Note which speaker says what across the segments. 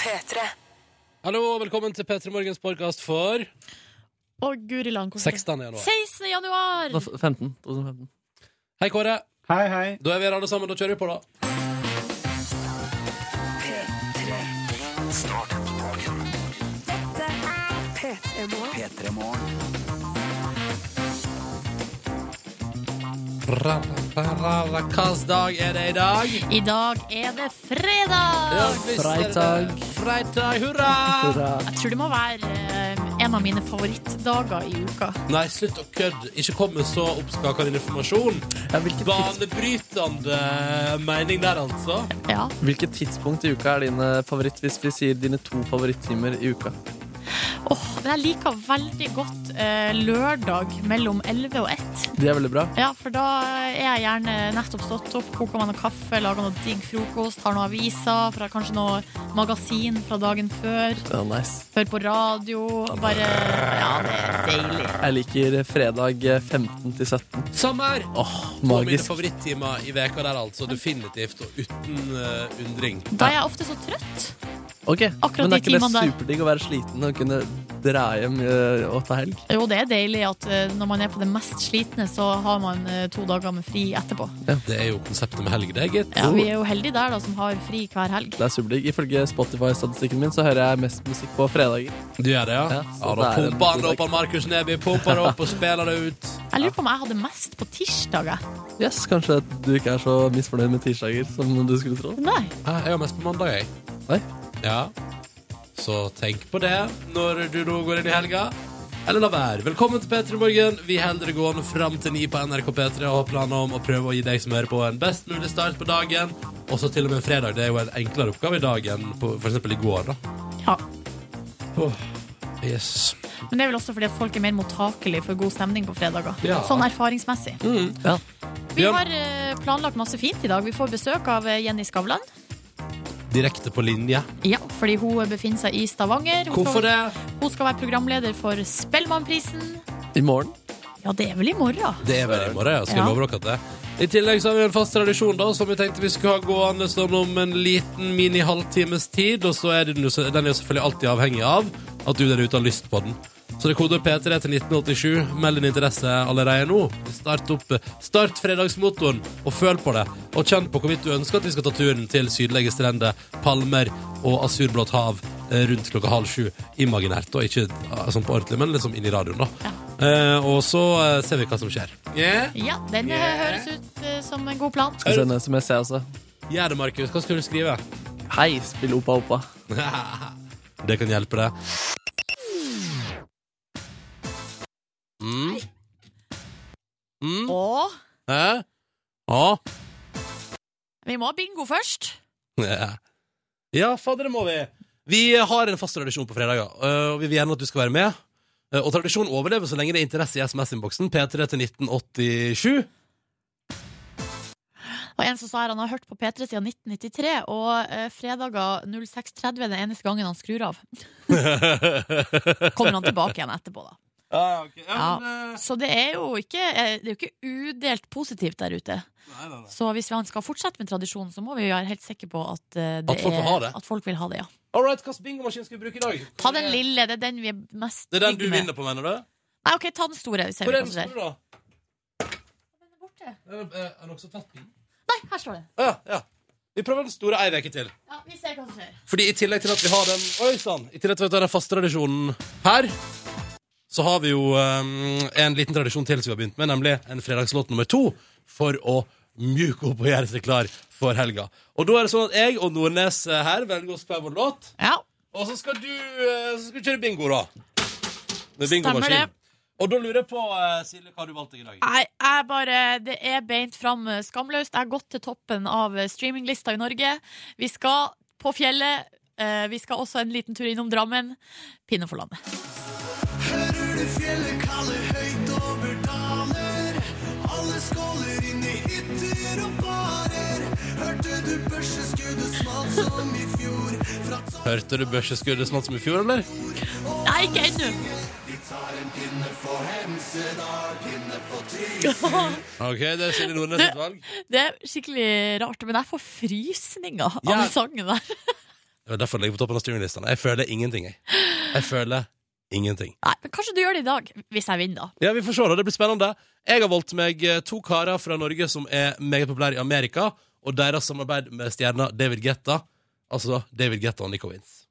Speaker 1: P3.
Speaker 2: Hallo og velkommen til P3 Morgens podkast for
Speaker 3: Å, guri land. hvorfor-
Speaker 2: 16. januar.
Speaker 3: 16. januar!
Speaker 4: 15, 2015.
Speaker 2: Hei, Kåre.
Speaker 5: Hei, hei.
Speaker 2: Da er vi her alle sammen. Da kjører vi på, da.
Speaker 1: P3 Morgen.
Speaker 2: Hvilken dag er det i dag?
Speaker 3: I dag er det fredag!
Speaker 4: Freitag.
Speaker 2: Freitag, hurra!
Speaker 3: Jeg tror det må være eh, en av mine favorittdager i uka.
Speaker 2: Nei, slutt å kødde. Ikke kom med så oppskakende informasjon.
Speaker 4: Ja, hvilket, tids,
Speaker 2: Banebrytende mening der, altså.
Speaker 3: Ja.
Speaker 4: hvilket tidspunkt i uka er din eh, favoritt, hvis vi sier dine to favorittimer i uka?
Speaker 3: Åh, men jeg liker veldig godt eh, lørdag mellom 11 og 1.
Speaker 4: De er veldig bra.
Speaker 3: Ja, for da er jeg gjerne nettopp stått opp, koker meg noe kaffe, lager noe digg frokost, har noen aviser, fra kanskje noe magasin fra dagen før.
Speaker 4: Ja, nice.
Speaker 3: Hører på radio. Bare Ja, det er deilig.
Speaker 4: Jeg liker fredag eh, 15 til 17.
Speaker 2: Sommer!
Speaker 4: Åh,
Speaker 2: To av mine
Speaker 4: magisk.
Speaker 2: favorittimer i veka der, altså. Definitivt, og uten eh, undring.
Speaker 3: Da er jeg ofte så trøtt.
Speaker 4: Ok,
Speaker 3: Akkurat
Speaker 4: Men
Speaker 3: de
Speaker 4: er ikke det
Speaker 3: timene der.
Speaker 4: superdigg å være sliten og kunne dra hjem eh, og ta helg?
Speaker 3: Jo, det er deilig at eh, når man er på det mest slitne, så har man eh, to dager med fri etterpå.
Speaker 2: Det er jo konseptet med helg, det, gitt.
Speaker 3: Ja, vi er jo heldige der, da, som har fri hver helg.
Speaker 4: Det er superdigg. Ifølge Spotify-statistikken min så hører jeg mest musikk på fredager.
Speaker 2: Du gjør det, ja?
Speaker 4: Ja,
Speaker 2: Ja,
Speaker 4: så
Speaker 2: Da
Speaker 4: det er en
Speaker 2: pumper han
Speaker 4: god
Speaker 2: det opp, han Markus Neby. Pumper det opp og spiller det ut.
Speaker 3: Jeg lurer på om jeg hadde mest på tirsdag, jeg.
Speaker 4: Yes, Kanskje at du ikke er så misfornøyd med tirsdager som du skulle tro.
Speaker 3: Nei.
Speaker 2: Hæ, Jeg har mest på mandag, jeg.
Speaker 4: Oi.
Speaker 2: Ja. Så tenk på det når du nå går inn i helga. Eller la være. Velkommen til P3 Morgen. Vi holder det gående fram til ni på NRK P3 og har planer om å prøve å gi deg som hører på, en best mulig start på dagen. Også til og med en fredag. Det er jo en enklere oppgave i dag enn på f.eks. i går, da.
Speaker 3: Ja.
Speaker 2: Yes.
Speaker 3: Men det er vel også fordi at folk er mer mottakelige for god stemning på fredager.
Speaker 2: Ja. Mm.
Speaker 3: Sånn erfaringsmessig.
Speaker 4: Ja.
Speaker 3: Vi
Speaker 2: Ja.
Speaker 3: har eh, planlagt masse fint i dag. Vi får besøk av eh, Jenny Skavlan.
Speaker 2: Direkte på linje.
Speaker 3: Ja, fordi hun befinner seg i Stavanger. Hun
Speaker 2: Hvorfor
Speaker 3: skal,
Speaker 2: det?
Speaker 3: Hun skal være programleder for Spellemannprisen.
Speaker 4: I morgen
Speaker 3: Ja, det er vel i morgen.
Speaker 2: Det er vel i morgen, altså. ja. Skal jeg
Speaker 3: Ja.
Speaker 2: love dere at det. I tillegg så har vi en fast tradisjon da, som vi tenkte vi skulle ha gående sånn om en liten mini-halvtimes tid. Og så er den jo, den er jo selvfølgelig alltid avhengig av at du der ute har lyst på den. Så det er kode P3 til 1987. Meld din interesse allerede nå. Start opp Start fredagsmotoren og føl på det. Og kjenn på hvorvidt du ønsker at vi skal ta turen til sydlige strender, palmer og asurblått hav eh, rundt klokka halv sju. Imaginært, og ikke eh, sånn på ordentlig, men liksom inni radioen, da. Eh, og så eh, ser vi hva som skjer. Yeah.
Speaker 3: Ja, den eh,
Speaker 2: Yeah.
Speaker 3: høres ut eh, som en god plan.
Speaker 4: skal jeg sende SMS, jeg også.
Speaker 2: Gjør det, Markus. Hva skal du skrive?
Speaker 4: Hei, spill Opa Opa.
Speaker 2: Det kan hjelpe deg. Mm. Mm.
Speaker 3: Og
Speaker 2: Hæ? Å?
Speaker 3: Vi må ha bingo først.
Speaker 2: Ja. Ja, fader, det må vi. Vi har en fast tradisjon på fredager, øh, og vi vil gjerne at du skal være med. Øh, Og tradisjonen overlever så lenge det er interesse i SMS-innboksen. P3 til 1987.
Speaker 3: Og en som sa her, han har hørt på P3 siden 1993, og eh, fredager 06.30 er den eneste gangen han skrur av. Kommer han tilbake igjen etterpå, da.
Speaker 2: Ja, ok.
Speaker 3: Ja.
Speaker 2: men, øh,
Speaker 3: Så det er jo ikke, eh, det er jo ikke udelt positivt der ute.
Speaker 2: nei, nei, nei.
Speaker 3: Så hvis han skal fortsette med tradisjonen, så må vi være helt sikre på at, eh, det
Speaker 2: At folk vil
Speaker 3: er-
Speaker 2: ha det.
Speaker 3: at folk vil ha det. ja.
Speaker 2: All right, hvilken bingomaskin skal vi bruke i dag?
Speaker 3: Ta den lille, det er den vi er mest
Speaker 2: Det er den du
Speaker 3: trygge med.
Speaker 2: vinner på, mener du?
Speaker 3: Nei, OK, ta den store. Vi ser
Speaker 2: Hvor
Speaker 3: hva
Speaker 2: er
Speaker 3: som
Speaker 2: den
Speaker 3: skjer.
Speaker 2: store, da?
Speaker 3: Borte.
Speaker 2: Er den- Er den også tatt?
Speaker 3: Nei, her står den.
Speaker 2: Å, Ja, ja. Vi prøver den store ei uke til.
Speaker 3: Ja, vi ser hva som skjer.
Speaker 2: Fordi i tillegg til at vi har den Oi sann! I tillegg til at vi har den faste tradisjonen her, så har vi jo ehm, en liten tradisjon til som vi har begynt med, nemlig en fredagslåt nummer to for å mjuke opp og gjøre seg klar for helga. Og da er det sånn at jeg og Nordnes eh, her velger oss hver vår låt,
Speaker 3: Ja,
Speaker 2: og så skal du, eh, så skal du kjøre bingo, da. Med
Speaker 3: Stemmer
Speaker 2: bingomaskin.
Speaker 3: det.
Speaker 2: Og da lurer jeg på, eh, Silje, hva har du valgt deg i dag?
Speaker 3: Nei, jeg bare, det er beint fram eh, skamløst. Jeg har gått til toppen av eh, streaminglista i Norge. Vi skal på fjellet. Eh, Vi skal også en liten tur innom Drammen. Pinne for landet.
Speaker 2: Hørte du børseskuddet smalt som i fjor, eller?
Speaker 3: Nei, ikke ennå!
Speaker 2: OK, det er Silje Nordnes sitt valg.
Speaker 3: Det er skikkelig rart, men jeg får frysninger av
Speaker 2: Ja.
Speaker 3: den sangen der.
Speaker 2: Det var derfor jeg ligger på toppen av streaminglistene. Jeg føler ingenting, jeg. Jeg føler ingenting.
Speaker 3: Nei, men kanskje du gjør det i dag, hvis jeg vinner, da.
Speaker 2: Ja, vi får se, da. Det blir spennende. Jeg har valgt meg eh, to karer fra Norge som er meget populære i Amerika, og deres samarbeid med stjerna David Guetta. Altså David Guetta og Nico Wins.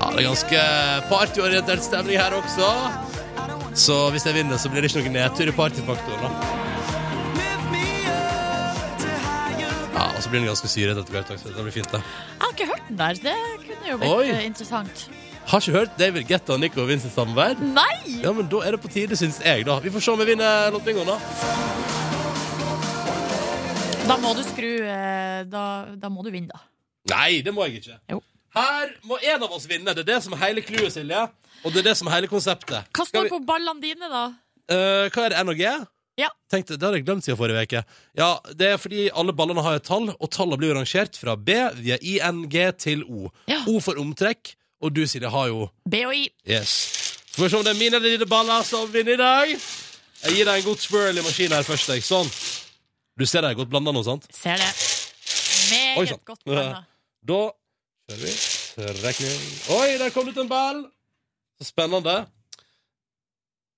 Speaker 2: Ja, det er ganske partyorientert stemning her også. Så hvis jeg vinner, så blir det ikke noen nedtur i partyfaktoren. da. Ja, og så blir den ganske syret etter hvert. også. Det blir fint, det.
Speaker 3: Jeg har ikke hørt den der. Det kunne jo
Speaker 2: Oi.
Speaker 3: blitt eh, interessant.
Speaker 2: Har ikke hørt David Guetta og Nico Wins' samarbeid?
Speaker 3: Nei!
Speaker 2: Ja, men da er det på tide, syns jeg, da. Vi får se om jeg vinner lottingen, da.
Speaker 3: Da må du skru eh, Da, da må du vinne, da.
Speaker 2: Nei, det må jeg ikke.
Speaker 3: Jo.
Speaker 2: Her må en av oss vinne. Det er det som er hele clouet, Silje. Og det er det som er hele konseptet.
Speaker 3: Hva
Speaker 2: Skal
Speaker 3: står
Speaker 2: vi-
Speaker 3: på ballene dine, da?
Speaker 2: Eh, hva er det, NRG?
Speaker 3: Ja.
Speaker 2: Tenkte, det hadde jeg glemt siden forrige uke. Ja, det er fordi alle ballene har et tall, og tallene blir jo rangert fra B via ING til O.
Speaker 3: Ja.
Speaker 2: O for omtrekk, og du, Silje, har jo
Speaker 3: B og I.
Speaker 2: Yes. Får vi se om det er mine eller dine baller som vinner i dag. Jeg gir deg en god swirl i maskinen her først. Jeg. Sånn. Du ser det er godt blanda nå, sant?
Speaker 3: Ser det.
Speaker 2: Oi,
Speaker 3: Meget
Speaker 2: sant.
Speaker 3: godt blanda.
Speaker 2: Da kjører vi trekning. Oi, der kom det ut en ball! Så spennende.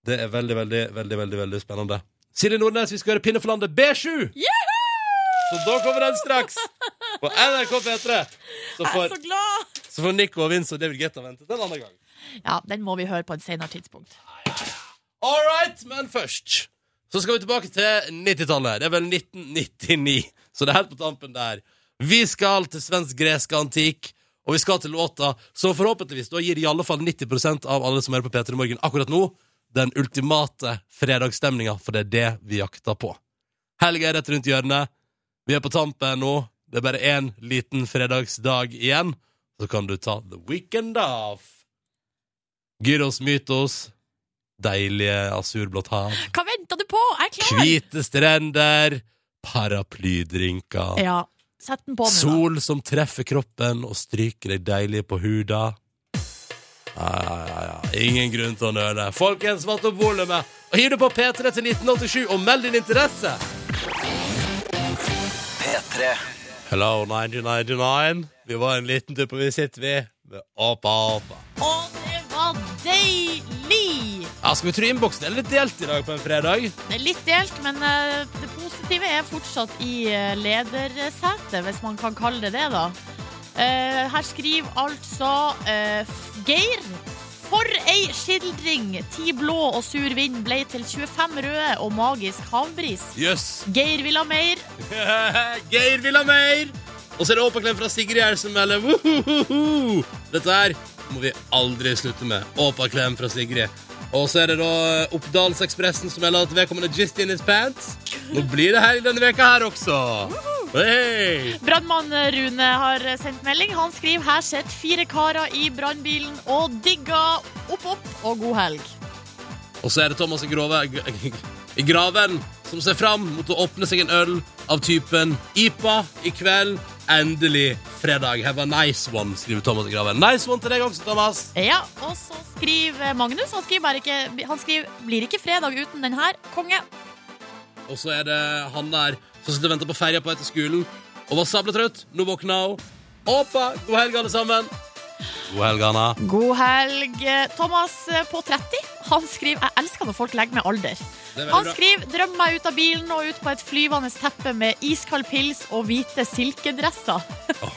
Speaker 2: Det er veldig, veldig, veldig veldig, veldig spennende. Silje Nordnes, vi skal gjøre Pinne for landet B7! Så da kommer den straks på NRK P3. Så
Speaker 3: Jeg er
Speaker 2: får,
Speaker 3: så glad!
Speaker 2: så får Nico og Vince og David Guetta vente til en annen gang.
Speaker 3: Ja, den må vi høre på et senere tidspunkt.
Speaker 2: All right, men først så skal vi tilbake til 90-tallet. Det er vel 1999, så det er helt på tampen der. Vi skal til svensk-gresk antikk, og vi skal til låta som forhåpentligvis da gir i alle fall 90 av alle som hører på P3 Morgen akkurat nå, den ultimate fredagsstemninga, for det er det vi jakter på. Helga er rett rundt hjørnet. Vi er på tampen nå. Det er bare én liten fredagsdag igjen. Så kan du ta the weekend off. Gyros Mytos. Deilige asurblått hav.
Speaker 3: Hva venter du på? Jeg er klar!
Speaker 2: Hvite strender. Paraplydrinker.
Speaker 3: Ja, sett den på nå, da.
Speaker 2: Sol som treffer kroppen og stryker deg deilig på huda. Ja, ja, ja, ja. Ingen grunn til å nøle. Folkens, vatt opp volumet! Og hiv det på P3 til 1987 og meld din interesse!
Speaker 5: P3
Speaker 2: Hello, 1999. Vi var en liten tur på visitt, vi. Med apa, apa.
Speaker 3: Å, det var deilig!
Speaker 2: Ja, skal vi tro innboksen er litt delt i dag på en fredag?
Speaker 3: Det er litt delt, men eh, det positive er fortsatt i eh, ledersetet, hvis man kan kalle det det, da. Eh, her skriver altså eh, F- Geir. For ei skildring! Ti blå og sur vind ble til 25 røde og magisk havbris.
Speaker 2: Jøss.
Speaker 3: Geir vil ha mer.
Speaker 2: Geir vil ha mer! Og så er det åpaklem fra Sigrid her som melder «Wohohoho!» Dette her må vi aldri slutte med. Åpaklem fra Sigrid. Og så er det da eh, Oppdalsekspressen som melder at vedkommende gist in his pants. Nå blir det helg denne veka her også. Hey!
Speaker 3: Brannmann Rune har sendt melding. Han skriver her sitter fire karer i brannbilen og digger opp, opp og god helg.
Speaker 2: Og så er det Thomas i, grove, i graven som ser fram mot å åpne seg en øl av typen IPA i kveld. Endelig fredag. Have a nice one, skriver Thomas i graven. Nice one til deg også, Thomas.
Speaker 3: Ja, og så skriver Magnus Han skriver bare ikke Han skriver Blir ikke fredag uten den her Konge
Speaker 2: Og så er det han der som sitter og venter på ferja på vei til skolen og var sabletrøtt. Nå våkna hun. Åpa! God helg, alle sammen. God helg, Anna.
Speaker 3: God helg Thomas eh, på 30 Han skriver Jeg elsker når folk legger med alder
Speaker 2: Det er
Speaker 3: Han
Speaker 2: veldig bra.
Speaker 3: skriver Drøm meg ut av bilen Og ut på et flyvende teppe Med iskald pils Og hvite silkedresser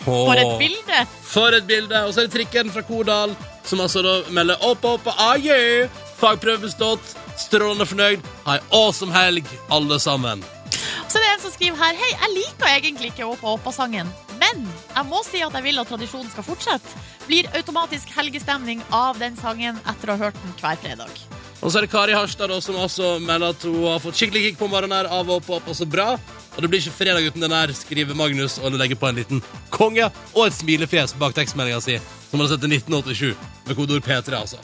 Speaker 3: For et
Speaker 2: Åh,
Speaker 3: bilde
Speaker 2: For et bilde. Og så er det trikken fra Kodal som altså da melder åpa, åpa, ajø. Fagprøve bestått. Strålende fornøyd. Ha ei awesome helg, alle sammen.
Speaker 3: Så det er en som skriver her Hei, jeg liker egentlig ikke Åpa Åpa-sangen Men jeg må si at jeg vil at tradisjonen skal fortsette Blir automatisk helgestemning av den sangen Etter å ha hørt den hver fredag
Speaker 2: Og så er det Kari Harstad da, som også melder at hun har fått skikkelig kick på morgenen her av å opp opp, og så bra. Og det blir ikke fredag uten den her, skriver Magnus og legger på en liten konge og et smilefjes bak tekstmeldinga si, som han har sett til 1987, med kodeord P3, altså.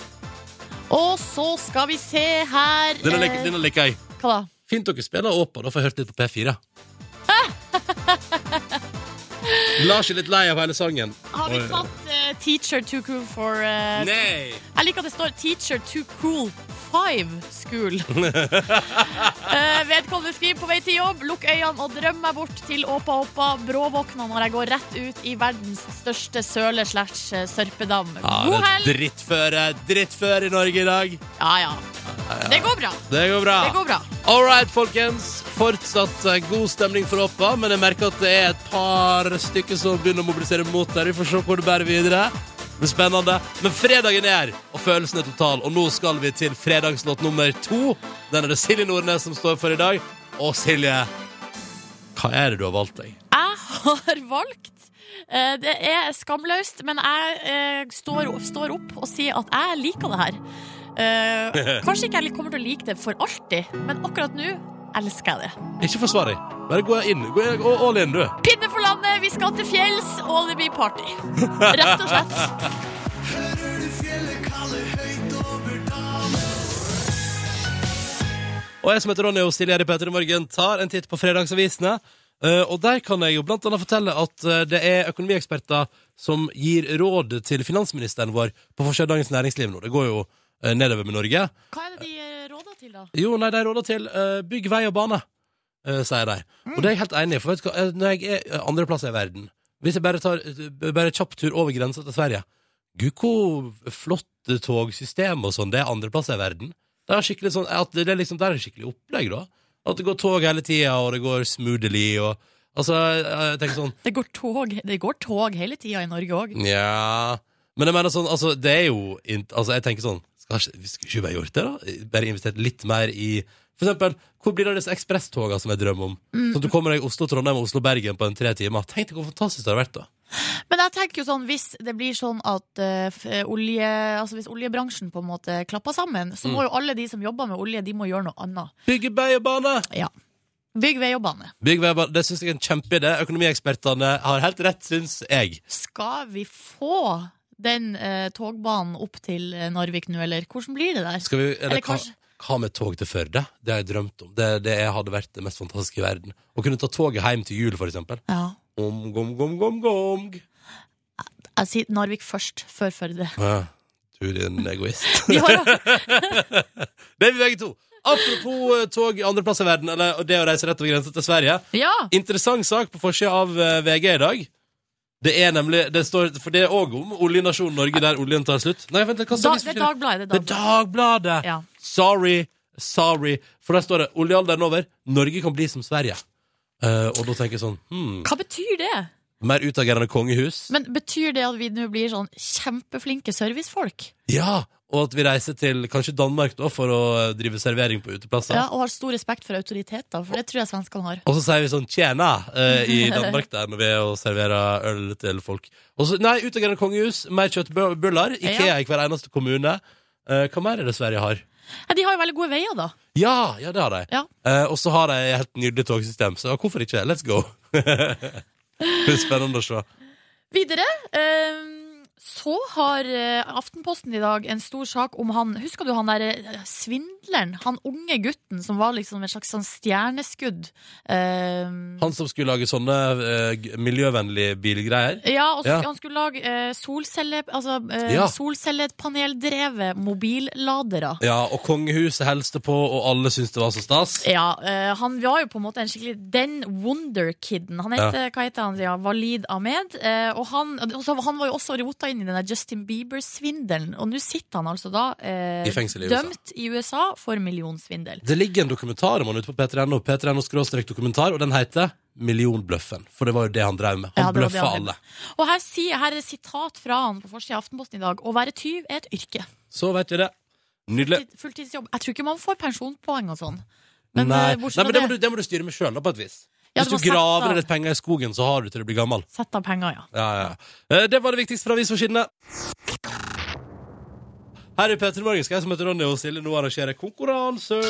Speaker 3: Og så skal vi se her
Speaker 2: Denne
Speaker 3: eh,
Speaker 2: liker, denne liker jeg.
Speaker 3: Hva da?
Speaker 2: Fint dere spiller Åpa, da får jeg hørt litt på P4. Lars er litt lei av hele sangen.
Speaker 3: Har vi
Speaker 2: Oi.
Speaker 3: tatt eh, 'Teacher Too Cool for eh,
Speaker 2: Nei!
Speaker 3: Jeg liker at det står 'Teacher to cool five school'. Eh, vedkommende skriver på vei til jobb. Lukk øynene og drøm meg bort til Åpa Åpa. Bråvåkna når jeg går rett ut i verdens største søle slash eh, sørpedam.
Speaker 2: Ja,
Speaker 3: God
Speaker 2: det er
Speaker 3: helg!
Speaker 2: drittføre, drittføre i Norge i dag.
Speaker 3: Ja, ja. Det går bra.
Speaker 2: Det går bra.
Speaker 3: Det går bra.
Speaker 2: All right, folkens. Fortsatt eh, god stemning for Åpa, men jeg merker at det er et par stykker som begynner å mobilisere mot der. Vi får se hvor det bærer videre. Det blir spennende. Men fredagen er her, og følelsen er total. Og nå skal vi til fredagslåt nummer to. Den er det Silje Nordnes som står for i dag. Og Silje, hva er det du har valgt deg?
Speaker 3: Jeg har valgt eh, Det er skamløst, men jeg eh, står, står opp og sier at jeg liker det her. Eh, kanskje ikke jeg kommer til å like det for alltid, men akkurat nå elsker jeg det.
Speaker 2: Ikke forsvar deg. Bare gå inn. Gå inn- gå all in, du.
Speaker 3: Pinne for landet, vi skal til fjells, og det blir party. Rett og slett.
Speaker 2: Og jeg som heter Ronny og Silje her i Petter i Morgen tar en titt på fredagsavisene. Eh, og der kan jeg jo blant annet fortelle at eh, det er økonomieksperter som gir råd til finansministeren vår på forskjell av Dagens Næringsliv nå. Det går jo eh, nedover med Norge.
Speaker 3: Hva er det de eh, råder til, da?
Speaker 2: Jo, nei, de råder til eh, bygg vei og bane, eh, sier de. Og det er jeg helt enig i, for vet du hva, eh, når jeg er eh, andreplass i verden Hvis jeg bare tar eh, bare kjapp tur over grensa til Sverige Gud, hvor flott togsystem og sånn, det er andreplass i verden. Det er skikkelig sånn, at det er liksom, der er det skikkelig opplegg, da. At det går tog hele tida, og det går smoothly, og Altså, eh, jeg tenker sånn
Speaker 3: Det går tog, det går tog hele tida i Norge òg.
Speaker 2: Nja Men jeg mener sånn, altså, det er jo int- Altså, jeg tenker sånn skal ikke, vi Skulle ikke bare gjort det, da? Bare investert litt mer i For eksempel, hvor blir det av disse ekspresstogene som jeg drømmer om? Sånn at du kommer deg Oslo-Trondheim og Oslo-Bergen på en tre timer. Tenk deg hvor fantastisk det hadde vært, da.
Speaker 3: Men jeg tenker jo sånn, hvis det blir sånn at eh, f- eh, olje, altså hvis oljebransjen på en måte klapper sammen, så må jo alle de som jobber med olje, de må gjøre noe annet.
Speaker 2: Bygge vei og bane!
Speaker 3: Ja. Bygg vei og bane.
Speaker 2: Bygg vei og bane, Det syns jeg er en kjempeidé. Økonomiekspertene har helt rett, syns jeg.
Speaker 3: Skal vi få den eh, togbanen opp til eh, Narvik nå, eller hvordan blir det der?
Speaker 2: Skal vi, eller,
Speaker 3: Eller kanskje-
Speaker 2: hva, hva med tog til Førde? Det har jeg drømt om. Det, det hadde vært det mest fantastiske i verden. Å kunne ta toget hjem til jul, for eksempel.
Speaker 3: Ja.
Speaker 2: Om, gom, gom, gom, gom.
Speaker 3: Jeg sier Narvik først, før Førde.
Speaker 2: Ja, du din egoist.
Speaker 3: Vi har
Speaker 2: Det er vi begge to. Apropos eh, tog andreplass i verden, eller det å reise rett over grensa til Sverige.
Speaker 3: Ja!
Speaker 2: Interessant sak på forsida av eh, VG i dag. Det er nemlig, det står, for det er òg om oljenasjonen Norge, der oljen tar slutt. Nei, vent, hva
Speaker 3: Da,
Speaker 2: står
Speaker 3: det er Dagbladet.
Speaker 2: Det
Speaker 3: Det
Speaker 2: er Dagbladet!
Speaker 3: Ja.
Speaker 2: Sorry, sorry. For der står det 'Oljealderen over. Norge kan bli som Sverige'. Eh, og da tenker jeg sånn hmm,
Speaker 3: Hva betyr det?
Speaker 2: Mer utagerende kongehus.
Speaker 3: Men Betyr det at vi nå blir sånn kjempeflinke servicefolk?
Speaker 2: Ja! Og at vi reiser til kanskje Danmark da for å eh, drive servering på uteplasser.
Speaker 3: Ja, Og har stor respekt for autoriteter, for det tror jeg svenskene har.
Speaker 2: Og så sier vi sånn 'tjena' eh, i Danmark der når vi er og serverer øl til folk. Og så, nei, utagerende kongehus, mer kjøttbuller, Ikea i hver eneste kommune. Eh, hva mer er det Sverige har?
Speaker 3: Ja, de har jo veldig gode veier, da.
Speaker 2: Ja, ja det har de.
Speaker 3: Ja.
Speaker 2: Eh, og så har de et helt nydelig togsystem, så hvorfor ikke? Let's go. det er spennende å se.
Speaker 3: Videre eh, så har eh, Aftenposten i dag en stor sak om han Husker du han der eh, svindleren? Han unge gutten som var liksom et slags sånn stjerneskudd. Eh,
Speaker 2: Han som skulle lage sånne eh, g- miljøvennlige bilgreier.
Speaker 3: Ja, og s-
Speaker 2: Ja.
Speaker 3: han skulle lage eh, solcelle, altså, eh,
Speaker 2: Ja.
Speaker 3: solcellepaneldrevet mobilladere.
Speaker 2: Ja, og kongehuset helste på, og alle syntes det var så stas.
Speaker 3: Ja, eh, han var jo på en måte en skikkelig Den Wonderkiden. Han heter, Hva heter han? Ja, Walid Ahmed. eh, og han, og så- han var jo også rota inn i den der Justin Bieber-svindelen. Og nå sitter han altså da eh,
Speaker 2: I fengsel i USA.
Speaker 3: dømt i USA for millionsvindel.
Speaker 2: Det ligger en dokumentar om han ute på P3NO, P3NO-dokumentar, og den heter Millionbløffen. For det var jo det han drev med. Han
Speaker 3: Ja, det var det
Speaker 2: bløffa
Speaker 3: han
Speaker 2: alle.
Speaker 3: drev Og her, sier, her er et sitat fra han på forsida av Aftenposten i dag. Å være tyv er et yrke.
Speaker 2: Så vet vi det. Nydelig.
Speaker 3: Fulltidsjobb. Jeg tror ikke man får pensjonspoeng og sånn. Men
Speaker 2: nei,
Speaker 3: eh, bortsett
Speaker 2: nei, men det,
Speaker 3: fra
Speaker 2: må du, det må du styre med sjøl, på et vis.
Speaker 3: Ja,
Speaker 2: Hvis
Speaker 3: du må
Speaker 2: du
Speaker 3: sette
Speaker 2: graver
Speaker 3: av.
Speaker 2: ned litt penger i skogen, så har du til du blir gammel.
Speaker 3: Sett av penger, ja.
Speaker 2: Ja, ja. Eh, Det var det viktigste fra avisforsidene. Her i P3 Morgen skal jeg som heter Ronny og Silje nå arrangere konkurranse.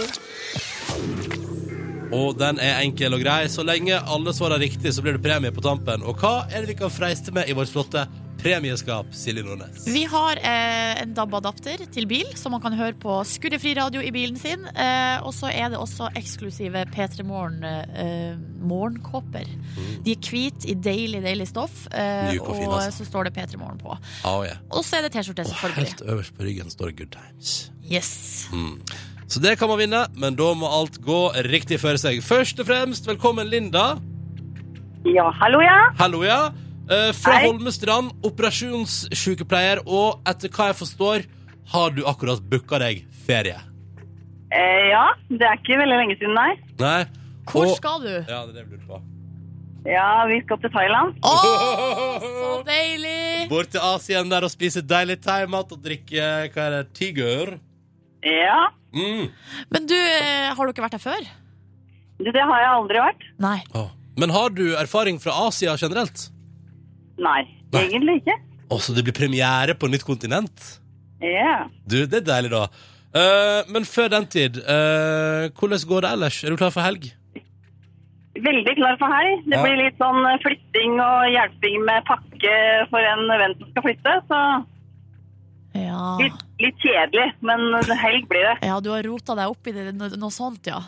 Speaker 2: Og den er enkel og grei. Så lenge alle svarer riktig, så blir det premie på tampen. Og hva er det vi kan freiste med i vårt flotte premieskap, Silje Nordnes.
Speaker 3: Vi har eh, en DAB-adapter til bil, som man kan høre på skurrefri radio i bilen sin. Eh, og så er det også eksklusive P3 Morgen eh, morgenkåper. De er hvite i deilig, deilig stoff, eh,
Speaker 2: Myk Mm. og fin, altså.
Speaker 3: så står det P3 Morgen på.
Speaker 2: Ah, ja.
Speaker 3: Og så er det
Speaker 2: Og
Speaker 3: T-skjorte,
Speaker 2: helt
Speaker 3: selvfølgelig.
Speaker 2: øverst på ryggen står Good Times.
Speaker 3: Yes.
Speaker 2: Mm. Så det kan man vinne, men da må alt gå riktig for seg. Først og fremst, velkommen Linda.
Speaker 5: Ja, hallo, ja.
Speaker 2: Hallo, ja. Eh, Fra
Speaker 5: Hei.
Speaker 2: Holmestrand, operasjonssykepleier, og etter hva jeg forstår, har du akkurat booka deg ferie.
Speaker 5: Eh, ja, det er ikke veldig lenge siden, nei.
Speaker 2: Nei?
Speaker 3: Hvor
Speaker 2: Og-
Speaker 3: skal du?
Speaker 2: Ja, det er det vi lurer på.
Speaker 5: Ja, vi skal til Thailand.
Speaker 3: Å, så deilig!
Speaker 2: Bort til Asien der og spise deilig thaimat og drikke hva er det, tiger.
Speaker 5: Ja,
Speaker 2: Mm.
Speaker 3: Men du, eh, har du ikke vært her før?
Speaker 5: du, det har jeg aldri vært.
Speaker 3: Nei.
Speaker 2: Å. Men har du erfaring fra Asia generelt?
Speaker 5: Nei,
Speaker 2: Nei.
Speaker 5: egentlig ikke.
Speaker 2: Å, så det blir premiere på nytt kontinent?
Speaker 5: Ja.
Speaker 2: Du, det er deilig, da. Eh, men før den tid, eh, hvordan går det ellers? Er du klar for helg?
Speaker 5: Veldig klar for helg. Det
Speaker 2: Ja.
Speaker 5: blir litt sånn eh, flytting og hjelping med pakke for en venn som skal flytte, så
Speaker 3: Ja.
Speaker 5: litt, litt kjedelig, men helg blir det.
Speaker 3: ja, du har rota deg opp i det, no- noe sånt, ja.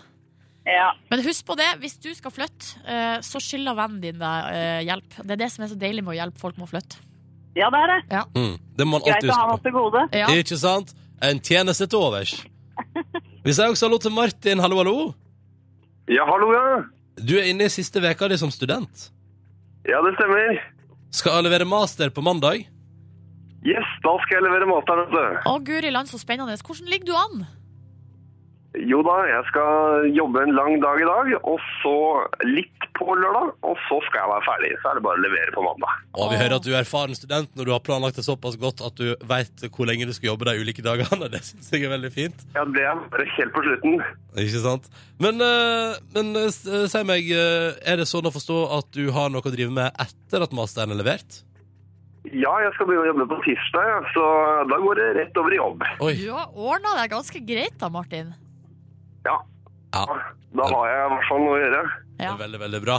Speaker 5: Ja,
Speaker 3: Men husk på det, hvis du skal flytte, eh, så skylder vennen din deg eh, hjelp. Det er det som er så deilig med å hjelpe folk med å flytte.
Speaker 5: ja det er det.
Speaker 2: Mm. Det må man alltid
Speaker 5: Greit å ha
Speaker 2: huske
Speaker 5: noe
Speaker 2: på.
Speaker 5: til gode.
Speaker 3: Ja.
Speaker 2: Ikke sant? En tjeneste til overs. Vi sier også hallo til Martin. Hallo, hallo.
Speaker 6: Ja, hallo, ja.
Speaker 2: Du er inne i siste veka di som student.
Speaker 6: Ja, det stemmer.
Speaker 2: Skal levere master på mandag.
Speaker 6: Yes, da skal jeg levere masteren, vet du.
Speaker 3: Å, guri land, så spennende. Hvordan ligger du an?
Speaker 6: Jo da, jeg skal jobbe en lang dag i dag, og så litt på lørdag, og så skal jeg være ferdig. Så er det bare å levere på mandag.
Speaker 2: Og vi
Speaker 3: Åh.
Speaker 2: hører at du er erfaren student når du har planlagt det såpass godt at du veit hvor lenge du skal jobbe de ulike dagene. Det syns jeg er veldig fint.
Speaker 6: Ja, det er bare helt på slutten.
Speaker 2: Ikke sant? Men, eh, men eh, s- eh, si meg, eh, er det sånn å forstå at du har noe å drive med etter at masteren er levert?
Speaker 6: Ja, jeg skal begynne å jobbe på tirsdag, ja, så da går det rett over i jobb.
Speaker 2: Oi.
Speaker 3: Du har ordna deg ganske greit da, Martin.
Speaker 6: Ja,
Speaker 2: Ja,
Speaker 6: da har jeg i hvert fall noe å gjøre.
Speaker 2: det
Speaker 3: Ja.
Speaker 2: er veldig, veldig bra.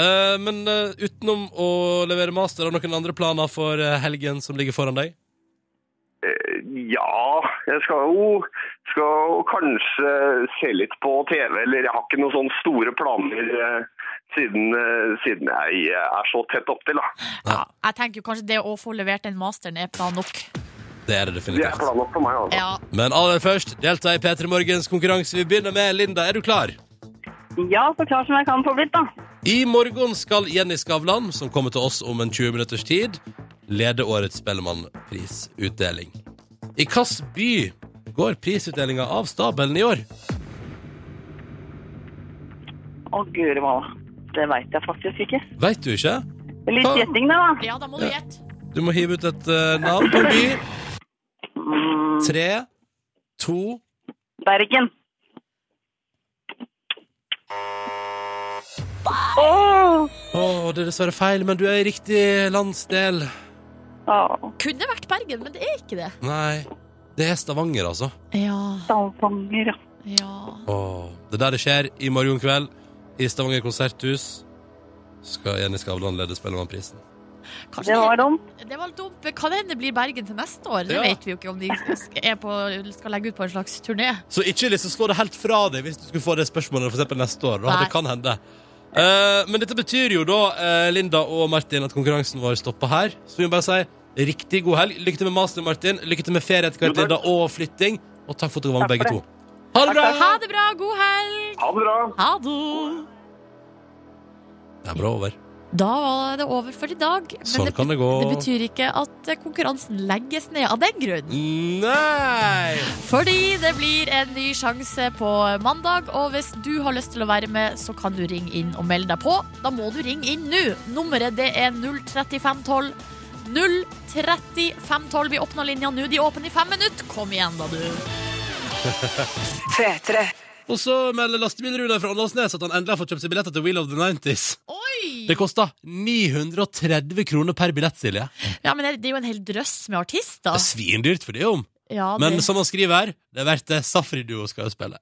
Speaker 2: Eh, men eh, utenom å levere master, har du noen andre planer for eh, helgen som ligger foran deg?
Speaker 6: Eh, Ja, jeg skal jo skal jo kanskje se litt på TV, eller jeg har ikke noen sånne store planer eh, siden, eh, siden jeg er så tett opptil. da.
Speaker 3: Ja. Jeg tenker jo kanskje det å få levert den masteren er plan nok.
Speaker 2: Det er det
Speaker 6: Det er
Speaker 2: definitivt.
Speaker 6: planlagt for meg. altså.
Speaker 3: Ja.
Speaker 2: Men aller først, delta i P3 Morgens konkurranse. Vi begynner med Linda. Er du klar?
Speaker 5: Ja, så klar som jeg kan få blitt, da.
Speaker 2: I morgen skal Jenny Skavlan, som kommer til oss om en 20 minutters tid, lede årets Spellemannprisutdeling. I hvilken by går prisutdelinga av stabelen i år?
Speaker 5: Å, guri malla. Det veit jeg faktisk ikke.
Speaker 2: Veit du ikke?
Speaker 5: Litt
Speaker 2: Ah.
Speaker 5: gjetting, da. da.
Speaker 3: ja, da må du gjette.
Speaker 2: Du må hive ut et eh, navn på en by.
Speaker 6: Mm.
Speaker 2: Tre, to
Speaker 5: Bergen.
Speaker 2: Å, det er dessverre feil, men du er i riktig landsdel.
Speaker 5: Å,
Speaker 3: Kunne vært Bergen, men det er ikke det.
Speaker 2: Nei, det er Stavanger, altså.
Speaker 3: Ja,
Speaker 5: Stavanger, ja.
Speaker 3: ja.
Speaker 2: Åh, det er der det skjer i morgen kveld i Stavanger konserthus. Skal Jenny Skavlan lede Spellemannprisen.
Speaker 3: Kanskje
Speaker 5: Det var dumt.
Speaker 3: det var litt dumt. men Kan hende det blir Bergen til neste år. Det
Speaker 2: Ja.
Speaker 3: vet vi jo ikke om de er på, skal legge ut på en slags turné.
Speaker 2: Så ikke liksom slå det helt fra deg hvis du skulle få det spørsmålet for eksempel neste år. Da.
Speaker 3: Nei.
Speaker 2: Det kan hende. Eh, men dette betyr jo da, eh, Linda og Martin, at konkurransen vår stopper her. Så vi må bare si riktig god helg. Lykke til med master, Martin. Lykke til med ferie etter hvert,
Speaker 6: Jo, takk.
Speaker 2: Linda, og flytting. Og takk for at dere var med,
Speaker 5: Takk
Speaker 2: begge
Speaker 5: for
Speaker 2: to. Ha det bra!
Speaker 3: Ha det bra, god helg!
Speaker 6: Ha det bra.
Speaker 3: Ha det!
Speaker 2: Det er bra over.
Speaker 3: Da var det over for i dag. Men
Speaker 2: Sånn
Speaker 3: det,
Speaker 2: kan det gå.
Speaker 3: det betyr ikke at eh, konkurransen legges ned av den grunn.
Speaker 2: Nei!
Speaker 3: Fordi det blir en ny sjanse på mandag, og hvis du har lyst til å være med, så kan du ringe inn og melde deg på. Da må du ringe inn nå. Nummeret det er 03512. 03512. Vi åpner linja nå. De er åpne i fem minutter. Kom igjen, da, du.
Speaker 1: P3.
Speaker 2: Og så melder lastebilrune fra Åndalsnes at han endelig har fått kjøpt seg billetter til Wheel of the 90s.
Speaker 3: Oi!
Speaker 2: Det kosta 930 kroner per billett, Silje.
Speaker 3: Ja, men det er jo en hel drøss med
Speaker 2: Det er
Speaker 3: artister.
Speaker 2: svindyrt for det, om.
Speaker 3: Ja, det-
Speaker 2: Men som han skriver her, det er verdt det. Safri-duo skal jo spille.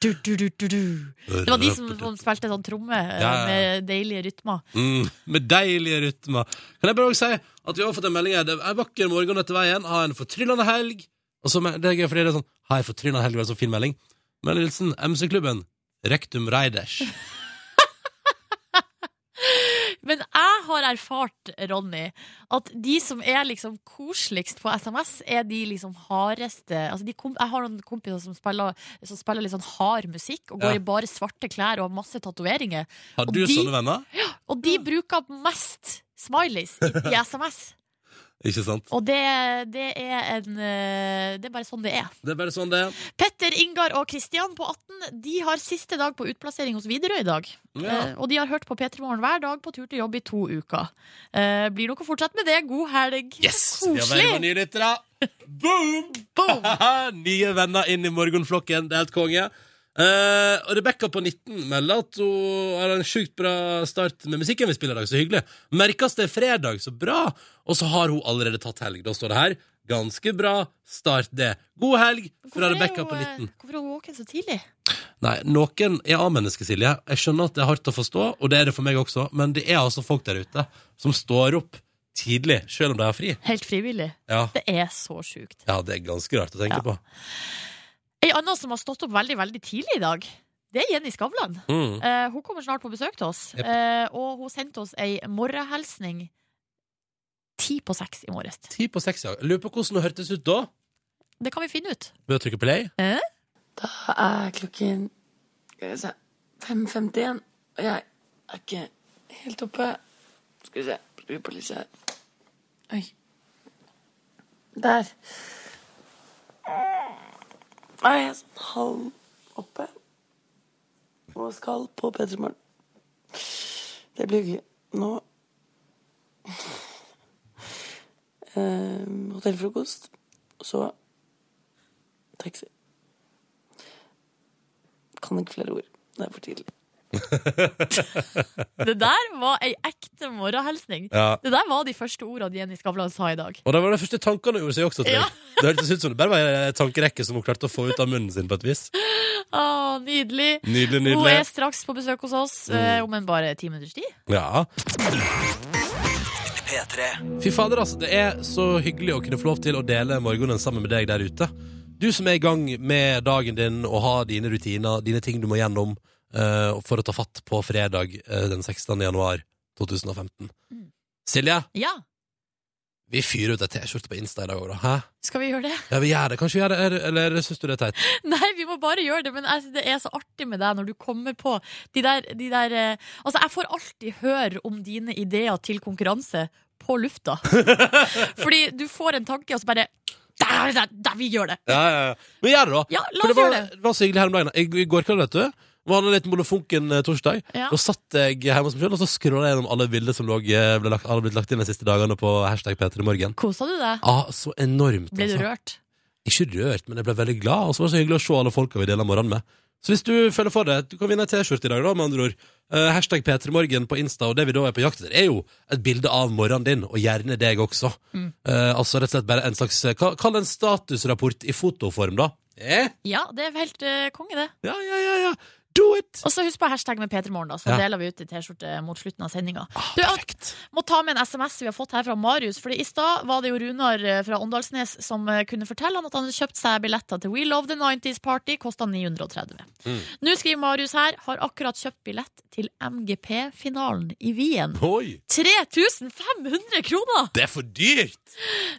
Speaker 3: Du, du, du, du, du. Det var de som som spilte sånn tromme
Speaker 2: Ja,
Speaker 3: eh,
Speaker 2: ja, ja.
Speaker 3: med deilige rytmer.
Speaker 2: Mm, med deilige rytmer. Kan jeg bare også si at vi har fått en melding her. Det er en vakker morgen etter veien. Ha en fortryllende helg. Og så, det er gøy, fordi det er sånn Ha en fortryllende helg, det er en sånn fin melding. Men Nilsen, MC-klubben. Rektum Reiders.
Speaker 3: Men jeg har erfart, Ronny, at de som er liksom koseligst på SMS, er de liksom hardeste altså de kom, Jeg har noen kompiser som spiller, som spiller litt sånn hard musikk og går
Speaker 2: Ja.
Speaker 3: i bare svarte klær og har masse tatoveringer.
Speaker 2: Har
Speaker 3: Og
Speaker 2: du
Speaker 3: de-
Speaker 2: sånne venner?
Speaker 3: Og de bruker mest smileys i, i SMS.
Speaker 2: Ikke sant?
Speaker 3: Og det, det er en eh, Det er bare sånn det er.
Speaker 2: Det er bare sånn det er.
Speaker 3: Petter, Ingar og Kristian på 18 De har siste dag på utplassering hos Widerøe i dag.
Speaker 2: Ja.
Speaker 3: Eh, og de har hørt på P3 Morgen hver dag på tur til jobb i to uker. Eh, blir nok å fortsette med det. God helg.
Speaker 2: Yes! Vi har verva
Speaker 3: Koselig!
Speaker 2: nye lyttere. Boom!
Speaker 3: Boom!
Speaker 2: nye venner inn i morgenflokken. Det er helt konge. Eh, og Rebekka på 19 melder at hun har en sjukt bra start med musikken vi spiller i dag. Så hyggelig. Merkes det er fredag, så bra. Og så har hun allerede tatt helg. Da står det her. Ganske bra. Start det. God helg fra
Speaker 3: er
Speaker 2: Rebekka
Speaker 3: hun,
Speaker 2: på
Speaker 3: eh,
Speaker 2: 19.
Speaker 3: Hvorfor er hun våken så tidlig?
Speaker 2: Nei, noen er A-mennesker, Silje. Jeg skjønner at det er hardt å forstå, og det er det for meg også, men det er altså folk der ute som står opp tidlig, selv om de har fri.
Speaker 3: Helt frivillig.
Speaker 2: Ja.
Speaker 3: Det er så sjukt.
Speaker 2: Ja, det er ganske rart å tenke
Speaker 3: Ja.
Speaker 2: på.
Speaker 3: Ei anna som har stått opp veldig, veldig tidlig i dag, det er Jenny Skavlan.
Speaker 2: Mm.
Speaker 3: Eh, hun kommer snart på besøk til oss,
Speaker 2: Jep.
Speaker 3: Eh, og hun sendte oss ei morgenhilsning ti på seks i morges.
Speaker 2: Ti på seks, ja. Lurer på hvordan det hørtes ut da.
Speaker 3: Det kan vi finne ut.
Speaker 2: Ved å trykke play.
Speaker 7: Da er klokken skal vi se, 5.51, og jeg er ikke helt oppe. Skal vi se, skru på lyset her. Oi. Der. Nei, jeg er sånn halv oppe og skal på P3 Morgen. Det blir gøy. Nå Ehm, Hotellfrokost, og så taxi kan ikke flere ord. Det er for tidlig.
Speaker 3: Det der var ei ekte morgenhilsning.
Speaker 2: Ja.
Speaker 3: Det der var de første ordene Jenny Skavlan sa i dag.
Speaker 2: Og det var de første tankene hun gjorde seg også, tror jeg.
Speaker 3: Ja.
Speaker 2: Det hørtes ut som det bare var en tankerekke som hun klarte å få ut av munnen sin på et vis.
Speaker 3: Å, nydelig.
Speaker 2: Nydelig, Mm.
Speaker 3: Hun er
Speaker 2: nydelig.
Speaker 3: straks på besøk hos oss eh, om en bare ti minutters tid.
Speaker 2: Ja. Fy fader, altså. Det er så hyggelig å kunne få lov til å dele morgenen sammen med deg der ute. Du som er i gang med dagen din og har dine rutiner, dine ting du må gjennom eh, for å ta fatt på fredag eh, den 16. januar 2015.
Speaker 3: Mm.
Speaker 2: Silje,
Speaker 3: Ja,
Speaker 2: vi fyrer ut ei T-skjorte på Insta i dag òg, da. Hæ?
Speaker 3: skal vi gjøre det?
Speaker 2: Ja, vi gjør det. Kanskje vi gjør det, eller- eller syns du det er teit?
Speaker 3: Nei, vi må bare gjøre det, men jeg synes det er så artig med deg når du kommer på de der, de der eh, Altså, jeg får alltid høre om dine ideer til konkurranse på lufta. Fordi du får en tanke, og så bare der, der, der, Vi gjør det!
Speaker 2: Ja, ja, ja. Men gjør det, da.
Speaker 3: Ja,
Speaker 2: For
Speaker 3: la
Speaker 2: det
Speaker 3: oss
Speaker 2: var,
Speaker 3: gjøre det.
Speaker 2: det var så hyggelig her om dagen. I, I går kveld, vet du. Vi hadde en liten monofunken eh, torsdag.
Speaker 3: Ja.
Speaker 2: Da satt jeg hjemme hos meg selv og så scrolla jeg gjennom alle bilder som lå, eh, ble lagt, hadde blitt lagt inn de siste dagene på hashtag P3morgen.
Speaker 3: Kosa du deg?
Speaker 2: Ah, så enormt.
Speaker 3: Ble du
Speaker 2: altså.
Speaker 3: rørt?
Speaker 2: Ikke rørt, men jeg ble veldig glad. Og så var det så hyggelig å se alle folka vi deler morgenen med. Så hvis du føler for det, du kan vinne ei T-skjorte i dag, da, med andre ord. Eh, hashtag P3morgen på Insta, og det vi da er på jakt etter, er jo et bilde av morgenen din, og gjerne deg også.
Speaker 3: Mm.
Speaker 2: Eh, altså rett og slett bare en slags eh, Kall kall det en statusrapport i fotoform, da. Eh?
Speaker 3: Ja, det er helt eh, konge, det.
Speaker 2: Ja, ja, ja, ja. Do it!
Speaker 3: Og så husk på hashtag med P3morgen, da, så
Speaker 2: Ja.
Speaker 3: deler vi ut en T-skjorte mot slutten av sendinga.
Speaker 2: Ah,
Speaker 3: Du,
Speaker 2: perfekt.
Speaker 3: Må ta med en SMS vi har fått her fra Marius. Fordi I stad var det jo Runar eh, fra Åndalsnes som eh, kunne fortelle han at han hadde kjøpt seg billetter til We Love The 90s Party. Kosta 930.
Speaker 2: Mm.
Speaker 3: Nå skriver Marius her har akkurat kjøpt billett til MGP-finalen i Wien.
Speaker 2: Oi,
Speaker 3: 3500 kroner!
Speaker 2: det er for dyrt!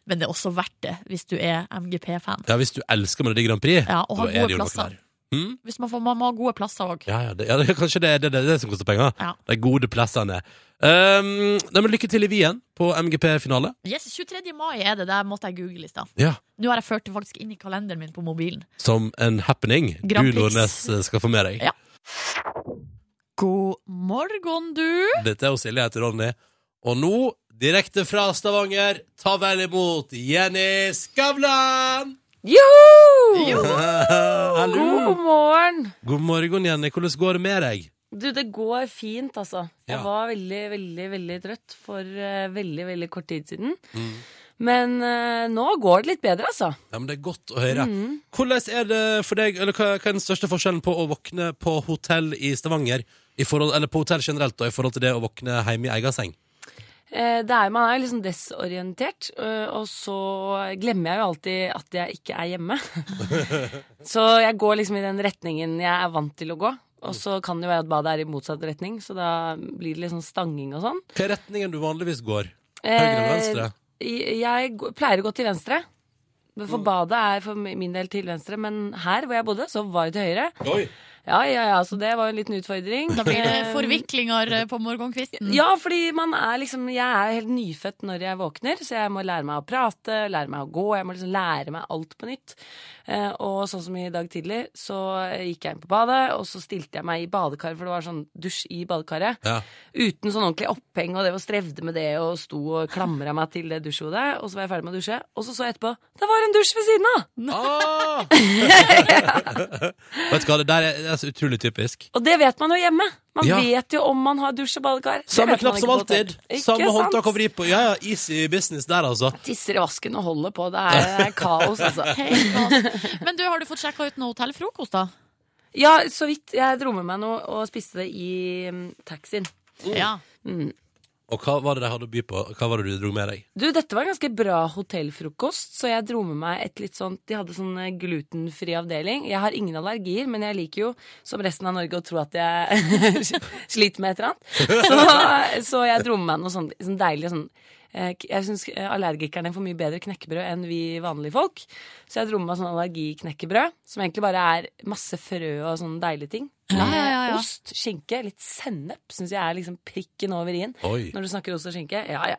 Speaker 3: Men det er også verdt det hvis du er MGP-fan.
Speaker 2: Ja, hvis du elsker Melodi Grand Prix,
Speaker 3: Ja, og
Speaker 2: da
Speaker 3: har
Speaker 2: er det
Speaker 3: gode
Speaker 2: jo noe
Speaker 3: plasser.
Speaker 2: der. Mm?
Speaker 3: Hvis man, får, man må ha gode plasser òg.
Speaker 2: Ja, ja, det, ja, det, kanskje det, det, det er det som koster penger.
Speaker 3: Ja.
Speaker 2: De gode plassene. Um, nei, men lykke til i Wien på MGP-finale.
Speaker 3: Yes, 23. mai er det. Der måtte jeg google i stad.
Speaker 2: Ja.
Speaker 3: Nå har jeg ført det faktisk inn i kalenderen min på mobilen.
Speaker 2: Som en happening
Speaker 3: Grand
Speaker 2: du,
Speaker 3: Prix.
Speaker 2: Nordnes, eh, skal få med deg.
Speaker 3: Ja. God morgen, du!
Speaker 2: Dette er jo Silje, jeg heter Ronny. Og nå, direkte fra Stavanger, ta vel imot Jenny Skavlan!
Speaker 7: Joho!
Speaker 2: Hallo!
Speaker 7: God morgen!
Speaker 2: God morgen, Jenny. Hvordan går det med deg?
Speaker 7: Du, det går fint, altså. Jeg
Speaker 2: Ja.
Speaker 7: var veldig, veldig, veldig trøtt for eh, veldig, veldig kort tid siden.
Speaker 8: Men eh, nå går det litt bedre, altså.
Speaker 2: Ja, men det er godt å høre. Hvordan er det for deg, eller hva, hva er den største forskjellen på å våkne på hotell i Stavanger, i forhold, eller på hotell generelt, da, i forhold til det å våkne hjemme i egen seng?
Speaker 8: Eh, det er, man er jo liksom desorientert, øh, og så glemmer jeg jo alltid at jeg ikke er hjemme. så jeg går liksom i den retningen jeg er vant til å gå. Og så kan det jo være at badet er i motsatt retning, så da blir det litt sånn stanging og sånn.
Speaker 2: Hva er retningen du vanligvis går? Høyre eller venstre?
Speaker 8: Eh, jeg g- pleier å gå til venstre. For badet er for min del til venstre, men her hvor jeg bodde, så var det til høyre.
Speaker 2: Oi!
Speaker 8: Ja, ja, ja, så det var jo en liten utfordring.
Speaker 3: Da blir det forviklinger eh, på morgenkvisten.
Speaker 8: Ja, fordi man er liksom Jeg er helt nyfødt når jeg våkner, så jeg må lære meg å prate, lære meg å gå, jeg må liksom lære meg alt på nytt. Eh, og sånn som i dag tidlig, så gikk jeg inn på badet, og så stilte jeg meg i badekar, for det var sånn dusj i badekaret.
Speaker 2: Ja.
Speaker 8: Uten sånn ordentlig oppheng, og det var strevde med det, og sto og klamra meg til det dusjhodet. Og så var jeg ferdig med å dusje, og så så jeg etterpå det var en dusj ved siden av!
Speaker 2: Ah! Vet du hva, det der er, det er så utrolig typisk.
Speaker 8: Og det vet man jo hjemme. Man
Speaker 2: Ja.
Speaker 8: vet jo om man har dusj og badekar. Det vet
Speaker 2: Samme
Speaker 8: man
Speaker 2: knapp
Speaker 8: ikke
Speaker 2: som
Speaker 8: på hotell.
Speaker 2: alltid.
Speaker 8: Ikke
Speaker 2: Samme
Speaker 8: sant?
Speaker 2: håndtak å vri på. Ja, ja, easy business der, altså.
Speaker 8: Tisser i vasken og holder på. Det er, det er kaos, altså.
Speaker 3: Helt galt. Men du, har du fått sjekka ut noe hotellfrokost, da?
Speaker 8: Ja, så vidt. Jeg dro med meg noe og spiste det i mm, taxien.
Speaker 3: Ja.
Speaker 2: Og hva var det de hadde å by på? Hva var det du dro med deg?
Speaker 8: Du, dette var en ganske bra hotellfrokost, så jeg dro med meg et litt sånt De hadde sånn eh, glutenfri avdeling. Jeg har ingen allergier, men jeg liker jo, som resten av Norge, å tro at jeg sliter med et eller annet. Så, så jeg dro med meg noe sånt sånn deilig sånn eh, k- jeg syns allergikerne får mye bedre knekkebrød enn vi vanlige folk. Så jeg dro med meg sånn allergiknekkebrød, som egentlig bare er masse frø og sånne deilige ting.
Speaker 3: Ja, ja, ja, ja.
Speaker 8: Ost, skinke, litt sennep syns jeg er liksom prikken over i-en.
Speaker 2: Oi.
Speaker 8: Når du snakker ost og skinke. Ja, ja.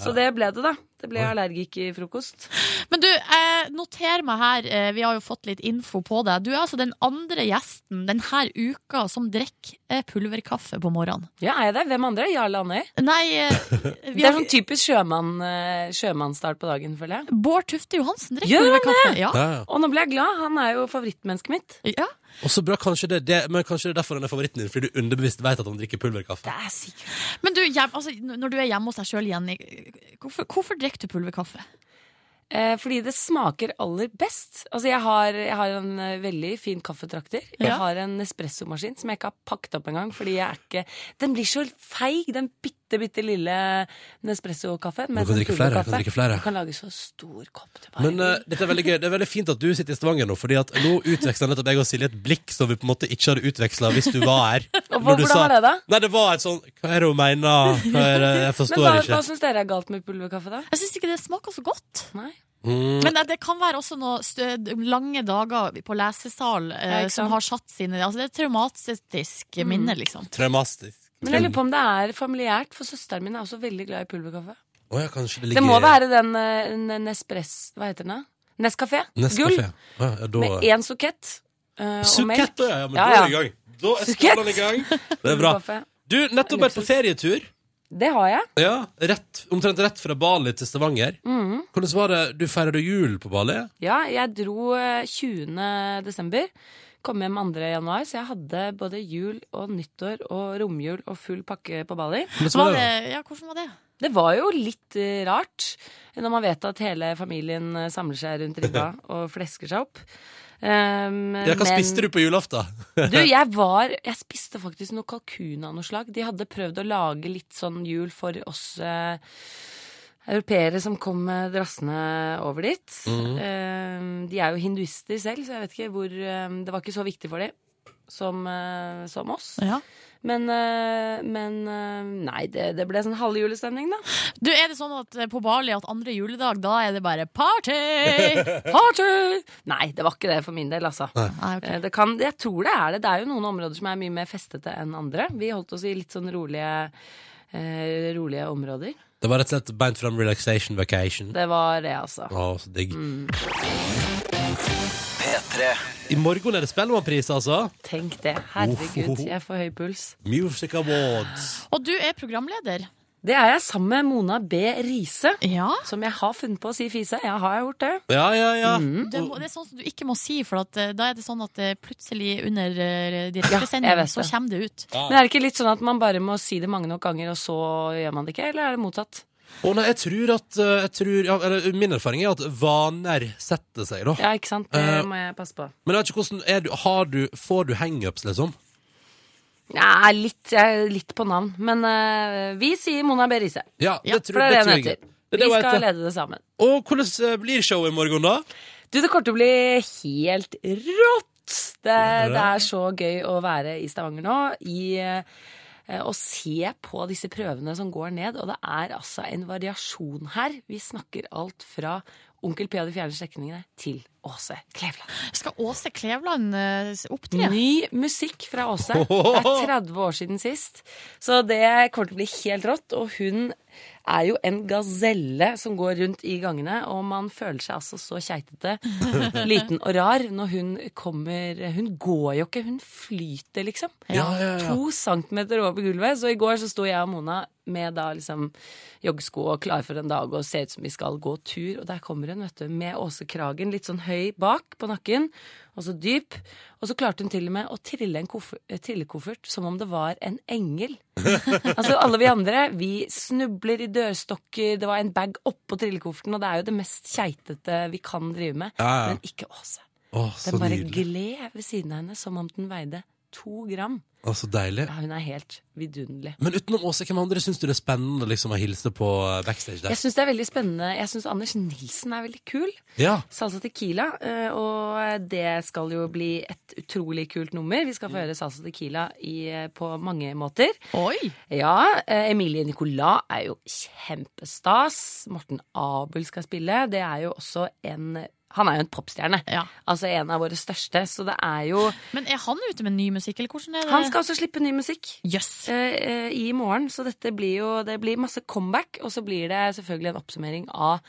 Speaker 8: Så det ble det, da. Det ble allergikerfrokost.
Speaker 3: Men du, eh, noter meg her, eh, vi har jo fått litt info på deg. Du er altså den andre gjesten denne uka som drikker eh, pulverkaffe på morgenen.
Speaker 8: Ja, er jeg der? Hvem andre? Jarle Andøy?
Speaker 3: Nei, eh, vi
Speaker 8: Det er
Speaker 3: har,
Speaker 8: sånn typisk sjømann, eh, sjømannsstart på dagen, føler jeg.
Speaker 3: Bård Tufte Johansen drikker
Speaker 8: Gjør han
Speaker 3: pulverkaffe. Ja.
Speaker 2: Ja, ja.
Speaker 8: Og nå ble jeg glad. Han er jo favorittmennesket mitt.
Speaker 3: Ja.
Speaker 2: Og så bra, kanskje det, det, men kanskje det er derfor han er favoritten din, fordi du underbevisst vet at han drikker pulverkaffe.
Speaker 8: Det er sikkert.
Speaker 3: Men du, hjem, altså, n- når du er hjemme hos deg sjøl, Jenny, hvorfor, hvorfor drikker du pulverkaffe?
Speaker 8: Eh, fordi det smaker aller best. Altså, jeg har, jeg har en eh, veldig fin kaffetrakter. Jeg
Speaker 3: Ja.
Speaker 8: har en espressomaskin som jeg ikke har pakket opp engang, fordi jeg er ikke Den blir så feig, den bitte, bitte lille Nespresso-kaffen. sånn
Speaker 2: Du kan drikke flere, du kan drikke flere.
Speaker 8: Du kan lage så stor kopp til meg.
Speaker 2: Men eh, dette er veldig gøy. Det er veldig fint at du sitter i Stavanger nå, fordi at nå utveksla nettopp jeg og Silje et blikk som vi på en måte ikke hadde utveksla hvis du var her.
Speaker 8: Og hva-
Speaker 2: Når du
Speaker 8: hvordan
Speaker 2: sa-
Speaker 8: var det da?
Speaker 2: Nei, det var et sånn Hva er det hun mener? Hva er det? Jeg
Speaker 8: Men
Speaker 2: forstår
Speaker 8: hva, hva
Speaker 2: ikke.
Speaker 8: syns dere er galt med pulverkaffe, da?
Speaker 3: Jeg syns ikke det smaker så godt.
Speaker 8: Nei.
Speaker 2: Mm,
Speaker 3: Men det- det kan være også noe stø, lange dager på lesesal eh,
Speaker 8: Ja, ikke
Speaker 3: som
Speaker 8: sant. Mm.
Speaker 3: har satt sine altså, Det er traumatisk minne, liksom.
Speaker 2: traumatisk.
Speaker 8: Men jeg lurer på om det er familiært, for søsteren min er også veldig glad i pulverkaffe.
Speaker 2: Å ja, kanskje det
Speaker 8: Det
Speaker 2: ligger
Speaker 8: må være den eh, n- Nespress... Hva heter den? da? Nescafé.
Speaker 2: Nescafé.
Speaker 8: Gull.
Speaker 2: Ja, ja, da...
Speaker 8: Med én sukett. eh, og melk.
Speaker 2: Sukett, ja, ja, men
Speaker 8: Ja,
Speaker 2: da
Speaker 8: ja.
Speaker 2: er det i gang. Da er
Speaker 8: Sukett.
Speaker 2: skålen i gang. Det er bra.
Speaker 8: Pulverkaffe.
Speaker 2: Du, nettopp vært på ferietur.
Speaker 8: Det har jeg.
Speaker 2: Ja, rett, Omtrent rett fra Bali til Stavanger.
Speaker 8: Mhm.
Speaker 2: Hvordan var det du feira jul på Bali?
Speaker 8: Ja, jeg dro eh, 20. desember. Kom hjem 2. januar, så jeg hadde både jul og nyttår og romjul og full pakke på Bali.
Speaker 2: Hvordan
Speaker 3: Var
Speaker 2: var det?
Speaker 3: det, ja, hvordan var det?
Speaker 8: Det var jo litt eh, rart når man vet at hele familien eh, samler seg rundt ribba og flesker seg opp. Um,
Speaker 2: Ja, hva spiste du på julaften?
Speaker 8: Du, jeg var Jeg spiste faktisk noe kalkun av noe slag. De hadde prøvd å lage litt sånn jul for oss eh, europeere som kom eh, drassende over dit.
Speaker 2: Mhm.
Speaker 8: Eh, de er jo hinduister selv, så jeg vet ikke hvor eh, Det var ikke så viktig for dem som, eh, som oss.
Speaker 3: Ja.
Speaker 8: Men, eh, men eh, Nei, det, det ble sånn halve julestemning, da.
Speaker 3: Du, Er det sånn at eh, på Bali at andre juledag, da er det bare party?
Speaker 8: Party! Nei, det var ikke det for min del, altså.
Speaker 3: Nei, ok.
Speaker 8: Eh, Det kan, jeg tror det er det. Det er jo noen områder som er mye mer festete enn andre. Vi holdt oss i litt sånn rolige, eh, rolige områder.
Speaker 2: Det var rett og slett beint fram relaxation vacation.
Speaker 8: Det var det, altså.
Speaker 2: Å, så digg. I morgen er det Spellemannpris, altså.
Speaker 8: Tenk det. Herregud, jeg får høy puls.
Speaker 2: Music Awards.
Speaker 3: Og du er programleder.
Speaker 8: Det er jeg sammen med Mona B. Riise.
Speaker 3: Ja.
Speaker 8: Som jeg har funnet på å si fise. Ja, har jeg gjort det?
Speaker 2: Ja, ja, ja.
Speaker 8: Mm.
Speaker 3: Det, må, det er sånn som du ikke må si, for at, eh, da er det sånn at eh, plutselig under eh,
Speaker 8: jeg
Speaker 3: direktesending
Speaker 8: vet
Speaker 3: så
Speaker 8: det.
Speaker 3: kommer det ut.
Speaker 8: Men er det ikke litt sånn at man bare må si det mange nok ganger, og så gjør man det ikke? Eller er det motsatt?
Speaker 2: Å nei, jeg tror at eh, jeg tror, ja, eller, Min erfaring er at vaner setter seg, da.
Speaker 8: Ja, ikke sant?
Speaker 2: Eh,
Speaker 8: Det må jeg passe på.
Speaker 2: Men jeg vet ikke hvordan er du, har du, Får du hangups, liksom?
Speaker 8: Ja, litt, jeg er litt på navn. Men eh, vi sier Mona B. Riise.
Speaker 2: Ja,
Speaker 3: Ja,
Speaker 2: tror-
Speaker 8: For det er det hun
Speaker 2: tror jeg.
Speaker 8: heter. Vi
Speaker 2: Det er det hun
Speaker 8: skal
Speaker 2: heter.
Speaker 8: lede det sammen.
Speaker 2: Og hvordan eh, blir showet i morgen, da?
Speaker 8: Du, det kommer til å bli helt rått! Det,
Speaker 2: Ja.
Speaker 8: det er så gøy å være i Stavanger nå. I eh, å se på disse prøvene som går ned. Og det er altså en variasjon her. Vi snakker alt fra Onkel P og de fjerne slektningene til Åse Kleveland.
Speaker 3: Skal Åse Kleveland eh, opptre?
Speaker 8: Ny musikk fra Åse. Det er 30 år siden sist. Så det kommer til å bli helt rått. Og hun er jo en gazelle som går rundt i gangene, og man føler seg altså så keitete, liten og rar når hun kommer Hun går jo ikke, hun flyter, liksom.
Speaker 2: Ja, ja, ja.
Speaker 8: To centimeter over gulvet. Så i går så sto jeg og Mona med da liksom joggesko og klar for en dag og ser ut som vi skal gå tur, og der kommer hun, vet du, med Åsekragen litt sånn høy bak på nakken, og så dyp, og så klarte hun til og med å trille en koffer- eh, trillekoffert som om det var en engel. Altså alle vi andre, vi snubler i dørstokker, det var en bag oppå trillekofferten, og det er jo det mest keitete vi kan drive med,
Speaker 2: Ja, ja.
Speaker 8: men ikke Åse.
Speaker 2: Å, så
Speaker 8: Den bare
Speaker 2: nydelig.
Speaker 8: gled ved siden av henne som om den veide to gram.
Speaker 2: Å, så deilig.
Speaker 8: Ja, hun er helt vidunderlig.
Speaker 2: Men utenom Åse, hvem andre syns du det er spennende liksom, å hilse på eh, backstage der?
Speaker 8: Jeg syns det er veldig spennende. Jeg syns Anders Nilsen er veldig kul.
Speaker 2: Ja.
Speaker 8: Salsa Tequila. eh, Og det skal jo bli et utrolig kult nummer. Vi skal få høre Salsa Tequila i, eh, på mange måter.
Speaker 3: Oi!
Speaker 8: Ja, eh, Emilie Nicolas er jo kjempestas. Morten Abel skal spille. Det er jo også en Han er jo en popstjerne.
Speaker 3: Ja.
Speaker 8: Altså en av våre største. Så det er jo
Speaker 3: Men er han ute med ny musikk, eller hvordan er det?
Speaker 8: Han skal også slippe ny musikk.
Speaker 3: Jøss.
Speaker 8: eh, eh, i morgen. Så dette blir jo det blir masse comeback, og så blir det selvfølgelig en oppsummering av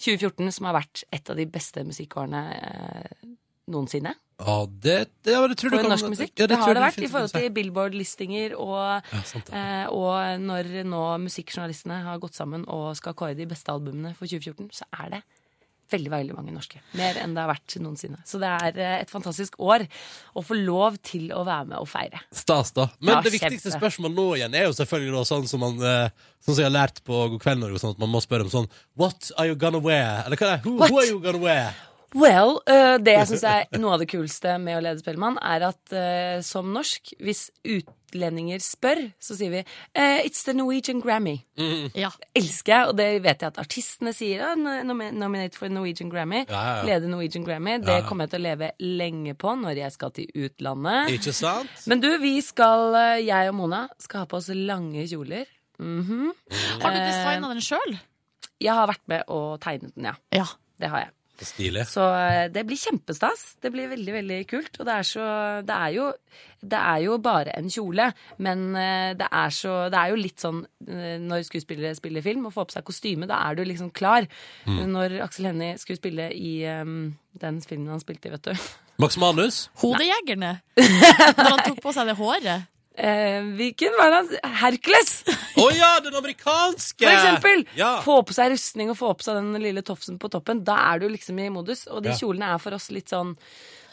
Speaker 8: 2014, som har vært et av de beste musikkårene eh, noensinne.
Speaker 2: Ja, det, det, ja, det tror du
Speaker 8: For
Speaker 2: kan
Speaker 8: norsk musikk.
Speaker 2: Ja,
Speaker 8: det, har
Speaker 2: tror
Speaker 8: det
Speaker 2: jeg
Speaker 8: vært i
Speaker 2: definitivt
Speaker 8: forhold
Speaker 2: kan si.
Speaker 8: til Billboard-listinger og
Speaker 2: ja, sant, det.
Speaker 8: eh, og når nå musikkjournalistene har gått sammen og skal kåre de beste albumene for 2014, så er det veldig veldig mange norske. Mer enn det har vært noensinne. Så det er eh, et fantastisk år å få lov til å være med og feire.
Speaker 2: Stas, da. Men
Speaker 8: Ja,
Speaker 2: det viktigste
Speaker 8: kjempe.
Speaker 2: spørsmålet nå igjen er jo selvfølgelig da sånn som man eh, Sånn som jeg har lært på God kveld Norge, og sånn at man må spørre om sånn What are you gonna wear? Eller hva er det? Who,
Speaker 8: What?
Speaker 2: who are you gonna wear?
Speaker 8: Well, eh, det jeg syns er noe av det kuleste med å lede Spellemann, er at eh, som norsk, hvis utlendinger spør, så sier vi eh, It's the Norwegian Grammy.
Speaker 3: Ja.
Speaker 8: Elsker jeg, og det vet jeg at artistene sier. Ja, nom- nominate for Norwegian Grammy.
Speaker 2: Ja, ja, ja.
Speaker 8: Lede Norwegian Grammy. Det kommer jeg til å leve lenge på når jeg skal til utlandet.
Speaker 2: Ikke sant?
Speaker 8: Men du, vi skal, eh, jeg og Mona skal ha på oss lange kjoler. Mhm.
Speaker 3: Har du designa den sjøl?
Speaker 8: Jeg har vært med og tegnet den, ja.
Speaker 3: Ja.
Speaker 8: Det har jeg.
Speaker 2: Stilig.
Speaker 8: Så eh, det blir kjempestas. Det blir veldig, veldig kult. Og det er, så, det er, jo, det er jo bare en kjole, men eh, det er, så, det er jo litt sånn eh, når skuespillere spiller film og får på seg kostyme, da er du liksom klar. Når Aksel Hennie skulle spille i eh, den filmen han spilte i, vet du.
Speaker 2: Max Manus?
Speaker 3: Hodejegerne. Når han tok på seg det håret.
Speaker 8: Eh, hvilken var det han Hercules!
Speaker 2: Å ja, den amerikanske!
Speaker 8: For eksempel!
Speaker 2: Ja.
Speaker 8: Få på seg rustning og få på seg den lille tofsen på toppen. Da er du liksom i modus. Og de
Speaker 2: Ja.
Speaker 8: kjolene er for oss litt sånn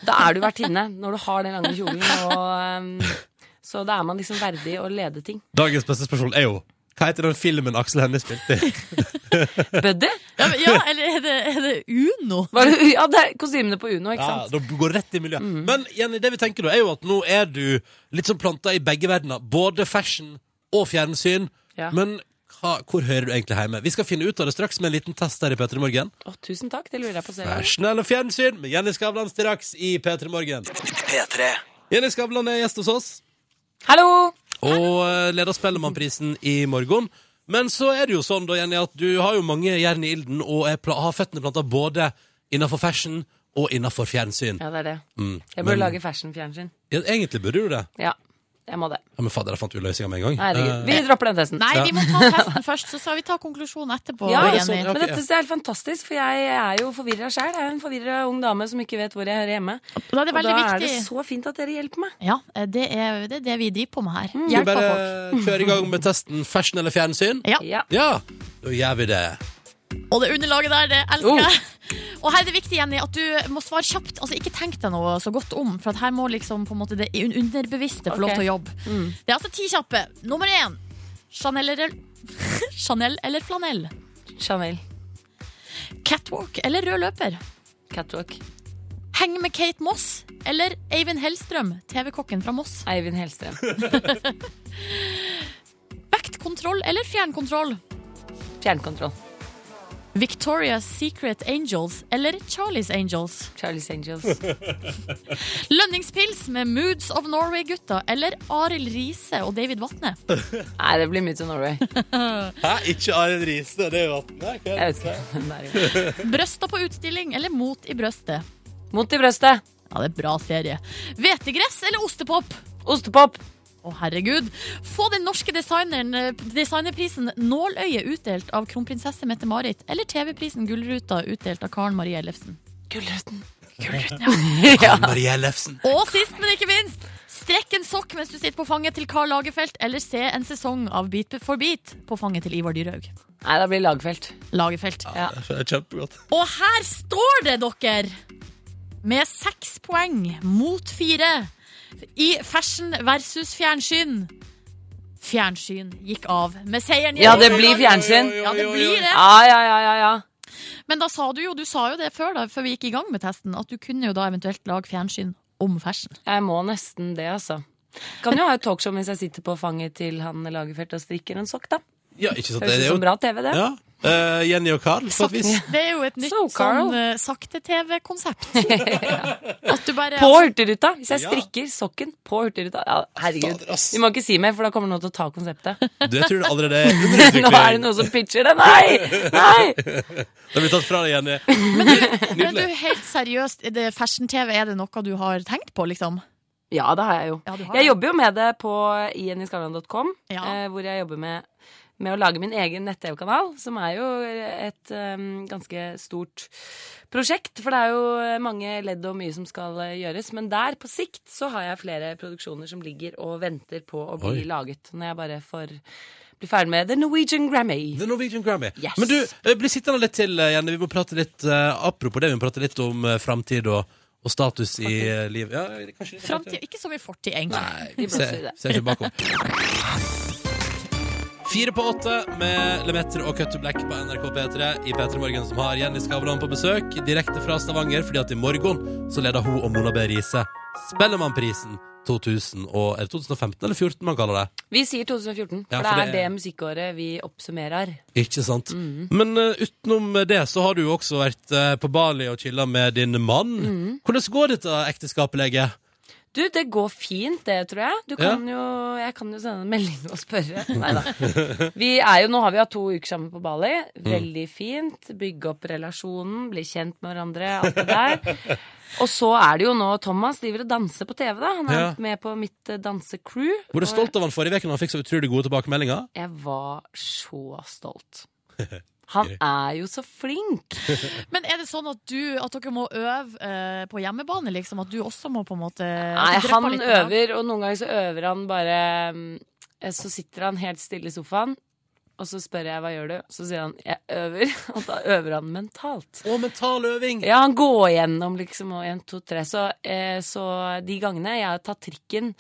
Speaker 8: Da er du vertinne når du har den lange kjolen. Og, um, så da er man liksom verdig å lede ting.
Speaker 2: Dagens beste spørsmål er jo Hva heter den filmen Aksel Hennie spilte i?
Speaker 8: Buddy?
Speaker 3: Ja, men, ja eller er det, er det Uno?
Speaker 8: Var det, ja, det er kostymene på Uno, ikke
Speaker 2: Ja,
Speaker 8: sant? Mm.
Speaker 2: da går det rett i miljøet. Men Jenny, det vi tenker da, er jo at nå er du litt sånn planta i begge verdener. Både fashion og fjernsyn.
Speaker 8: Ja.
Speaker 2: Men hva, hvor hører du egentlig hjemme? Vi skal finne ut av det straks med en liten test her i P3 Morgen.
Speaker 8: Å, tusen takk, det lurer jeg på selv.
Speaker 2: Fashion eller fjernsyn med Jenny Skavlan straks i P3 Morgen.
Speaker 1: P3.
Speaker 2: Jenny Skavlan er gjest hos oss
Speaker 8: Hallo!
Speaker 2: og eh, leder Spellemannprisen i morgen. Men så er det jo sånn da, Jenny, at du har jo mange jern i ilden og er pla har føttene planta både innafor fashion og innafor fjernsyn.
Speaker 8: Ja, det er det.
Speaker 2: Mm.
Speaker 8: Jeg burde
Speaker 2: Men-
Speaker 8: lage fashion-fjernsyn.
Speaker 2: Ja, Egentlig burde du det.
Speaker 8: Ja, jeg må det.
Speaker 2: Ja, men fader, jeg fant ut løsninga med en gang.
Speaker 8: Herregud.
Speaker 2: Eh,
Speaker 8: Vi dropper den testen.
Speaker 3: Nei, vi må ta testen først, så skal vi ta konklusjonen etterpå.
Speaker 8: Ja, altså,
Speaker 2: det er
Speaker 3: Jenny.
Speaker 2: sånn, ja.
Speaker 8: Men dette er helt fantastisk, for jeg er jo forvirra sjæl. Jeg er en forvirra ung dame som ikke vet hvor jeg hører hjemme.
Speaker 3: Da er
Speaker 8: Og
Speaker 3: det
Speaker 8: da
Speaker 3: veldig
Speaker 8: er det
Speaker 3: viktig.
Speaker 8: så fint at dere hjelper meg.
Speaker 3: Ja, eh, det er, det er det vi driver på med her.
Speaker 2: Skal vi
Speaker 3: Hjelper Mm. folk.
Speaker 2: bare kjøre i gang med testen fashion eller fjernsyn?
Speaker 3: Ja.
Speaker 8: Ja.
Speaker 2: Ja, da gjør vi det.
Speaker 3: Og det underlaget der, det elsker
Speaker 8: Oh.
Speaker 3: jeg. Og her er det viktig, Jenny, at du må svare kjapt. Altså, ikke tenk deg noe så godt om, for at her må liksom på en måte det un- underbevisste få lov
Speaker 8: Ok.
Speaker 3: til å jobbe. Det er altså ti kjappe. Nummer én. Chanel, Chanel eller flanell?
Speaker 8: Chanel.
Speaker 3: Catwalk eller rød løper?
Speaker 8: Catwalk.
Speaker 3: Heng med Kate Moss eller Eivind Hellstrøm, TV-kokken fra Moss?
Speaker 8: Eivind Hellstrøm.
Speaker 3: Vektkontroll eller fjernkontroll?
Speaker 8: Fjernkontroll.
Speaker 3: Victoria's Secret Angels eller Charlie's Angels?
Speaker 8: Charlies Angels.
Speaker 3: Lønningspils med Moods of Norway-gutta eller Arild Riise og David Vatne?
Speaker 8: Nei, det blir mye til Norway.
Speaker 2: Hæ? Ikke Arild Riise, det er jo vannet.
Speaker 8: Jeg vet ikke hvem det er.
Speaker 3: Brøsta på utstilling eller Mot i brøstet?
Speaker 8: Mot i brøstet.
Speaker 3: Ja, det er bra serie. Hvetegress eller ostepop?
Speaker 8: Ostepop.
Speaker 3: Å, herregud. Få den norske designeren, eh, designerprisen Nåløyet utdelt av kronprinsesse Mette-Marit, eller TV-prisen Gullruta utdelt av Karen Marie Ellefsen.
Speaker 8: Gullruten.
Speaker 2: Marie Ellefsen.
Speaker 3: Og sist, men ikke minst, strekk en sokk mens du sitter på fanget til Karl Lagerfeld, eller se en sesong av Beat for beat på fanget til Ivar Dyrhaug.
Speaker 8: Nei, da blir det Lagfelt.
Speaker 3: Lagerfeld.
Speaker 2: Det er kjempegodt.
Speaker 3: Og her står det, dere, med seks poeng mot fire i fashion versus fjernsyn. Fjernsyn gikk av med seieren.
Speaker 8: Ja, det blir fjernsyn.
Speaker 3: Ja, det blir det.
Speaker 8: Ja, ja, ja, ja, ja.
Speaker 3: Men da sa du jo, du sa jo det før, da, før vi gikk i gang med testen, at du kunne jo da eventuelt lage fjernsyn om fashion.
Speaker 8: Jeg må nesten det, altså. Kan jo ha et talkshow mens jeg sitter på fanget til han Lagerfeld og strikker en sokk, da.
Speaker 2: Ja, ikke sant.
Speaker 8: Høres ut
Speaker 2: Det er jo
Speaker 8: som bra TV, det.
Speaker 2: ja. Eh, Jenny og Carl, på et vis.
Speaker 3: Det er jo et nytt
Speaker 8: So, Carl.
Speaker 3: sånn eh, sakte-TV-konsept. At du bare
Speaker 8: På Hurtigruta! Hvis jeg
Speaker 2: Ja.
Speaker 8: strikker sokken på Hurtigruta ja, Herregud.
Speaker 2: Fader, ass.
Speaker 8: Vi må ikke si mer, for da kommer noen til å ta konseptet.
Speaker 2: Du, jeg tror det allerede er
Speaker 8: Nå er det
Speaker 2: underutvikling.
Speaker 8: noen som pitcher det. Nei! Nei!
Speaker 2: Det blir tatt fra deg, Jenny.
Speaker 3: Men du, helt seriøst, er det fashion-TV, er det noe du har tenkt på, liksom?
Speaker 8: Ja, det har jeg jo.
Speaker 3: Ja, du har det.
Speaker 8: Jeg jobber jo med det på ienniskavlan.com,
Speaker 3: Ja.
Speaker 8: eh, hvor jeg jobber med, med å lage min egen nett-TV-kanal, som er jo et eh, ganske stort prosjekt. For det er jo eh, mange ledd og mye som skal eh, gjøres. Men der, på sikt, så har jeg flere produksjoner som ligger og venter på å bli
Speaker 2: Oi.
Speaker 8: laget. Når jeg bare får bli ferdig med The Norwegian Grammy.
Speaker 2: The Norwegian Grammy.
Speaker 8: Yes.
Speaker 2: Men du, eh, bli sittende litt til, eh, Jenny. Vi må prate litt eh, Apropos det, vi må prate litt om uh, framtid og, og status i eh, livet. Ja, kanskje litt
Speaker 3: Fremtid, ikke så mye fortid, egentlig.
Speaker 2: Nei,
Speaker 8: blåser i
Speaker 2: se,
Speaker 8: det.
Speaker 2: se ikke bakom. Fire på åtte med Lemeter og Cut to Black på NRK P3 i P3 Morgen, som har Jenny Skavlan på besøk direkte fra Stavanger, fordi at i morgen så leder hun og Mona B. Riise Spellemannprisen 2000 og, Er det 2015 eller 2014 man kaller det?
Speaker 8: Vi sier 2014, for,
Speaker 2: Ja,
Speaker 8: det er det musikkåret vi oppsummerer.
Speaker 2: Ikke sant? Men eh, utenom det så har du jo også vært eh, på Bali og chilla med din mann. Hvordan går dette ekteskapet, lege?
Speaker 8: Du, det går fint, det, tror jeg. Du kan jo, jeg kan jo sende en melding og spørre. Nei da. Vi er jo, nå har vi hatt to uker sammen på Bali.
Speaker 2: Mm.
Speaker 8: Veldig fint. Bygge opp relasjonen, bli kjent med hverandre, alt det der. Og så er det jo nå Thomas driver og danser på TV, da. Han er
Speaker 2: Ja.
Speaker 8: med på mitt eh, dansecrew.
Speaker 2: Var du stolt av han forrige uke når han fikk så utrolig gode tilbakemeldinger?
Speaker 8: Jeg var så stolt. Han er jo så flink.
Speaker 3: Men er det sånn at, du, at dere må øve eh, på hjemmebane, liksom? At du også må på en måte
Speaker 8: Nei,
Speaker 3: at du
Speaker 8: han
Speaker 3: drypper Eh, litt på det?
Speaker 8: øver, og noen ganger så øver han bare mm, Så sitter han helt stille i sofaen, og så spør jeg hva gjør du? Så sier han jeg øver, og da øver han mentalt.
Speaker 2: Og mental øving!
Speaker 8: Ja, han går gjennom liksom og en, to, tre. Så, eh, så de gangene jeg har tatt trikken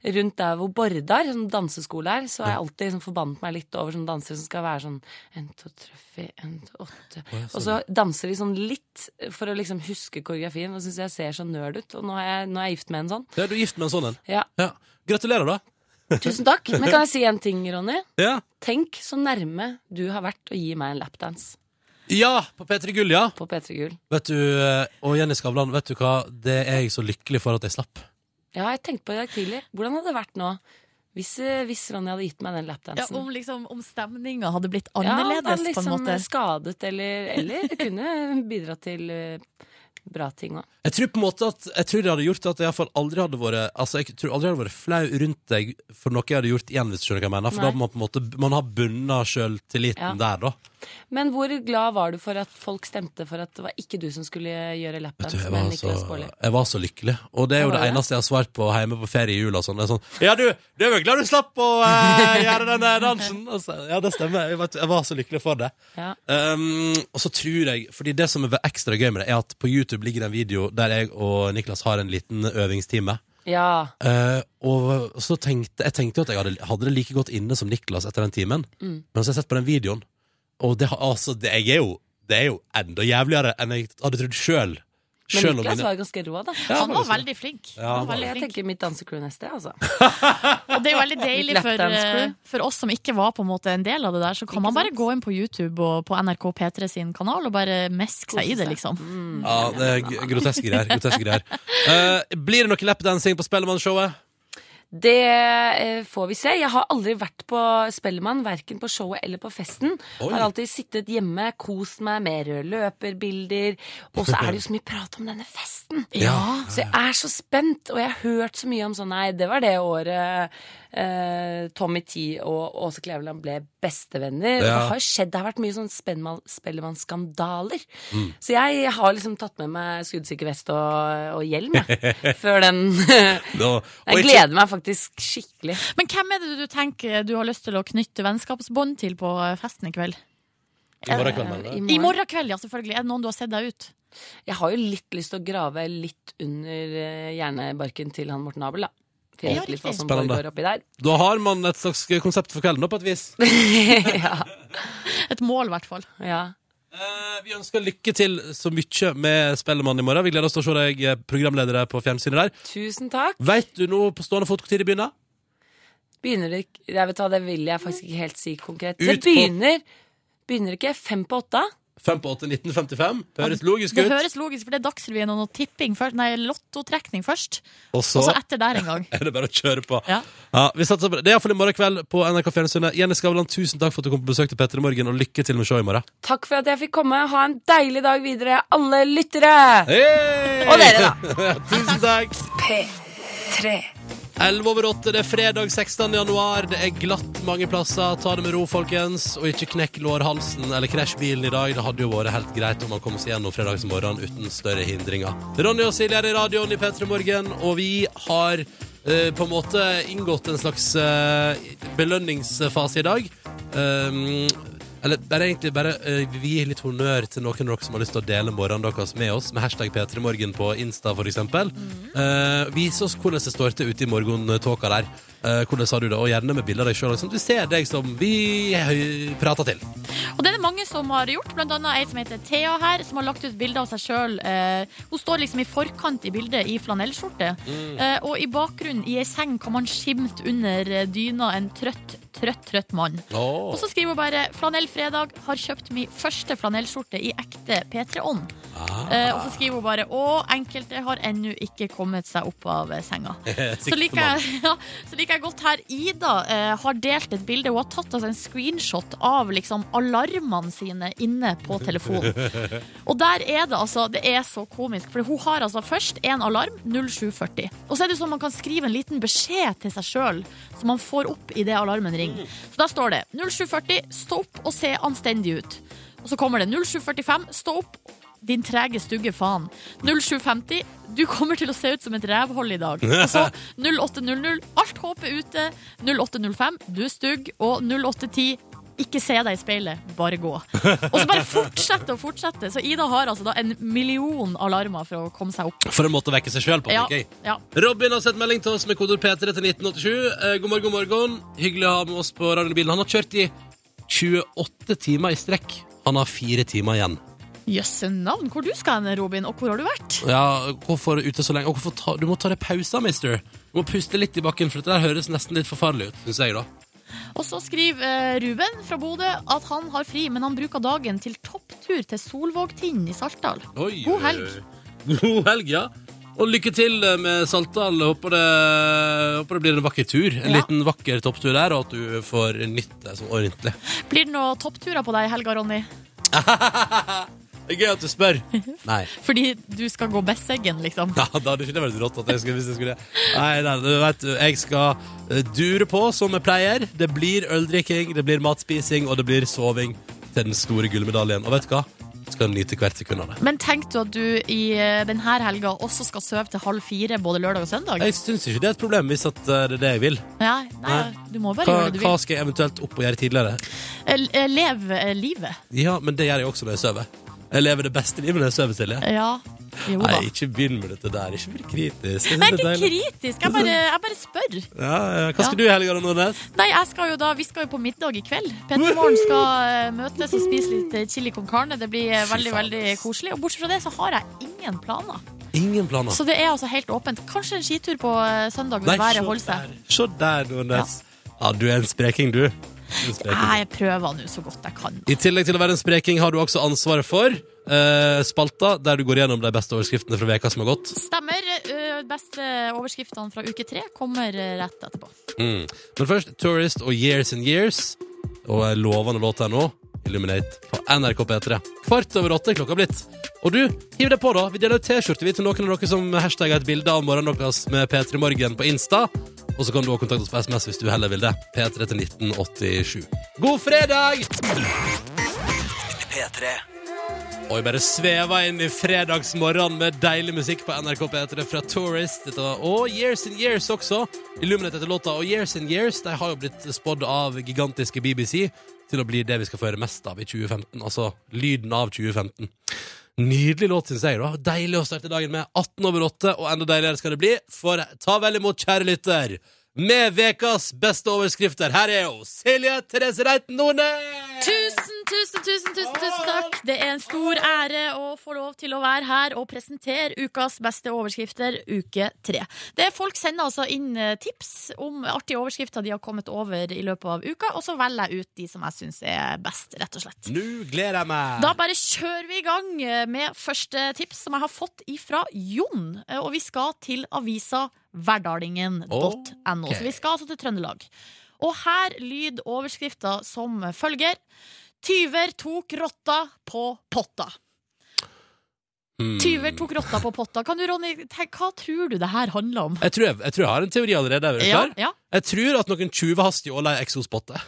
Speaker 8: rundt der hvor Bordar, som danseskole er, så har jeg alltid liksom forbannet meg litt over sånne dansere som skal være sånn en, to, tre, fire, en, to, åtte Og så danser de sånn litt for å liksom huske koreografien, og syns jeg ser så nerd ut. Og nå er jeg, nå er jeg gift med en sånn.
Speaker 2: Ja, du er gift med en sånn en.
Speaker 8: Ja,
Speaker 2: Ja. Gratulerer, da.
Speaker 8: Tusen takk. Men kan jeg si en ting, Ronny?
Speaker 2: Ja,
Speaker 8: Tenk så nærme du har vært å gi meg en lapdance
Speaker 2: ja på P3 Gull, ja.
Speaker 8: på P3 Gull.
Speaker 2: Vet du, eh, og Jenny Skavlan, vet du hva? Det er jeg så lykkelig for at jeg slapp.
Speaker 8: Ja, jeg tenkte på det i dag tidlig. Hvordan hadde det vært nå hvis, eh, hvis Ronny hadde gitt meg den
Speaker 3: ja,
Speaker 8: lapdansen?
Speaker 3: om, liksom, om stemninga hadde blitt
Speaker 8: Ja, om
Speaker 3: annerledes,
Speaker 8: han liksom
Speaker 3: på en måte.
Speaker 8: skadet eller Eller det kunne bidratt til eh, bra ting òg.
Speaker 2: Jeg tror på en måte at Jeg tror det hadde gjort at jeg iallfall aldri hadde vært Altså, jeg tror aldri jeg hadde vært flau rundt deg for noe jeg hadde gjort igjen, hvis du skjønner hva jeg mener. For
Speaker 8: Nei.
Speaker 2: da har man på en måte Man har bunna sjøltilliten
Speaker 8: Ja.
Speaker 2: der, da.
Speaker 8: Men hvor glad var du for at folk stemte for at det var ikke du som skulle gjøre
Speaker 2: Vet du,
Speaker 8: lapdance
Speaker 2: jeg
Speaker 8: med
Speaker 2: var, så,
Speaker 8: Niklas Baarli?
Speaker 2: jeg var så lykkelig. Og det er jo
Speaker 8: Ja,
Speaker 2: det
Speaker 8: var det?
Speaker 2: eneste jeg har svart på hjemme på ferie i jula. og Sånn. Det er sånn, ja, du, du er vel glad du slapp å eh, gjøre den der dansen? Altså, ja, det stemmer. Jeg, vet, jeg var så lykkelig for det.
Speaker 8: Ja.
Speaker 2: Um, og så tror jeg Fordi det som er ekstra gøy med det, er at på YouTube ligger det en video der jeg og Niklas har en liten øvingstime.
Speaker 8: Ja.
Speaker 2: Eh, og så tenkte jeg tenkte jo at jeg hadde, hadde det like godt inne som Niklas etter den timen.
Speaker 8: Mm.
Speaker 2: Men så har jeg sett på den videoen, og det, har- altså, det, jeg er jo, det er jo enda jævligere enn jeg hadde trodd sjøl.
Speaker 8: Men Niklas var ganske rå, da.
Speaker 2: Ja,
Speaker 3: Han var
Speaker 2: faktisk.
Speaker 3: veldig flink.
Speaker 2: Ja,
Speaker 3: Han var
Speaker 2: han
Speaker 3: veldig
Speaker 8: Jeg
Speaker 3: flink.
Speaker 8: tenker mitt dansecrew neste, altså.
Speaker 3: Og det er jo veldig deilig
Speaker 8: Litt
Speaker 3: for,
Speaker 8: lapdance crew.
Speaker 3: eh, for oss som ikke var på en måte en del av det der, så kan
Speaker 8: Ikke
Speaker 3: man bare
Speaker 8: sant?
Speaker 3: gå inn på YouTube og på NRK P3 sin kanal og bare meske seg i det, liksom.
Speaker 8: Mm.
Speaker 2: Ja, det er g- groteske greier. Groteske greier. Eh, blir det noe lapdancing på Spellemannshowet?
Speaker 8: Det eh, får vi se. Jeg har aldri vært på Spellemann, verken på showet eller på festen.
Speaker 2: Oi.
Speaker 8: Har alltid sittet hjemme, kost meg med røde løperbilder. Og så er det jo så mye prat om denne festen.
Speaker 2: Ah, Ja.
Speaker 8: Så jeg er så spent, og jeg har hørt så mye om sånn Nei, det var det året eh, Tommy Tee og Åse Kleveland ble bestevenner. Og
Speaker 2: Ja.
Speaker 8: Det har jo skjedd, det har vært mye sånn Spellemann- Spellemann-skandaler.
Speaker 2: Mm.
Speaker 8: Så jeg har liksom tatt med meg skuddsikker vest og, og hjelm, jeg. før den
Speaker 2: Da, og
Speaker 8: jeg gleder meg faktisk skikkelig.
Speaker 3: Men hvem er det du tenker du har lyst til å knytte vennskapsbånd til på eh, festen i kveld?
Speaker 2: I morgen kveld, mener du?
Speaker 3: I morgen kveld, ja, selvfølgelig. Er det noen du har sett deg ut?
Speaker 8: Jeg har jo litt lyst til å grave litt under eh, hjernebarken til han Morten Abel, da. For
Speaker 3: Ja,
Speaker 8: jeg vet litt
Speaker 3: riktig.
Speaker 8: hva som
Speaker 2: Spennende.
Speaker 8: foregår oppi der.
Speaker 2: Da har man et slags konsept for kvelden, da, på et vis.
Speaker 8: ja,
Speaker 3: Et mål, i hvert fall.
Speaker 8: ja.
Speaker 2: Eh, Vi ønsker lykke til så mye med Spellemann i morgen. Vi gleder oss til å se deg eh, programledere på fjernsynet der.
Speaker 8: Tusen takk.
Speaker 2: Veit du nå på stående fot hvor tid det begynner?
Speaker 8: Begynner det ikke Jeg vet hva, det vil jeg faktisk ikke helt si konkret.
Speaker 2: Ut
Speaker 8: Det
Speaker 2: på-
Speaker 8: begynner Begynner ikke fem på åtte?
Speaker 2: 5 på 8 1955. Det høres logisk
Speaker 3: Det
Speaker 2: ut.
Speaker 3: høres logisk for det er Dagsrevyen og noe tipping først, nei, lottotrekning først.
Speaker 2: Og
Speaker 3: Og
Speaker 2: så
Speaker 3: så etter der en gang.
Speaker 2: er det bare å kjøre på.
Speaker 3: Ja.
Speaker 2: Ja, vi satser på det. Det er iallfall i morgen kveld på NRK Fjernsynet. Jenny Skavlan, tusen takk for at du kom på besøk til Petter i morgen, og lykke til med showet i morgen.
Speaker 8: Takk for at jeg fikk komme. Ha en deilig dag videre, alle lyttere!
Speaker 2: Hey!
Speaker 8: Og dere, da.
Speaker 2: Tusen takk.
Speaker 1: P3
Speaker 2: 11 over 8, det er fredag 16. januar. Det er glatt mange plasser. Ta det med ro, folkens. Og ikke knekk lårhalsen eller krasj bilen i dag. Det hadde jo vært helt greit om man kom seg gjennom fredagsmorgenen uten større hindringer. Ronny og Silje er i radioen i P3 Morgen, og vi har eh, på en måte inngått en slags eh, belønningsfase i dag. Um, eller bare egentlig bare eh, vi gir litt honnør til noen av dere som har lyst til å dele morgenen deres med oss, med hashtag P3morgen på Insta f.eks.
Speaker 3: Mhm.
Speaker 2: Uh, vis oss hvordan det står til ute i morgentåka der. Eh, hvordan har du det? Og gjerne med bilder av deg sjøl, sånn at vi ser deg som vi eh, prater til.
Speaker 3: Og det er det mange som har gjort, blant annet ei som heter Thea her, som har lagt ut bilder av seg sjøl. Eh, hun står liksom i forkant i bildet i flanellskjorte. Eh, og i bakgrunnen, i ei seng, kan man skimte under eh, dyna en trøtt, trøtt, trøtt mann. Og så skriver hun bare 'Flanellfredag har kjøpt mi første flanellskjorte i ekte P3-ånd'. Eh, og så skriver hun bare 'Å, enkelte har ennå ikke kommet seg opp av eh, senga'. Så liker, jeg, ja, så liker jeg godt her Ida eh, har delt et bilde Hun har tatt altså en screenshot av liksom, alarmene sine inne på telefonen Og der er det altså Det er så komisk For hun har altså først en alarm 0740 Og så er det sånn man kan skrive en liten beskjed til seg selv Som man får opp i det alarmen ringer Så der står det 0740, stå opp og se anstendig ut Og så kommer det 0745, stå opp din trege stugge faen 0750, du kommer til å se ut som et revhold i dag Og så 0800, alt håp er ute 0805, du er stugg Og 0810, ikke se deg i speilet, bare gå Og så bare fortsette og fortsette Så Ida har altså da en million alarmer for å komme seg opp
Speaker 2: For en måte å vekke seg sjøl på.
Speaker 3: Ja,
Speaker 2: tenker jeg.
Speaker 3: ja
Speaker 2: Robin har sett melding til oss med kodord P3 til 1987. Eh, god morgen, god morgen. Hyggelig å ha med oss på radioen i bilen. Han har kjørt i 28 timer i strekk. Han har fire timer igjen.
Speaker 3: Jøsse navn, hvor du skal hen, Robin, og hvor har du vært?
Speaker 2: Ja, hvorfor ute så lenge? Og hvorfor ta, du må ta deg pauser, mister. Du må puste litt i bakken, for dette der høres nesten litt forferdelig ut, syns jeg, da.
Speaker 3: Og så skriver eh, Ruben fra Bodø at han har fri, men han bruker dagen til topptur til Solvågtind i Saltdal
Speaker 2: Oi,
Speaker 3: God helg.
Speaker 2: oi, oi. God helg, ja. Og lykke til eh, med Saltdal. Håper det, håper det blir en vakker tur. En
Speaker 3: Ja.
Speaker 2: liten vakker topptur der, og at du får nytt deg sånn ordentlig.
Speaker 3: Blir det noen toppturer på deg i helga, Ronny?
Speaker 2: Det er gøy at du spør. Nei.
Speaker 3: Fordi du skal gå Besseggen, liksom.
Speaker 2: Ja, da hadde ikke det vært rått at jeg skulle, hvis jeg skulle Nei, nei, du vet, jeg skal eh, dure på som jeg pleier. Det blir øldrikking, det blir matspising, og det blir soving til den store gullmedaljen. Og vet du hva? Skal nyte hvert sekund av det.
Speaker 3: Men tenkte du at du i eh, denne helga også skal sove til halv fire både lørdag og søndag?
Speaker 2: Jeg syns ikke det er et problem hvis at eh, det er det jeg vil.
Speaker 3: Nei, nei, du må bare
Speaker 2: Hva,
Speaker 3: gjøre det du
Speaker 2: hva
Speaker 3: vil.
Speaker 2: skal jeg eventuelt opp og gjøre tidligere?
Speaker 3: Eh, eh, Lev eh, livet.
Speaker 2: Ja, men det gjør jeg også når jeg sover. Jeg lever det beste livet når jeg sover, Silje.
Speaker 3: Ja. Jo da.
Speaker 2: Nei, ikke begynn med dette der. Ikke bli kritisk.
Speaker 3: Det er ikke kritisk, jeg bare, jeg bare spør.
Speaker 2: Ja, ja. Hva skal du i helga, da, Nordnes?
Speaker 3: Nei, jeg skal jo da, Vi skal jo på middag i kveld. Petter Morgen skal eh, møtes og spise litt eh, chili con carne. Det blir eh, veldig
Speaker 2: faen,
Speaker 3: veldig koselig. Og Bortsett fra det så har jeg ingen planer.
Speaker 2: Ingen planer.
Speaker 3: Så det er altså helt åpent. Kanskje en skitur på eh, søndag hvis været holder seg.
Speaker 2: se der, Nordnes. Ja. du er en spreking, du. Du er en spreking.
Speaker 3: Nei, Jeg prøver nå så godt jeg kan.
Speaker 2: I tillegg til å være en spreking har du også ansvaret for eh, spalta, der du går gjennom de beste overskriftene fra veka som har gått.
Speaker 3: Stemmer. eh, Beste overskriftene fra uke tre kommer eh, rett etterpå.
Speaker 2: Mm. Men først Tourist og Years and Years. Og en lovende låt her nå, Illuminate, på NRK P3. Kvart over åtte er klokka blitt. Og du, hiv deg på, da. Vi deler ut T-skjorte vi til noen av dere som hashtagger et bilde av morgenen deres med P3 Morgen på Insta. Og så kan du også kontakte oss på SMS hvis du heller vil det. P3 til 1987. God fredag! Og jeg bare sveva inn i fredagsmorgen med deilig musikk på NRK P3 fra Tourist. Dette var, og Years and Years også. Illuminate etter låta. Og Years and Years de har jo blitt spådd av gigantiske BBC til å bli det vi skal få høre mest av i 2015. Altså lyden av 2015. Nydelig låt, syns jeg. da Deilig å starte dagen med. 18 over 8, og enda deiligere skal det bli. For ta vel imot, kjære lytter, med vekas beste overskrifter. Her er hun, Silje Therese Reiten Nordnes!
Speaker 3: Tusen, tusen, tusen, tusen, tusen takk. Det er en stor ære å få lov til å være her og presentere ukas beste overskrifter, uke tre. Det er Folk sender altså inn eh, tips om artige overskrifter de har kommet over i løpet av uka, og så velger jeg ut de som jeg syns er best, rett og slett.
Speaker 2: Nå gleder jeg meg.
Speaker 3: Da bare kjører vi i gang eh, med første tips, som jeg har fått ifra Jon. Eh, Og vi skal til avisa verdalingen.no.
Speaker 2: Ok.
Speaker 3: Så vi skal altså til Trøndelag. Og her lyd overskrifta som følger. Tyver tok rotta på potta.
Speaker 2: Hmm.
Speaker 3: Tyver tok rotta på potta. Kan du, Ronny, tenk, hva tror du det her handler om?
Speaker 2: Jeg tror jeg, jeg tror jeg har en teori allerede. Er du klar?
Speaker 3: ja.
Speaker 2: Jeg tror at noen tjuver har stjålet ei eksospotte.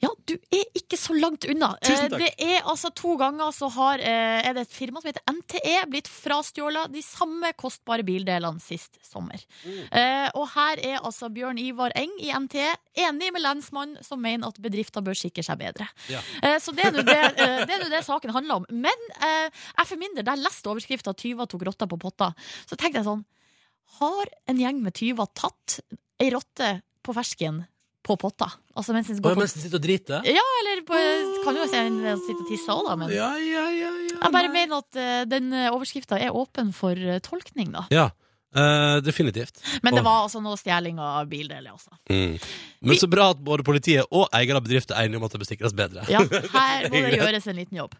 Speaker 3: Ja, du er ikke så langt unna.
Speaker 2: Tusen takk.
Speaker 3: Eh, Det er altså to ganger så har, eh, er det et firma som heter NTE blitt frastjålet de samme kostbare bildelene sist sommer.
Speaker 2: Mm.
Speaker 3: Eh, Og her er altså Bjørn Ivar Eng i NTE enig med lensmannen som mener at bedrifter bør sikre seg bedre.
Speaker 2: Ja.
Speaker 3: Eh, Så det er nå det, eh, det, er nå det saken handler om. Men eh, jeg for min del, da jeg leste overskrifta 'Tyver tok rotta på potta', så tenkte jeg sånn Har en gjeng med tyver tatt ei rotte på fersken på potta? Altså mens den går på
Speaker 2: Mens den sitter og driter?
Speaker 3: Ja, eller på, kan jo se en sitte og tisse òg, da. Men
Speaker 2: Ja, ja, ja, ja.
Speaker 3: jeg bare mener at eh, den overskrifta er åpen for eh, tolkning, da.
Speaker 2: ja. eh, definitivt.
Speaker 3: Men det
Speaker 2: Åh.
Speaker 3: var altså noe stjeling av bildeler, altså.
Speaker 2: Men så bra at både politiet og eier av bedriften er enige om at det bør sikres bedre.
Speaker 3: Ja, her må det gjøres en liten jobb.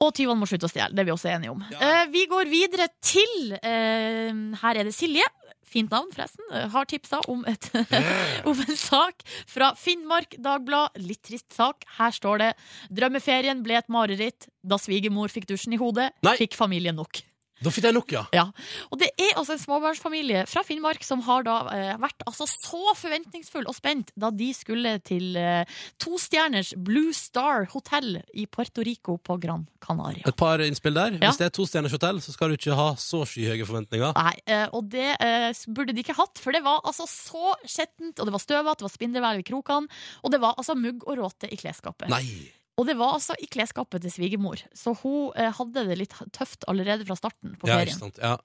Speaker 3: Og tyvene må slutte å stjele. Det er vi også enige om. Eh, vi går videre til eh, Her er det Silje. Fint navn, forresten. eh, Har tipsa om, et, om en sak fra Finnmark Dagblad. Litt trist sak. Her står det 'Drømmeferien ble et mareritt da svigermor fikk dusjen i hodet'.
Speaker 2: Nei.
Speaker 3: Fikk familien nok.
Speaker 2: Da fikk jeg nok, ja.
Speaker 3: Ja, og det er altså en småbarnsfamilie fra Finnmark som har da eh, vært altså så forventningsfull og spent da de skulle til eh, tostjerners Blue Star Hotel i Puerto Rico på Gran Canaria.
Speaker 2: Et par innspill der.
Speaker 3: Ja.
Speaker 2: Hvis det er to stjerners hotell, så skal du ikke ha så skyhøye forventninger.
Speaker 3: Nei, eh, og det eh, burde de ikke hatt, for det var altså så skjettent, og det var støvete, det var spindelvev i krokene, og det var altså mugg og råte i klesskapet.
Speaker 2: Nei.
Speaker 3: Og det var altså i klesskapet til svigermor, så hun eh, hadde det litt tøft allerede fra starten på
Speaker 2: Ja,
Speaker 3: ferien.
Speaker 2: ikke sant. Ja.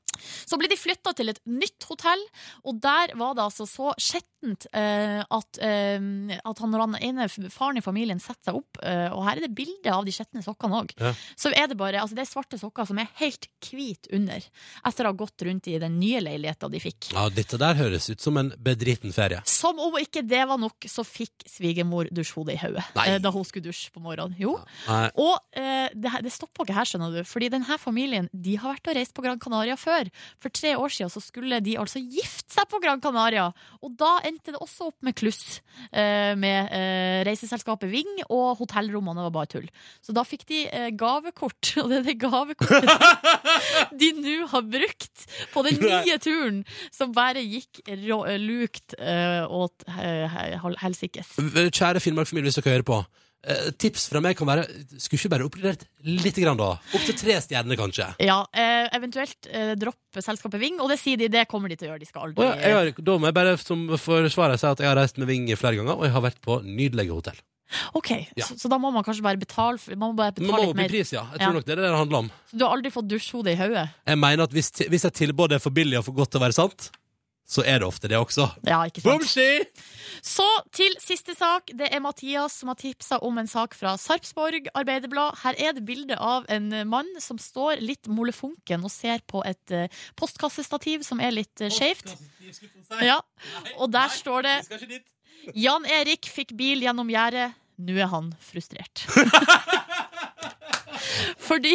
Speaker 3: Så ble de flytta til et nytt hotell, og der var det altså så skjettent eh, at, eh, at han, når han ene f- faren i familien setter seg opp, eh, og her er det bilde av de skjetne sokkene òg,
Speaker 2: Ja.
Speaker 3: så er det bare altså det er svarte sokker som er helt hvite under, etter å ha gått rundt i den nye leiligheta de fikk.
Speaker 2: ja, dette der høres ut som en bedriten ferie.
Speaker 3: Som om ikke det var nok, så fikk svigermor dusjhodet i hodet
Speaker 2: Nei.
Speaker 3: eh, da hun skulle dusje på morgenen. Jo.
Speaker 2: Nei.
Speaker 3: Og eh, det, her- det stopper ikke her, skjønner du. Fordi denne familien de har vært og reist på Gran Canaria før. For tre år siden så skulle de altså gifte seg på Gran Canaria. Og da endte det også opp med kluss eh, med eh, reiseselskapet Ving, og hotellrommene var bare tull. Så da fikk de eh, gavekort, og det er det gavekortet de nå har brukt på den nye turen, som bare gikk rå, lukt eh, åt eh, hel- helsikes.
Speaker 2: Kjære Finnmark-familie, hvis dere hører på. eh, Tips fra meg kan være Skulle ikke bare oppgradert litt, grann, da? Opp til tre stjerner, kanskje.
Speaker 3: Ja, eh, eventuelt eh, droppe selskapet Ving, og det sier de, det kommer de til å gjøre. De skal aldri
Speaker 2: Å ja, jeg har, da må jeg bare som forsvarer si at jeg har reist med Ving flere ganger, og jeg har vært på nydelige hotell.
Speaker 3: Ok,
Speaker 2: Ja.
Speaker 3: så, så da må man kanskje bare betale, for- man må bare
Speaker 2: Men man
Speaker 3: betale
Speaker 2: må
Speaker 3: litt
Speaker 2: opp i
Speaker 3: mer.
Speaker 2: pris, ja. Jeg tror
Speaker 3: Ja.
Speaker 2: nok det er det det handler om.
Speaker 3: Så du har aldri fått dusjhode i hodet?
Speaker 2: Jeg mener at hvis, ti- hvis et tilbud er for billig og for godt til å være sant, så er det ofte det også.
Speaker 3: Ja, ikke sant?
Speaker 2: Bomski!
Speaker 3: Så til siste sak. Det er Mathias som har tipsa om en sak fra Sarpsborg Arbeiderblad. Her er det bilde av en eh, mann som står litt molefonken og ser på et eh, postkassestativ som er litt eh, skjevt. Ja. Og der står det Jan Erik fikk bil gjennom gjerdet. Nå er han frustrert. Fordi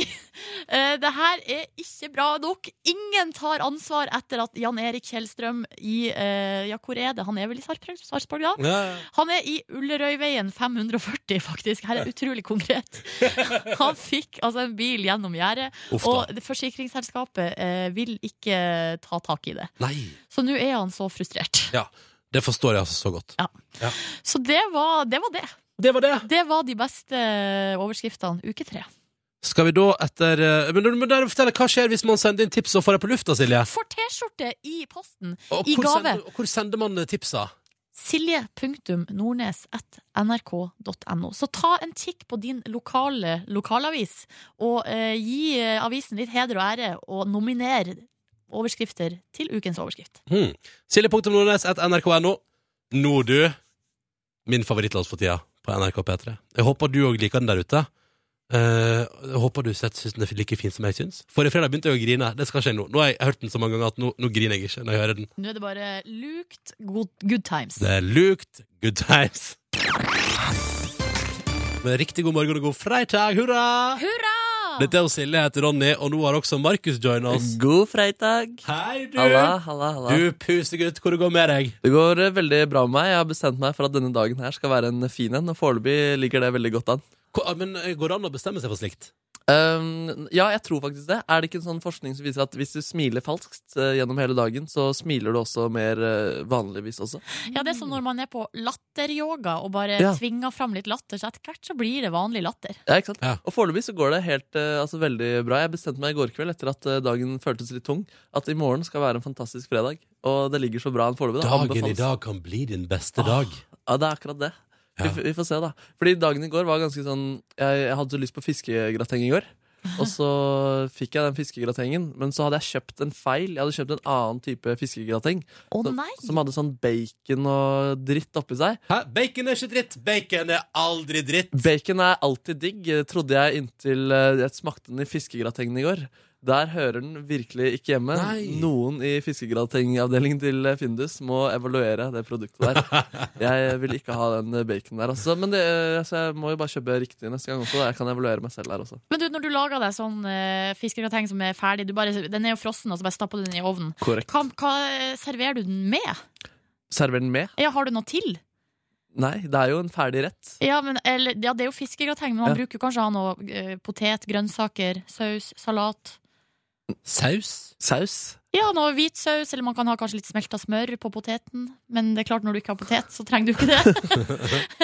Speaker 3: eh, det her er ikke bra nok. Ingen tar ansvar etter at Jan Erik Kjellstrøm i eh, Ja, hvor er det? Han er vel i Sarpsborg, Sarpsborg, ja?
Speaker 2: Ja, ja.
Speaker 3: Han er i Ullerøyveien 540, faktisk. Her er utrolig konkret. Han fikk altså en bil gjennom gjerdet,
Speaker 2: Uff da.
Speaker 3: og det forsikringsselskapet eh, vil ikke ta tak i det.
Speaker 2: Nei.
Speaker 3: Så nå er han så frustrert.
Speaker 2: Ja. Det forstår jeg altså så godt.
Speaker 3: Så det var det. Var det.
Speaker 2: Det var det.
Speaker 3: det var de beste eh, overskriftene uke tre.
Speaker 2: Skal vi da etter eh, Men du må dere fortelle, hva skjer hvis man sender inn tips og får det på lufta, Silje?
Speaker 3: Får T-skjorte i posten.
Speaker 2: Og
Speaker 3: I
Speaker 2: hvor
Speaker 3: gave.
Speaker 2: Sender, og hvor sender man eh, tipsa?
Speaker 3: silje.nordnes.nrk.no. Så ta en kikk på din lokale lokalavis, og eh, gi eh, avisen litt heder og ære, og nominer overskrifter til ukens overskrift.
Speaker 2: Hmm. Silje.nordnes.nrk.no. Nå, du. Min favorittlåt for tida på NRK P3. Jeg håper du òg liker den der ute. Eh, jeg håper du sett- syns den er like fin som jeg syns. Forrige fredag begynte jeg å grine. Det skal skje nå. Nå har jeg hørt den så mange ganger at nå, nå griner jeg ikke når jeg hører den.
Speaker 3: Nå er det bare lukt good, good times.
Speaker 2: Det er lukt. eh, Good times. Men riktig god morgen og god fredag. Hurra!
Speaker 3: Hurra!
Speaker 2: Dette er jo Silje, jeg heter Ronny, og nå har også Markus joina oss.
Speaker 4: God fredag.
Speaker 2: Hei, du!
Speaker 4: Halla, halla, halla.
Speaker 2: Du pusegutt, hvor det går med deg?
Speaker 4: Det går eh, veldig bra med meg. Jeg har bestemt meg for at denne dagen her skal være en fin en, og foreløpig ligger det veldig godt an.
Speaker 2: Ko- ah, Men eh, Går det an å bestemme seg for slikt?
Speaker 4: Ehm, ja, jeg tror faktisk det. Er det ikke en sånn forskning som viser at hvis du smiler falskt eh, gjennom hele dagen, så smiler du også mer eh, vanligvis også?
Speaker 3: Ja, det er som når man er på latteryoga og bare
Speaker 4: Ja.
Speaker 3: tvinger fram litt latter, så etter hvert så blir det vanlig latter.
Speaker 4: Ja, ikke sant?
Speaker 2: Ja.
Speaker 4: Og foreløpig så går det helt, eh, altså, veldig bra. Jeg bestemte meg i går kveld etter at eh, dagen føltes litt tung, at i morgen skal være en fantastisk fredag. Og det ligger så bra an foreløpig. da.
Speaker 2: Dagen i
Speaker 4: Anbefales.
Speaker 2: dag kan bli din beste dag.
Speaker 4: Ja, det er akkurat det. Vi,
Speaker 2: Ja.
Speaker 4: f- vi får se, da. Fordi dagen i går var ganske sånn Jeg, jeg hadde så lyst på fiskegrateng i går. Og så fikk jeg den fiskegratengen, men så hadde jeg kjøpt en feil. Jeg hadde kjøpt en annen type fiskegrateng
Speaker 3: Å
Speaker 4: som,
Speaker 3: nei!
Speaker 4: som hadde sånn bacon og dritt oppi seg.
Speaker 2: Hæ? Bacon er ikke dritt! Bacon er aldri dritt!
Speaker 4: Bacon er alltid digg, eh, trodde jeg inntil eh, jeg smakte den i fiskegratengen i går. Der hører den virkelig ikke hjemme.
Speaker 2: Nei.
Speaker 4: Noen i fiskegratengavdelingen til eh, Findus må evaluere det produktet der. Jeg vil ikke ha den eh, bacon der, altså. Men det, eh, så jeg må jo bare kjøpe riktig neste gang også. da. Jeg kan evaluere meg selv der også.
Speaker 3: Men du, når du lager deg sånn uh, fiskegrateng som er ferdig, du bare, den er jo frossen, og så bare stapper du den i ovnen.
Speaker 4: Korrekt.
Speaker 3: Hva, hva eh, serverer du den med?
Speaker 4: Server den med?
Speaker 3: Ja, har du noe til?
Speaker 4: Nei, det er jo en ferdig rett.
Speaker 3: Ja, men, eller, ja, det er jo fiskegrateng, men man
Speaker 4: Ja.
Speaker 3: bruker jo kanskje å ha noe eh, potet, grønnsaker, saus, salat.
Speaker 2: Saus?
Speaker 4: Saus.
Speaker 3: Ja, noe hvit saus, eller man kan ha kanskje litt smelta smør på poteten. Men det er klart, når du ikke har potet, så trenger du ikke det.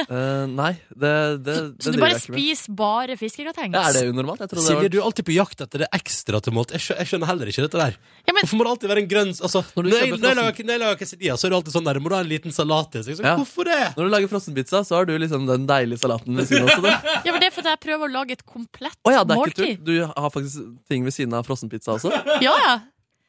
Speaker 4: Eh, nei, det, det, det
Speaker 3: så du
Speaker 4: driver
Speaker 3: bare
Speaker 4: jeg ikke med.
Speaker 3: spiser bare fiskegrateng.
Speaker 4: Ja, er det unormalt? Jeg trodde det
Speaker 2: Silje,
Speaker 4: var
Speaker 2: du er alltid på jakt etter det ekstra til mat. Jeg skjø- jeg skjønner heller ikke dette der.
Speaker 3: Ja, men-
Speaker 2: Hvorfor må det alltid være en grønn altså,
Speaker 4: Når
Speaker 2: når,
Speaker 4: du
Speaker 2: jeg,
Speaker 4: kjøper
Speaker 2: når, jeg
Speaker 4: frossen-
Speaker 2: lager, når jeg lager quesadilla, så er det alltid sånn der Må du ha en liten salat til? Så jeg, sånn,
Speaker 4: Ja.
Speaker 2: Hvorfor det?
Speaker 4: Når du lager frossenpizza, så har du liksom den deilige salaten ved siden av. også, du.
Speaker 3: Ja, men det er fordi jeg prøver å lage et komplett
Speaker 4: Å ja, det er ikke
Speaker 3: måltid.
Speaker 4: tull. Du har faktisk ting ved siden av frossenpizza også?
Speaker 3: Ja, ja.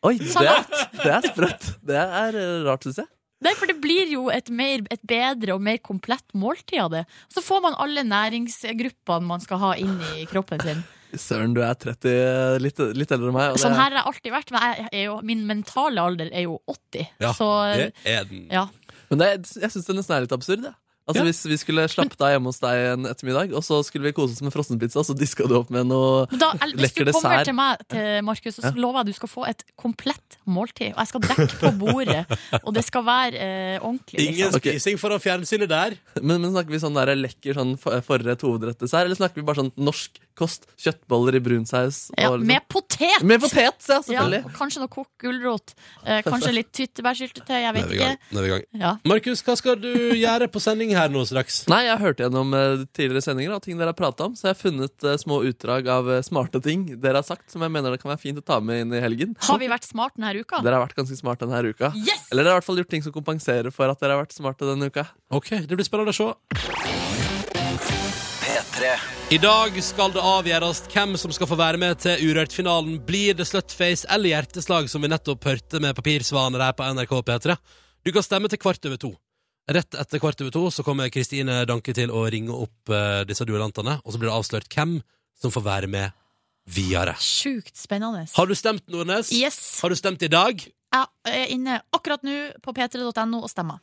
Speaker 4: Oi, det er, det er sprøtt. Det er eh, rart, syns jeg.
Speaker 3: Nei, for det blir jo et, mer, et bedre og mer komplett måltid av det. Og så får man alle næringsgruppene man skal ha inn i kroppen sin.
Speaker 4: Søren, du er 30, litt, litt eldre enn meg. Og det,
Speaker 3: Sånn her har jeg alltid vært, men jeg er jo, min mentale alder er jo 80.
Speaker 2: Ja,
Speaker 3: så eh,
Speaker 2: det er den.
Speaker 3: ja.
Speaker 4: Men det, jeg syns det nesten er litt absurd. Ja. Altså,
Speaker 2: Ja.
Speaker 4: Hvis vi skulle slappe deg hjemme hos deg en ettermiddag, og så skulle vi kose oss med frossenpizza, og så diska du opp med noe
Speaker 3: Men Da, eller, hvis
Speaker 4: Lekker
Speaker 3: du kommer
Speaker 4: dessert.
Speaker 3: til meg, til Markus, så lover jeg at du skal få et komplett måltid. Og jeg skal dekke på bordet, og det skal være eh, ordentlig.
Speaker 2: Ingen
Speaker 4: Ok.
Speaker 2: spising foran fjernsynet der.
Speaker 4: Men, men snakker vi sånn der lekker sånn for- forrett hovedrettdessert, eller snakker vi bare sånn norsk kost? Kjøttboller i brunsaus?
Speaker 3: Ja,
Speaker 4: og liksom-
Speaker 3: med potet!
Speaker 4: med potet,
Speaker 3: ja,
Speaker 4: ja, selvfølgelig.
Speaker 3: og kanskje noe kokt gulrot. Eh, kanskje litt tyttebærsyltetøy, jeg vet ikke.
Speaker 2: Nå er vi i gang.
Speaker 3: Ja.
Speaker 2: Markus, hva skal du gjøre på sending her nå straks?
Speaker 4: Nei, jeg har hørt gjennom eh, tidligere sendinger og ting dere har pratet om, så jeg har funnet eh, små utdrag av eh, smarte ting dere har sagt, som jeg mener det kan være fint å ta med inn i helgen.
Speaker 3: Har vi vært smart denne uka?
Speaker 4: Dere har vært ganske smarte denne uka.
Speaker 3: Yes!
Speaker 4: Eller dere har i hvert fall gjort ting som kompenserer for at dere har vært smarte denne uka.
Speaker 2: Ok, Det blir spennende å se. I dag skal det avgjøres hvem som skal få være med til Urørt-finalen. Blir det Slutface eller Hjerteslag, som vi nettopp hørte med Papirsvaner her på NRK P3? Du kan stemme til kvart over to. Rett etter kvart over to så kommer Kristine Danke til å ringe opp eh, disse duellantene, og så blir det avslørt hvem som får være med videre.
Speaker 3: Sjukt spennende.
Speaker 2: Har du stemt, Nordnes?
Speaker 3: Yes.
Speaker 2: Har du stemt i dag?
Speaker 3: Jeg er inne akkurat nå på p3.no og stemmer.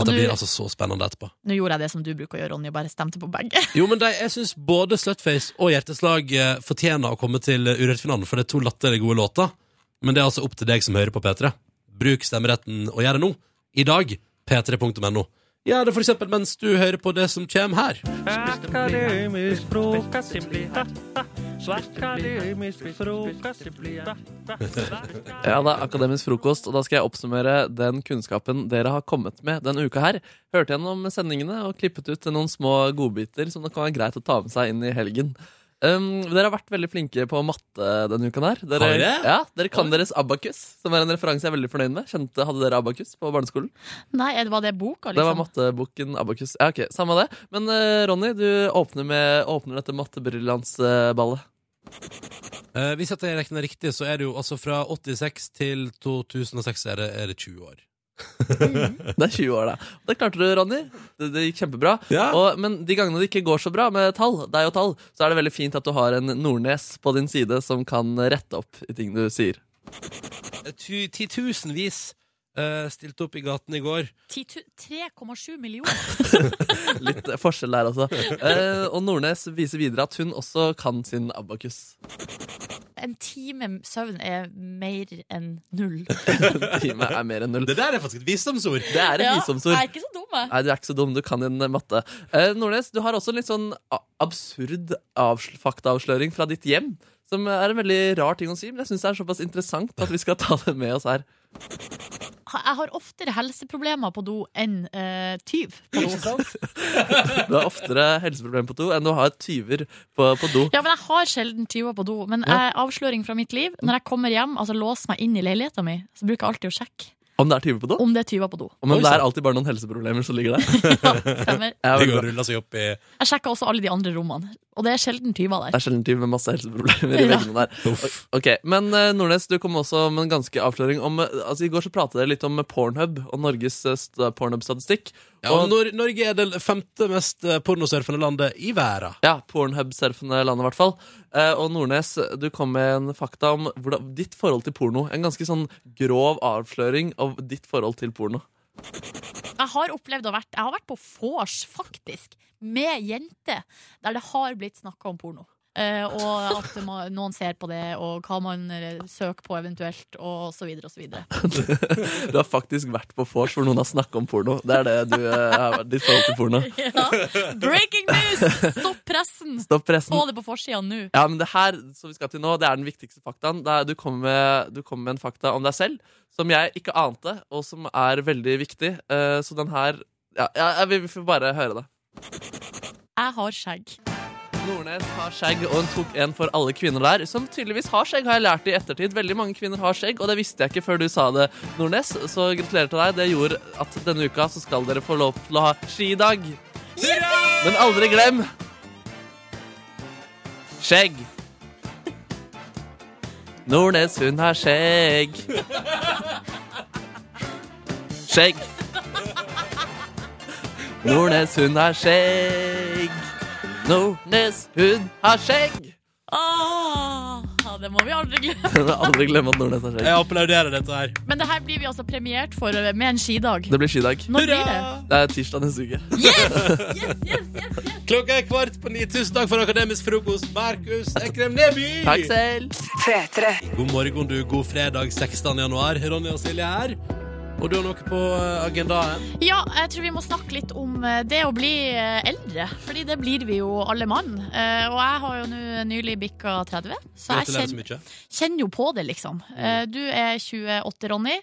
Speaker 3: Og
Speaker 2: Dette
Speaker 3: nå-
Speaker 2: blir altså så spennende etterpå.
Speaker 3: Nå gjorde jeg det som du bruker å gjøre, Ronny, og bare stemte på begge.
Speaker 2: Jo, men de, jeg syns både Slutface og Hjerteslag eh, fortjener å komme til Urørt-finalen, for det er to latterlig gode låter. Men det er altså opp til deg som hører på P3. Bruk stemmeretten og gjør det nå. I dag. p3.no. Gjør det for eksempel mens du hører på det som kommer her.
Speaker 9: Akademisk frokost, simpli Akademisk frokost, simpli
Speaker 4: Ja, det er akademisk frokost, og da skal jeg oppsummere den kunnskapen dere har kommet med denne uka her. Hørte gjennom sendingene og klippet ut noen små godbiter som det kan være greit å ta med seg inn i helgen. Um, dere har vært veldig flinke på matte denne uka her. Dere,
Speaker 2: Har dere?
Speaker 4: Ja, dere kan deres abakus, som er en referanse jeg er veldig fornøyd med. Kjente, hadde dere abakus på barneskolen?
Speaker 3: Nei, er det- var det boka,
Speaker 4: Det var
Speaker 3: liksom?
Speaker 4: matteboken Abakus. Ja, ok, Samme det. Men eh, Ronny, du åpner, med, åpner dette mattebriljansballet.
Speaker 2: Eh, hvis at jeg regner riktig, så er det jo altså fra 86 til 2006 er det, er det 20 år.
Speaker 4: Det er 20 år, da. Det klarte du, Ronny. Det, det gikk kjempebra.
Speaker 2: Ja.
Speaker 4: Og, men de gangene det ikke går så bra med tall, deg og tall, så er det veldig fint at du har en Nordnes på din side som kan rette opp i ting du sier.
Speaker 2: Eh, tu- Titusenvis eh, stilte opp i gaten i går.
Speaker 3: 10 tu- 3,7 millioner.
Speaker 4: Litt eh, forskjell der også. Eh, og Nordnes viser videre at hun også kan sin abakus.
Speaker 3: En time søvn er mer enn null.
Speaker 4: Time er mer enn null.
Speaker 2: Det der er faktisk et visdomsord.
Speaker 4: Det er et
Speaker 3: Ja,
Speaker 4: visdomsord.
Speaker 3: Jeg er ikke så dum, jeg.
Speaker 4: Nei, du er ikke så dum. Du kan din matte. Eh, Nordnes, du har også en litt sånn a- absurd avsl- faktaavsløring fra ditt hjem. Som er en veldig rar ting å si, men jeg syns det er såpass interessant at vi skal ta det med oss her.
Speaker 3: Jeg har oftere helseproblemer på do enn eh, tyv på do.
Speaker 4: Du har oftere helseproblemer på do enn du har tyver på, på do.
Speaker 3: Ja, men jeg har sjelden tyver på do. Men
Speaker 4: Ja.
Speaker 3: jeg, avsløring fra mitt liv, når jeg kommer hjem, altså låser meg inn i leiligheten min, så bruker jeg alltid å sjekke
Speaker 4: Om det er tyver på do?
Speaker 3: om det er tyver på do.
Speaker 4: Men
Speaker 2: Oi,
Speaker 4: det
Speaker 2: sant.
Speaker 4: er alltid bare noen helseproblemer som ligger der.
Speaker 3: Stemmer.
Speaker 2: Det
Speaker 4: Ja, veldig
Speaker 2: går
Speaker 4: bra.
Speaker 2: og ruller seg opp i
Speaker 3: Jeg sjekker også alle de andre rommene, og det er sjelden tyver
Speaker 4: Det
Speaker 3: der.
Speaker 4: er sjelden tyver med masse helseproblemer i
Speaker 3: Ja.
Speaker 4: veggene der.
Speaker 2: Uff.
Speaker 4: Ok, Men eh, Nordnes, du kom også med en ganske avsløring om eh, Altså, I går så pratet dere litt om eh, Pornhub og Norges eh, st- pornhub-statistikk.
Speaker 2: Ja, og Nor Norge er det femte mest eh, pornosurfende landet i verden.
Speaker 4: Ja, pornhub-surfende landet i hvert fall. Eh, og Nordnes, du kom med en fakta om hvordan, ditt forhold til porno. En ganske sånn grov avsløring av ditt forhold til porno.
Speaker 3: Jeg har opplevd å vært, jeg har vært på vors, faktisk, med jenter, der det har blitt snakka om porno. Eh, og at ma- noen ser på det, og hva man eh, søker på eventuelt, og så videre og så videre.
Speaker 4: Du har faktisk vært på vors hvor noen har snakka om porno. Det er det du eh, har vært, ditt forhold til porno.
Speaker 3: Ja. Breaking news! Stopp pressen!
Speaker 4: Stopp pressen.
Speaker 3: Få det på forsida nå.
Speaker 4: Ja, men det her som vi skal til nå, det er den viktigste faktaen. Det er, du, kommer med, du kommer med en fakta om deg selv som jeg ikke ante, og som er veldig viktig. Eh, så den her ja, ja, ja, Vi vi får bare høre det.
Speaker 3: Jeg har skjegg.
Speaker 4: Nordnes har skjegg, og hun tok en for alle kvinner der. Som tydeligvis har skjegg, har jeg lært i ettertid. Veldig mange kvinner har skjegg, og det visste jeg ikke før du sa det, Nordnes. Så gratulerer til deg. Det gjorde at denne uka så skal dere få lov til å ha skidag. Men aldri glem skjegg. Nordnes, hun har skjegg. Skjegg. Nordnes, hun har skjegg. Nordnes, hun har skjegg!
Speaker 3: Ah, ja, det må vi aldri glemme.
Speaker 4: Jeg vil aldri glemme at Nordnes har skjegg.
Speaker 2: Jeg applauderer dette her.
Speaker 3: Men det her blir vi altså premiert for eh, med en skidag.
Speaker 4: Det blir skidag.
Speaker 3: Når blir det?
Speaker 4: Det er tirsdag neste uke.
Speaker 3: Yes! Yes, yes, yes, yes.
Speaker 2: Klokka er kvart på ni. Tusen takk for akademisk frokost, Markus Ekrem Neby.
Speaker 4: Takk selv.
Speaker 1: P3.
Speaker 2: God morgen, du. God fredag 16. januar. Ronny og Silje her. Og du har noe på eh, agendaen?
Speaker 3: Ja, jeg tror vi må snakke litt om eh, det å bli eh, eldre. Fordi det blir vi jo alle mann. Eh, Og jeg har jo nå nylig bikka 30, så jeg
Speaker 2: Gratulerer så
Speaker 3: kjenner,
Speaker 2: mye.
Speaker 3: kjenner jo på det, liksom. Eh, Du er 28, Ronny.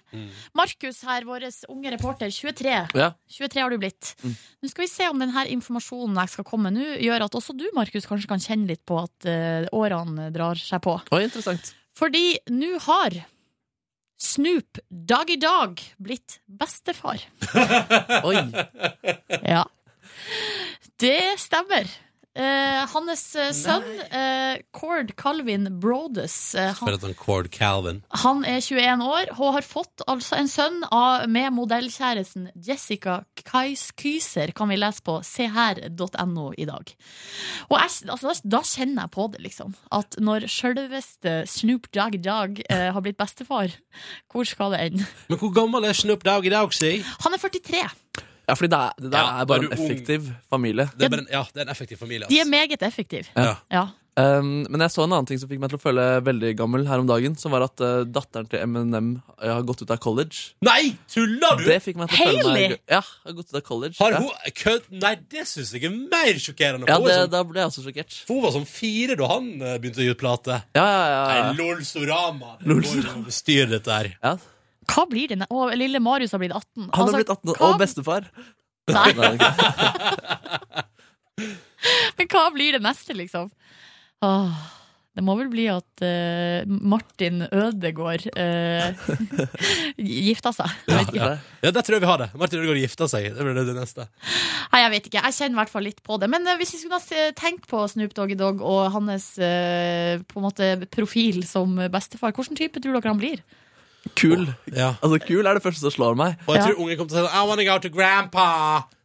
Speaker 3: Markus her, vår unge reporter, 23.
Speaker 4: Ja.
Speaker 3: 23 har du blitt. Nå skal vi se om denne informasjonen jeg skal komme nå, gjør at også du, Markus, kanskje kan kjenne litt på at eh, årene drar seg på.
Speaker 4: Oi, interessant.
Speaker 3: Fordi nå har Snoop Doggy Dog blitt bestefar.
Speaker 4: Oi.
Speaker 3: Ja. Det stemmer. Eh, Eh, hans eh, sønn, eh, Cord Calvin Brodes, eh, han,
Speaker 2: For et sånn Cord Calvin.
Speaker 3: han er 21 år og har fått altså en sønn av, med modellkjæresten Jessica Kais Kyser, kan vi lese på seher.no i dag. Og jeg, altså, da, da kjenner jeg på det, liksom. At når sjølveste Snoop Dogg Dogg eh, har blitt bestefar, hvor skal det ende?
Speaker 2: Men hvor gammel er Snoop Dogg i dag, si?
Speaker 3: Han er 43.
Speaker 4: Ja, fordi det, er, det der
Speaker 2: Ja,
Speaker 4: er
Speaker 2: er
Speaker 4: bare
Speaker 2: du
Speaker 4: en
Speaker 2: ung?
Speaker 4: effektiv familie.
Speaker 2: Det er bare en, ja, det er en effektiv familie.
Speaker 3: De er
Speaker 2: ass.
Speaker 3: meget effektive.
Speaker 2: Ja.
Speaker 3: Ja.
Speaker 4: Um, men jeg så en annen ting som fikk meg til å føle veldig gammel her om dagen. Som var at eh, datteren til Eminem eh, har gått ut av college.
Speaker 2: Nei, tuller du?!
Speaker 4: Det fikk meg til å føle meg
Speaker 3: Hailey?
Speaker 4: Ja, har gått ut av college.
Speaker 2: Har
Speaker 4: ja.
Speaker 2: hun kødd? Nei, det syns jeg er mer sjokkerende.
Speaker 4: Ja,
Speaker 2: Hun
Speaker 4: det,
Speaker 2: er sånn-
Speaker 4: da ble jeg også sjokkert.
Speaker 2: hun var sånn fire da han eh, begynte å gi ut plate.
Speaker 4: Ja, ja, ja,
Speaker 2: Nei,
Speaker 4: ja.
Speaker 2: Lolsorama. Det
Speaker 4: Lol
Speaker 2: går jo an å bestyre dette her.
Speaker 4: ja.
Speaker 3: Hva blir det? Og lille Marius har blitt 18. Altså,
Speaker 4: Han har blitt 18 år
Speaker 3: hva-
Speaker 4: og bestefar.
Speaker 3: Nei.
Speaker 4: Nei, det er ikke-
Speaker 3: Men hva blir det neste, liksom? Åh, det må vel bli at eh, Martin Ødegård eh, gifta seg. Jeg vet ikke.
Speaker 4: Ja.
Speaker 2: Ja, Der tror jeg vi har det. Martin Ødegaard gifter seg. Det blir det, det neste.
Speaker 3: Nei, jeg vet ikke. Jeg kjenner i hvert fall litt på det. Men eh, hvis vi skulle ha se- tenkt på Snoop Doggy Dogg og hans eh, på en måte profil som bestefar, hvilken type tror dere han blir?
Speaker 4: Kul.
Speaker 2: Ja.
Speaker 4: Altså, kul er det første som slår meg.
Speaker 2: Og jeg
Speaker 3: Ja.
Speaker 2: tror ungen kommer til å si sånn I wanna go to grandpa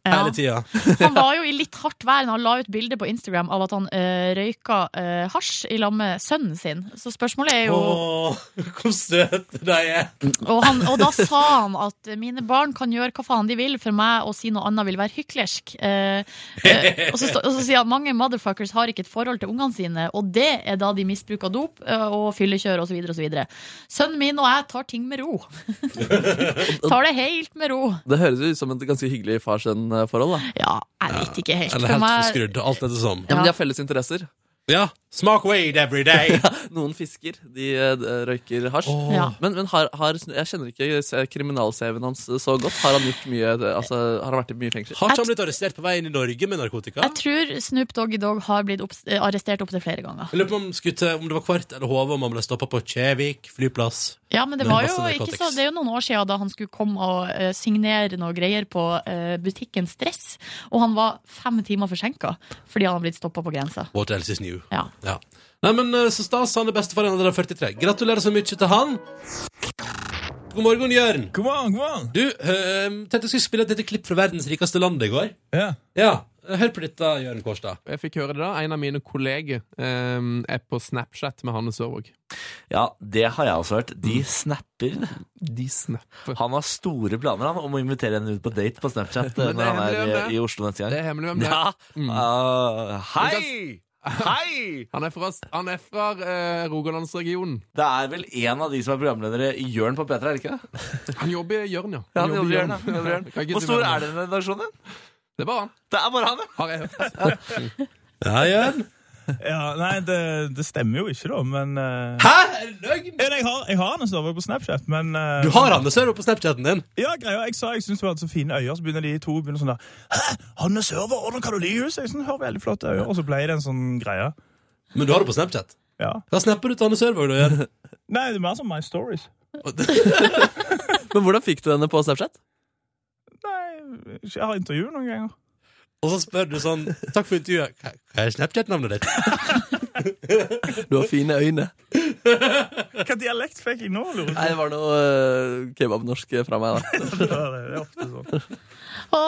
Speaker 3: Ja.
Speaker 2: hele tida.
Speaker 3: Han var jo i litt hardt vær når han la ut bilde på Instagram av at han eh, røyka eh, hasj i lag med sønnen sin. Så spørsmålet er jo
Speaker 2: Åh, Hvor søte de er.
Speaker 3: Og, han, og da sa han at mine barn kan gjøre hva faen de vil, for meg å si noe annet vil være hyklersk. Eh, eh, og, så, sta- og så sier han mange motherfuckers har ikke et forhold til ungene sine, og det er da de misbruker dop eh, og fyllekjør osv. osv. Sønnen min og jeg tar ting med ro. tar det helt med ro.
Speaker 4: Det høres jo ut som et ganske hyggelig far-sønn-forhold. da
Speaker 3: Ja, jeg vet ikke helt.
Speaker 2: Eller
Speaker 3: For
Speaker 2: helt
Speaker 3: meg-
Speaker 2: forskrudd. Alt etter som.
Speaker 4: ja, men
Speaker 3: Ja.
Speaker 4: De har felles interesser.
Speaker 2: Ja. Smak weed every day.
Speaker 4: Noen fisker. De eh, røyker hasj.
Speaker 3: Ja.
Speaker 4: Men, men har, har, jeg kjenner ikke se- kriminal-CV-en hans så godt. Har han gjort mye altså, Har han vært i mye fengsel?
Speaker 2: Har ikke han blitt arrestert på vei inn i Norge med narkotika?
Speaker 3: Jeg tror Snoop Doggy Dogg har blitt opps- eh, arrestert opptil flere ganger.
Speaker 2: Jeg lurer på om, han skulle til- om det var Kvart eller Hove, om han ble stoppa på Kjevik flyplass.
Speaker 3: Ja, men det
Speaker 2: Men
Speaker 3: var
Speaker 2: masse
Speaker 3: jo ikke
Speaker 2: narkotics.
Speaker 3: så Det er jo noen år siden da han skulle komme og eh, signere noe greier på eh, butikken Stress, og han var fem timer forsinka fordi han hadde blitt stoppa på grensa.
Speaker 2: What else is new?
Speaker 3: Ja.
Speaker 2: Ja. Nei, men eh, så stas. Han er bestefar han er 43. Gratulerer så mye til han. God morgen, Jørn.
Speaker 10: Come on, come on!
Speaker 2: Du, eh, tenkte jeg skulle spille et lite klipp fra verdens rikeste land i går.
Speaker 10: Ja.
Speaker 2: Ja, Hør på dette, Jørn Kårstad.
Speaker 11: Jeg fikk høre det da. En av mine kolleger eh, er på Snapchat med Hanne Sørvåg. Mm.
Speaker 10: ja, det har jeg også hørt. De snapper.
Speaker 11: De snapper.
Speaker 10: Han har store planer han, om å invitere henne ut på date på
Speaker 11: Men
Speaker 10: Snapchat
Speaker 11: det
Speaker 10: eh, når han
Speaker 11: hender
Speaker 10: er
Speaker 11: det,
Speaker 10: eh,
Speaker 11: det.
Speaker 10: i Oslo neste
Speaker 11: Det
Speaker 10: gang.
Speaker 11: er hemmelig hvem det Mm. er.
Speaker 10: Ja. Ah, hei! Hei!
Speaker 11: Han er fra, han er fra eh, Rogalandsregionen.
Speaker 10: Det er vel en av de som er programledere i Jørn på P3, er det ikke? det?
Speaker 11: Han jobber i Jørn, ja.
Speaker 10: Ja,
Speaker 11: Han
Speaker 10: han
Speaker 11: jobber i
Speaker 10: jobber i Jørn, ja.
Speaker 11: Jørn.
Speaker 10: Han jobber i Jørn.
Speaker 11: Jeg kan ikke
Speaker 10: Hvor
Speaker 11: si
Speaker 10: stor
Speaker 11: hvem
Speaker 10: er den redaksjonen?
Speaker 11: Det er bare han.
Speaker 10: Det er bare han, ja!
Speaker 11: Har jeg hørt.
Speaker 2: Ja, Jørn.
Speaker 12: Ja, nei, det, det stemmer jo ikke, da, men eh,
Speaker 2: Hæ? Er det løgn?
Speaker 12: ja, nei, Jeg har, jeg har Anne Sørvåg på Snapchat, men eh,
Speaker 2: Du har Anne Sørvåg på Snapchaten din.
Speaker 12: Ja, greia, Jeg sa jeg syntes hun hadde så fine øyne, så begynner de to begynner sånn der Hæ, Anne Sørvåg, hvordan kan du like henne? Så Jeg sånn, hun har veldig flotte øyne, og så ble det en sånn greie.
Speaker 2: Men du har det på Snapchat.
Speaker 12: Ja.
Speaker 2: Hva snapper du til Anne Sørvåg, da, Jørn?
Speaker 12: Nei, det er mer som My Stories.
Speaker 4: Men hvordan fikk du henne på Snapchat?
Speaker 12: Nei, jeg har intervjuet noen ganger.
Speaker 2: Og så spør du sånn Takk for intervjuet. Hva- Hva er Snapchat-navnet ditt?
Speaker 4: Du har fine øyne.
Speaker 12: Hva dialekt fikk jeg nå, lurer
Speaker 4: Nei, det var noe eh, kebabnorsk fra meg, da.
Speaker 12: jeg på? Ja, Det er ofte sånn.
Speaker 3: Å,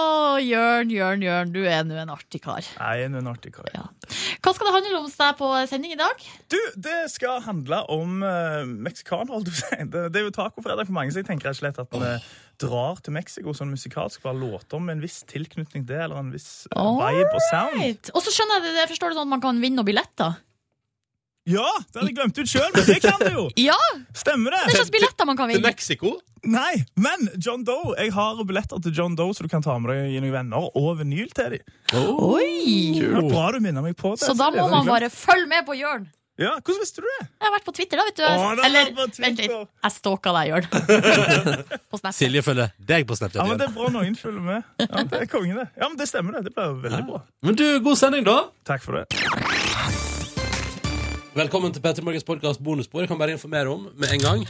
Speaker 3: Jørn, Jørn, Jørn, du er nå en artig kar.
Speaker 12: Nei, jeg er en artig kar.
Speaker 3: Hva skal det handle om hos deg på eh, sending i dag?
Speaker 12: Du, det skal handle om uh, meksikan, holdt du på å si. Det, det er jo tacofredag for mange, så jeg tenker rett og slett at vi drar til Mexico sånn musikalsk, bare låter med en viss tilknytning til det, eller en viss eh, vibe og sound.
Speaker 3: Right. Og så skjønner jeg det, jeg forstår det sånn at man kan vinne noen billetter.
Speaker 12: Ja! Det hadde jeg glemt ut sjøl, men det kan du jo!
Speaker 3: Ja,
Speaker 12: Stemmer
Speaker 3: hva
Speaker 12: det?
Speaker 3: slags billetter man kan
Speaker 2: Til
Speaker 3: vinne?
Speaker 2: Mexico?
Speaker 12: Nei, men John Doe. Jeg har billetter til John Doe, så du kan ta med deg noen venner, og vinyl til dem.
Speaker 3: Oi!
Speaker 12: Det var bra du minner meg på det.
Speaker 3: Så da
Speaker 12: Silje.
Speaker 3: må
Speaker 12: Det hadde jeg
Speaker 3: man
Speaker 12: glemt.
Speaker 3: bare følge med på Jørn.
Speaker 12: Ja, Hvordan visste du det?
Speaker 3: Jeg har vært på Twitter, da, vet du.
Speaker 12: Å, det er
Speaker 3: Eller,
Speaker 12: på Twitter.
Speaker 3: vent litt. Jeg stalka deg, Jørn. På Snapchat.
Speaker 2: Silje følger deg på Snapchat.
Speaker 12: Ja, men
Speaker 2: Jørn.
Speaker 12: Det er bra noen følger med. Ja, Det er konge, det. Ja, men Det stemmer, det. Det ble veldig bra.
Speaker 2: Men du, god sending, da.
Speaker 12: Takk for det.
Speaker 2: Velkommen til Petter Morgens podkast bonusspor. Jeg kan bare informere om med en gang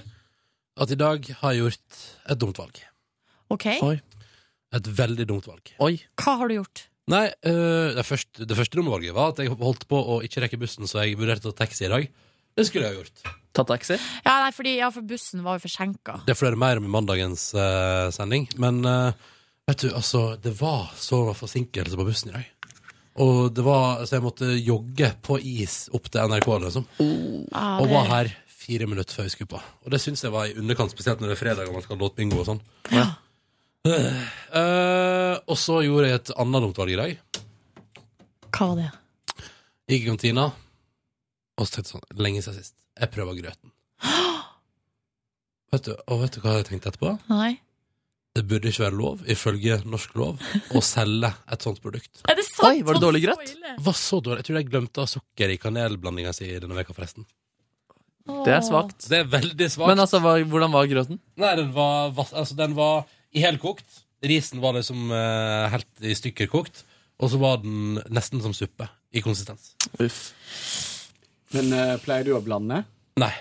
Speaker 2: at i dag har jeg gjort et dumt valg.
Speaker 3: Ok,
Speaker 4: Oi.
Speaker 2: Et veldig dumt valg.
Speaker 4: Oi.
Speaker 3: Hva har du gjort?
Speaker 2: Nei, eh, det første, det første dumme valget var at jeg holdt på å ikke rekke bussen, så jeg vurderte å ta taxi i dag. Det skulle jeg ha gjort.
Speaker 4: Tatt taxi?
Speaker 3: Ja, nei, fordi, ja for bussen var jo forsinka.
Speaker 2: Det får dere mer om i mandagens eh, sending. Men eh, vet du, altså, det var så forsinkelse på bussen i dag. Og det var, Så jeg måtte jogge på is opp til NRK, liksom.
Speaker 13: Ah,
Speaker 2: og
Speaker 13: det-
Speaker 2: var her fire minutter før jeg skulle på. Og det syns jeg var i underkant, spesielt når det er fredag og man skal ha låtbingo og sånn. Eh, og så gjorde jeg et annet dumt valg i dag.
Speaker 3: Hva var det?
Speaker 2: Gikk i kantina, og så tenkte jeg sånn Lenge siden sist. Jeg prøver grøten. Vet du, og vet du hva jeg tenkte etterpå?
Speaker 3: Nei.
Speaker 2: Det burde ikke være lov, ifølge norsk lov, å selge et sånt produkt.
Speaker 3: Er det sant?
Speaker 4: Oi, var det dårlig grøt?
Speaker 2: Var så dårlig. Jeg tror jeg glemte av sukker i kanelblandinga si denne veka forresten.
Speaker 4: Det er svakt.
Speaker 2: Det er veldig svakt.
Speaker 4: Men altså, hva, hvordan var grøten?
Speaker 2: Nei, den var, vass- altså, den var i helkokt. Risen var liksom eh, helt i stykker kokt. Og så var den nesten som suppe i konsistens.
Speaker 14: Uff. Men eh, pleier du å blande?
Speaker 2: Nei.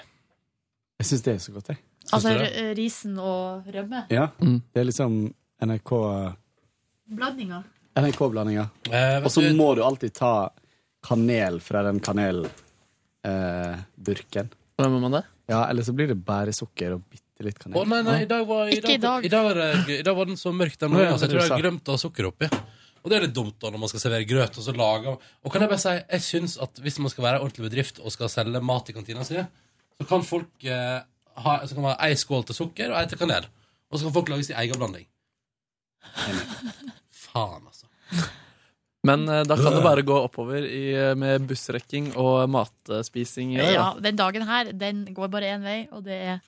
Speaker 14: Jeg syns det er så godt, jeg.
Speaker 3: Altså r- risen og rømme?
Speaker 14: Ja. Det er liksom NRK
Speaker 3: Blandinga?
Speaker 14: NRK-blandinga.
Speaker 2: Eh,
Speaker 14: Og så må du alltid ta kanel eh, fra den kanelburken.
Speaker 4: Hvordan må man det?
Speaker 14: Ja, eller så blir det bare sukker og bitte litt kanel.
Speaker 2: Å nei, nei, i dag var, i
Speaker 14: Ikke i dag.
Speaker 2: I dag, var, det- i dag var den så mørk, den
Speaker 14: Å, ja,
Speaker 2: morgenen, så jeg
Speaker 14: det
Speaker 2: tror
Speaker 14: du
Speaker 2: jeg
Speaker 14: sa.
Speaker 2: glemte å ha sukker oppi. Og det er litt dumt da, når man skal servere grøt, og så lage Og kan jeg bare si, jeg syns at hvis man skal være en ordentlig bedrift og skal selge mat i kantina si, så kan folk eh, ha så kan man ha ei skål til sukker og ei til kanel. Og så kan folk lage sin egen blanding. Faen, altså.
Speaker 4: Men eh, da kan det bare gå oppover i, eh, med bussrekking og matspising. i
Speaker 3: Ja,
Speaker 4: dag, da.
Speaker 3: Den dagen her, den går bare én vei, og det er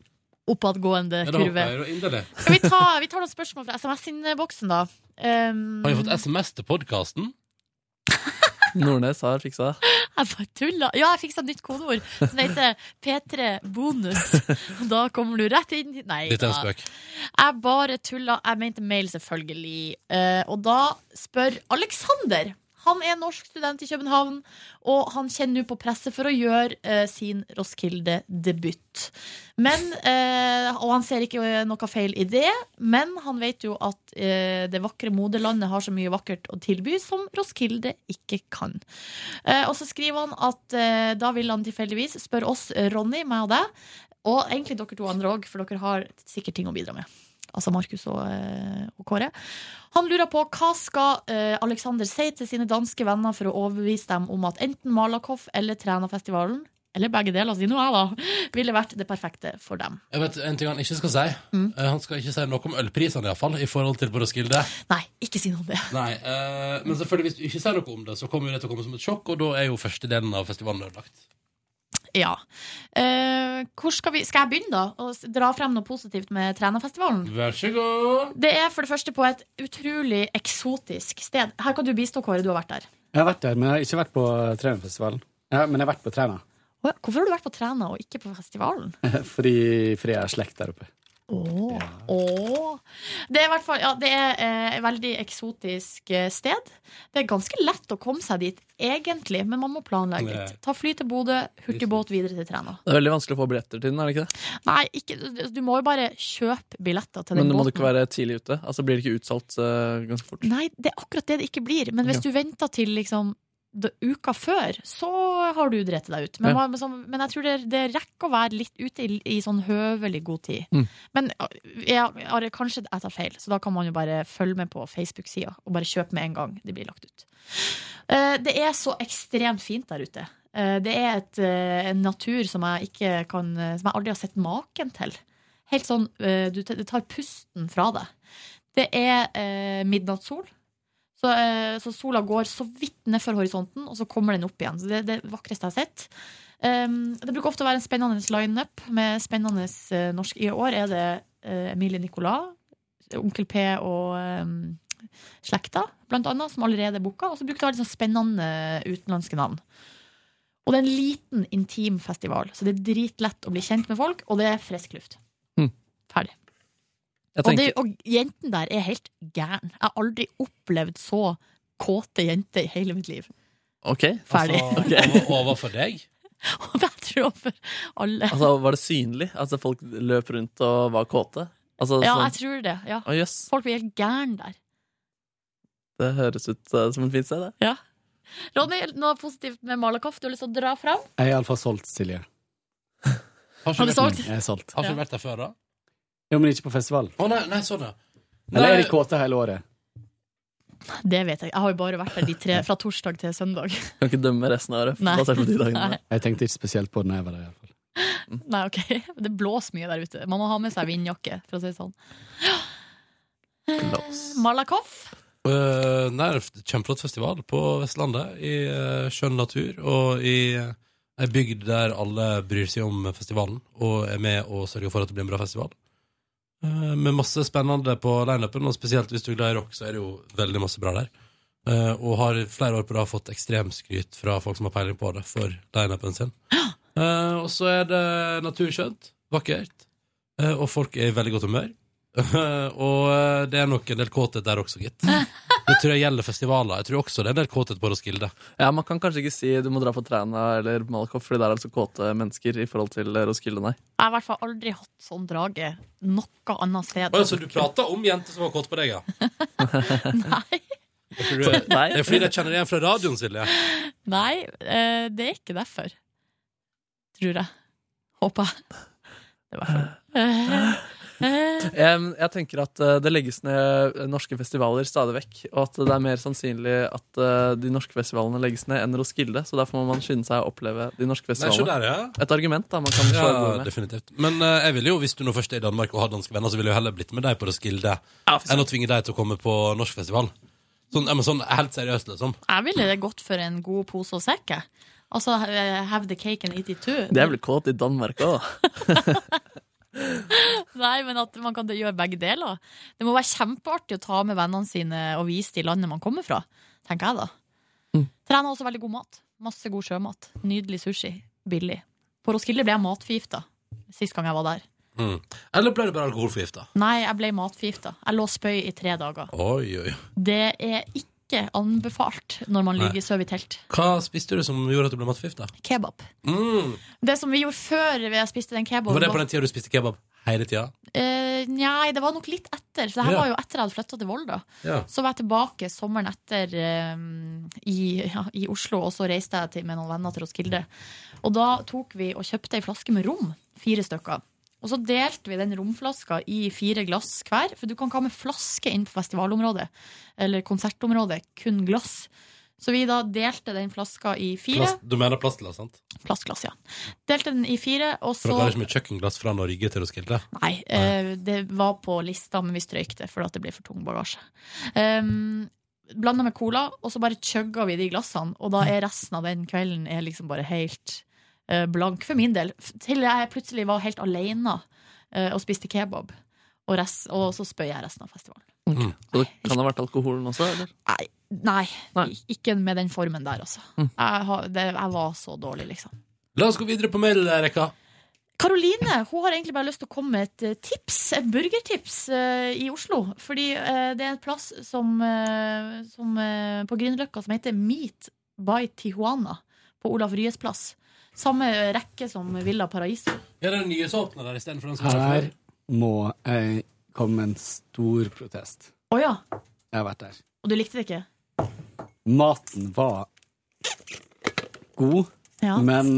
Speaker 3: oppadgående
Speaker 4: Ja, da
Speaker 3: kurve.
Speaker 2: håper jeg jo inderlig.
Speaker 3: Skal vi ta, vi tar noen spørsmål fra SMS-innboksen, da? Um,
Speaker 2: Har vi fått SMS til podkasten?
Speaker 4: Nordnes har fiksa det.
Speaker 3: Jeg bare tulla. Ja, jeg fiksa et nytt kodeord som heter P3 bonus. Da kommer du rett inn Nei
Speaker 2: Litt en
Speaker 3: da.
Speaker 2: spøk.
Speaker 3: Jeg bare tulla. Jeg mente mail, selvfølgelig. Eh, og da spør Alexander. Han er norsk student i København, og han kjenner nå på presset for å gjøre eh, sin Roskilde-debut. Men, eh, Og han ser ikke eh, noe feil i det, men han vet jo at eh, det vakre moderlandet har så mye vakkert å tilby som Roskilde ikke kan. Eh, og så skriver han at eh, da vil han tilfeldigvis spørre oss, eh, Ronny, meg og deg, og egentlig dere to andre òg, for dere har sikkert ting å bidra med. Altså Markus og, eh, og Kåre. Han lurer på hva skal eh, Alexander si til sine danske venner for å overbevise dem om at enten Malakoff eller Trænafestivalen, eller begge deler, si nå jeg, da, ville vært det perfekte for dem.
Speaker 2: Jeg vet en ting han ikke skal si.
Speaker 14: Mm.
Speaker 2: Eh, Han skal ikke si noe om ølprisene, iallfall, i forhold til på Roskilde.
Speaker 3: Nei, ikke si noe om det.
Speaker 2: Nei, eh, men selvfølgelig hvis du ikke sier noe om det, så kommer jo det til å komme som et sjokk, og da er jo første delen av festivalen ødelagt.
Speaker 3: Ja. Eh, hvor skal, vi, skal jeg begynne, da? Og s- dra frem noe positivt med Trænafestivalen?
Speaker 2: Vær så god.
Speaker 3: Det er for det første på et utrolig eksotisk sted. Her kan du bistå, Kåre. Du har vært der.
Speaker 14: Jeg har vært der, men jeg har ikke vært på Trænafestivalen. Ja, men jeg har vært på Træna,
Speaker 3: Å, Hvorfor har du vært på Træna og ikke på festivalen?
Speaker 14: fordi, fordi jeg har slekt der oppe.
Speaker 3: Åh, åh. Det er, i hvert fall, ja, det er eh, et veldig eksotisk eh, sted. Det er ganske lett å komme seg dit, egentlig, men man må planlegge
Speaker 4: Nei.
Speaker 3: litt. Ta fly til Bodø, hurtigbåt videre til Træna.
Speaker 4: Det er veldig vanskelig å få billetter til den, er det ikke det?
Speaker 3: Nei, ikke, du må jo bare kjøpe billetter til den
Speaker 4: Men må du
Speaker 3: båten.
Speaker 4: ikke være tidlig ute? Altså Blir det ikke utsolgt eh, ganske fort?
Speaker 3: Nei, det er akkurat det det ikke blir. Men hvis
Speaker 4: Ja.
Speaker 3: du venter til liksom da- uka før, så har du dreti deg ut. Men,
Speaker 4: Ja.
Speaker 3: hva- men sånn- men jeg tror det, det rekker å være litt ute i, i sånn høvelig god tid.
Speaker 4: Mm.
Speaker 3: Men ja, jeg, jeg, kanskje jeg tar feil, så da kan man jo bare følge med på Facebook-sida og bare kjøpe med en gang det blir lagt ut. Eh, Det er så ekstremt fint der ute. Eh, Det er et, eh, en natur som jeg, ikke kan, eh, som jeg aldri har sett maken til. Helt sånn, eh, du, Det tar pusten fra deg. Det er eh, midnattssol. Så, eh, så sola går så vidt ned for horisonten, og så kommer den opp igjen. Så det er det vakreste jeg har sett. Um, det bruker ofte å være en spennende lineup med spennende eh, norsk. I år er det eh, Emilie Nicolas, Onkel P og um, slekta, blant annet, som allerede er booka. Og så bruker det å være litt sånn spennende utenlandske navn. Og det er en liten, intim festival, så det er dritlett å bli kjent med folk, og det er frisk luft.
Speaker 4: Hmm.
Speaker 3: Ferdig.
Speaker 4: Jeg
Speaker 3: Og, det,
Speaker 4: tenker-
Speaker 3: og jenten der er helt gæren. Jeg har aldri opplevd så kåte jenter i hele mitt liv.
Speaker 4: Ok.
Speaker 3: Ferdig.
Speaker 4: Altså,
Speaker 2: over- overfor deg?
Speaker 3: Alle.
Speaker 4: Altså, Var det synlig? Altså Folk løp rundt og var kåte? Altså,
Speaker 3: ja,
Speaker 4: sånn-
Speaker 3: jeg tror det. Ja.
Speaker 4: Å, jøss.
Speaker 3: Folk blir helt gæren der.
Speaker 4: Det høres ut eh, som et fint sted, det.
Speaker 3: Ja. Ronny, noe positivt med Malakoff du har lyst til å dra fram?
Speaker 14: Jeg er iallfall solgt, Silje.
Speaker 3: Har du solgt?
Speaker 14: Jeg er solgt.
Speaker 2: Har ikke du vært der før, da?
Speaker 14: Jo, men ikke på festival.
Speaker 2: Å nei, nei, sånn, ja.
Speaker 14: Eller er
Speaker 2: Nei.
Speaker 14: de kåte hele året?
Speaker 3: Det vet jeg ikke. Jeg har jo bare vært der de tre, fra torsdag til søndag.
Speaker 4: Kan ikke dømme resten av året.
Speaker 3: Nei.
Speaker 4: basert på de dagene.
Speaker 3: Nei.
Speaker 14: Jeg tenkte ikke spesielt på det når jeg var der. i hvert fall.
Speaker 3: Nei, ok. Det blåser mye der ute. Man må ha med seg vindjakke, for å si det sånn. Malakoff.
Speaker 2: Eh, nei, det er kjempeflott festival på Vestlandet. I eh, skjønn natur og i eh, ei bygd der alle bryr seg om festivalen og er med og sørger for at det blir en bra festival. Eh, med masse spennende på lineupen, og spesielt hvis du er glad i rock, så er det jo veldig masse bra der. Eh, og har i flere år på rad fått ekstremskryt fra folk som har peiling på det, for lineupen sin. Eh, og så er det naturskjønt, vakkert, eh, og folk er i veldig godt humør. og eh, det er nok en del kåthet der også, gitt. Det tror jeg gjelder festivaler. Jeg tror også det er en del kåthet på Roskilde.
Speaker 4: Ja, Man kan kanskje ikke si du må dra på Træna eller Malakoff, fordi der er det så kåte mennesker i forhold til Roskilde, nei.
Speaker 3: Jeg har i hvert fall aldri hatt sånn drage noe annet sted.
Speaker 2: Å, så du prater om jenter som var kåte på deg, ja? Eh, Nei.
Speaker 4: Nei.
Speaker 2: Det er fordi de kjenner deg igjen fra radioen, Silje.
Speaker 3: Nei, eh, det er ikke derfor. Tror jeg. Håper jeg. Det var sånn.
Speaker 4: Jeg, jeg tenker at eh, det legges ned norske festivaler stadig vekk, og at det er mer sannsynlig at eh, de norske festivalene legges ned enn Roskilde, så derfor må man skynde seg å oppleve de norske
Speaker 2: se
Speaker 4: festivalene.
Speaker 2: der, ja.
Speaker 4: Et argument da, man kan slå i bordet
Speaker 2: Ja,
Speaker 4: med.
Speaker 2: definitivt. Men eh, jeg ville jo, hvis du nå først er i Danmark og har danske venner, så ville jeg jo heller blitt med deg på Roskilde enn å tvinge deg til å komme på norsk festival. Sånn, ja, men sånn helt seriøst, liksom.
Speaker 3: Jeg ville det gått for en god pose og sekk, jeg. Altså, eh, have the cake and eat it too.
Speaker 4: Det er vel kåt i Danmark òg.
Speaker 3: Nei, men at man kan gjøre begge deler. Det må være kjempeartig å ta med vennene sine og vise de landet man kommer fra, tenker jeg da. Trener også veldig god mat. Masse god sjømat. Nydelig sushi. Billig. På Roskilde ble jeg matforgifta sist gang jeg var der.
Speaker 2: Mm. Eller ble du bare alkoholforgifta?
Speaker 3: Nei, jeg ble matforgifta. Jeg lå og spøy i tre dager.
Speaker 2: Oi, oi.
Speaker 3: Det er ikke anbefalt når man
Speaker 2: Nei.
Speaker 3: ligger sover i telt.
Speaker 2: Hva spiste du som gjorde at du ble matforgifta?
Speaker 3: Kebab.
Speaker 2: Mm.
Speaker 3: Det som vi gjorde før jeg spiste den kebaben
Speaker 2: Var det på den tida du spiste kebab hele tida?
Speaker 3: Eh, Nei, det var nok litt etter. Så det her
Speaker 2: Ja.
Speaker 3: var jo etter jeg hadde flytta til Volda.
Speaker 2: Ja.
Speaker 3: Så var jeg tilbake sommeren etter eh, i, ja, i Oslo, og så reiste jeg til, med noen venner til Roskilde. Og da tok vi og kjøpte ei flaske med rom, fire stykker. Og så delte vi den romflaska i fire glass hver, for du kan ikke ha med flaske inn på festivalområdet eller konsertområdet, kun glass. Så vi da delte den flaska i fire.
Speaker 2: Plast, du mener plastglass, sant?
Speaker 3: Plastglass, ja. Delte den i fire, og
Speaker 2: For
Speaker 3: så
Speaker 2: dere har ikke med kjøkkenglass fra Norge til Roskilde?
Speaker 3: Nei, eh, det var på lista, men vi strøyk det fordi at det ble for tung bagasje. Um, Blanda med cola, og så bare chugga vi de glassene. Og da er resten av den kvelden er liksom bare helt eh, blank, for min del. F- Til jeg plutselig var helt aleine eh, og spiste kebab. Og, rest, og så spøy jeg resten av festivalen.
Speaker 4: Så det kan ha vært alkoholen også, eller?
Speaker 3: Nei. Nei, i- ikke med den formen der, altså. Jeg, har, det, jeg var så dårlig, liksom.
Speaker 2: La oss gå videre på mailrekka.
Speaker 3: Karoline hun har egentlig bare lyst til å komme med et eh, tips, et burgertips eh, i Oslo. Fordi eh, det er en plass som, eh, som, eh, på Grünerløkka som heter Meat by Tijuana. På Olav Ryes plass. Samme eh, rekke som Villa Paraiso.
Speaker 2: Er det den nye som åpner der istedenfor den som var der
Speaker 14: Her
Speaker 2: før?
Speaker 14: må jeg komme med en stor protest.
Speaker 3: Å ja,
Speaker 14: Jeg har vært der.
Speaker 3: og du likte det ikke?
Speaker 14: Maten var god,
Speaker 3: Ja.
Speaker 14: men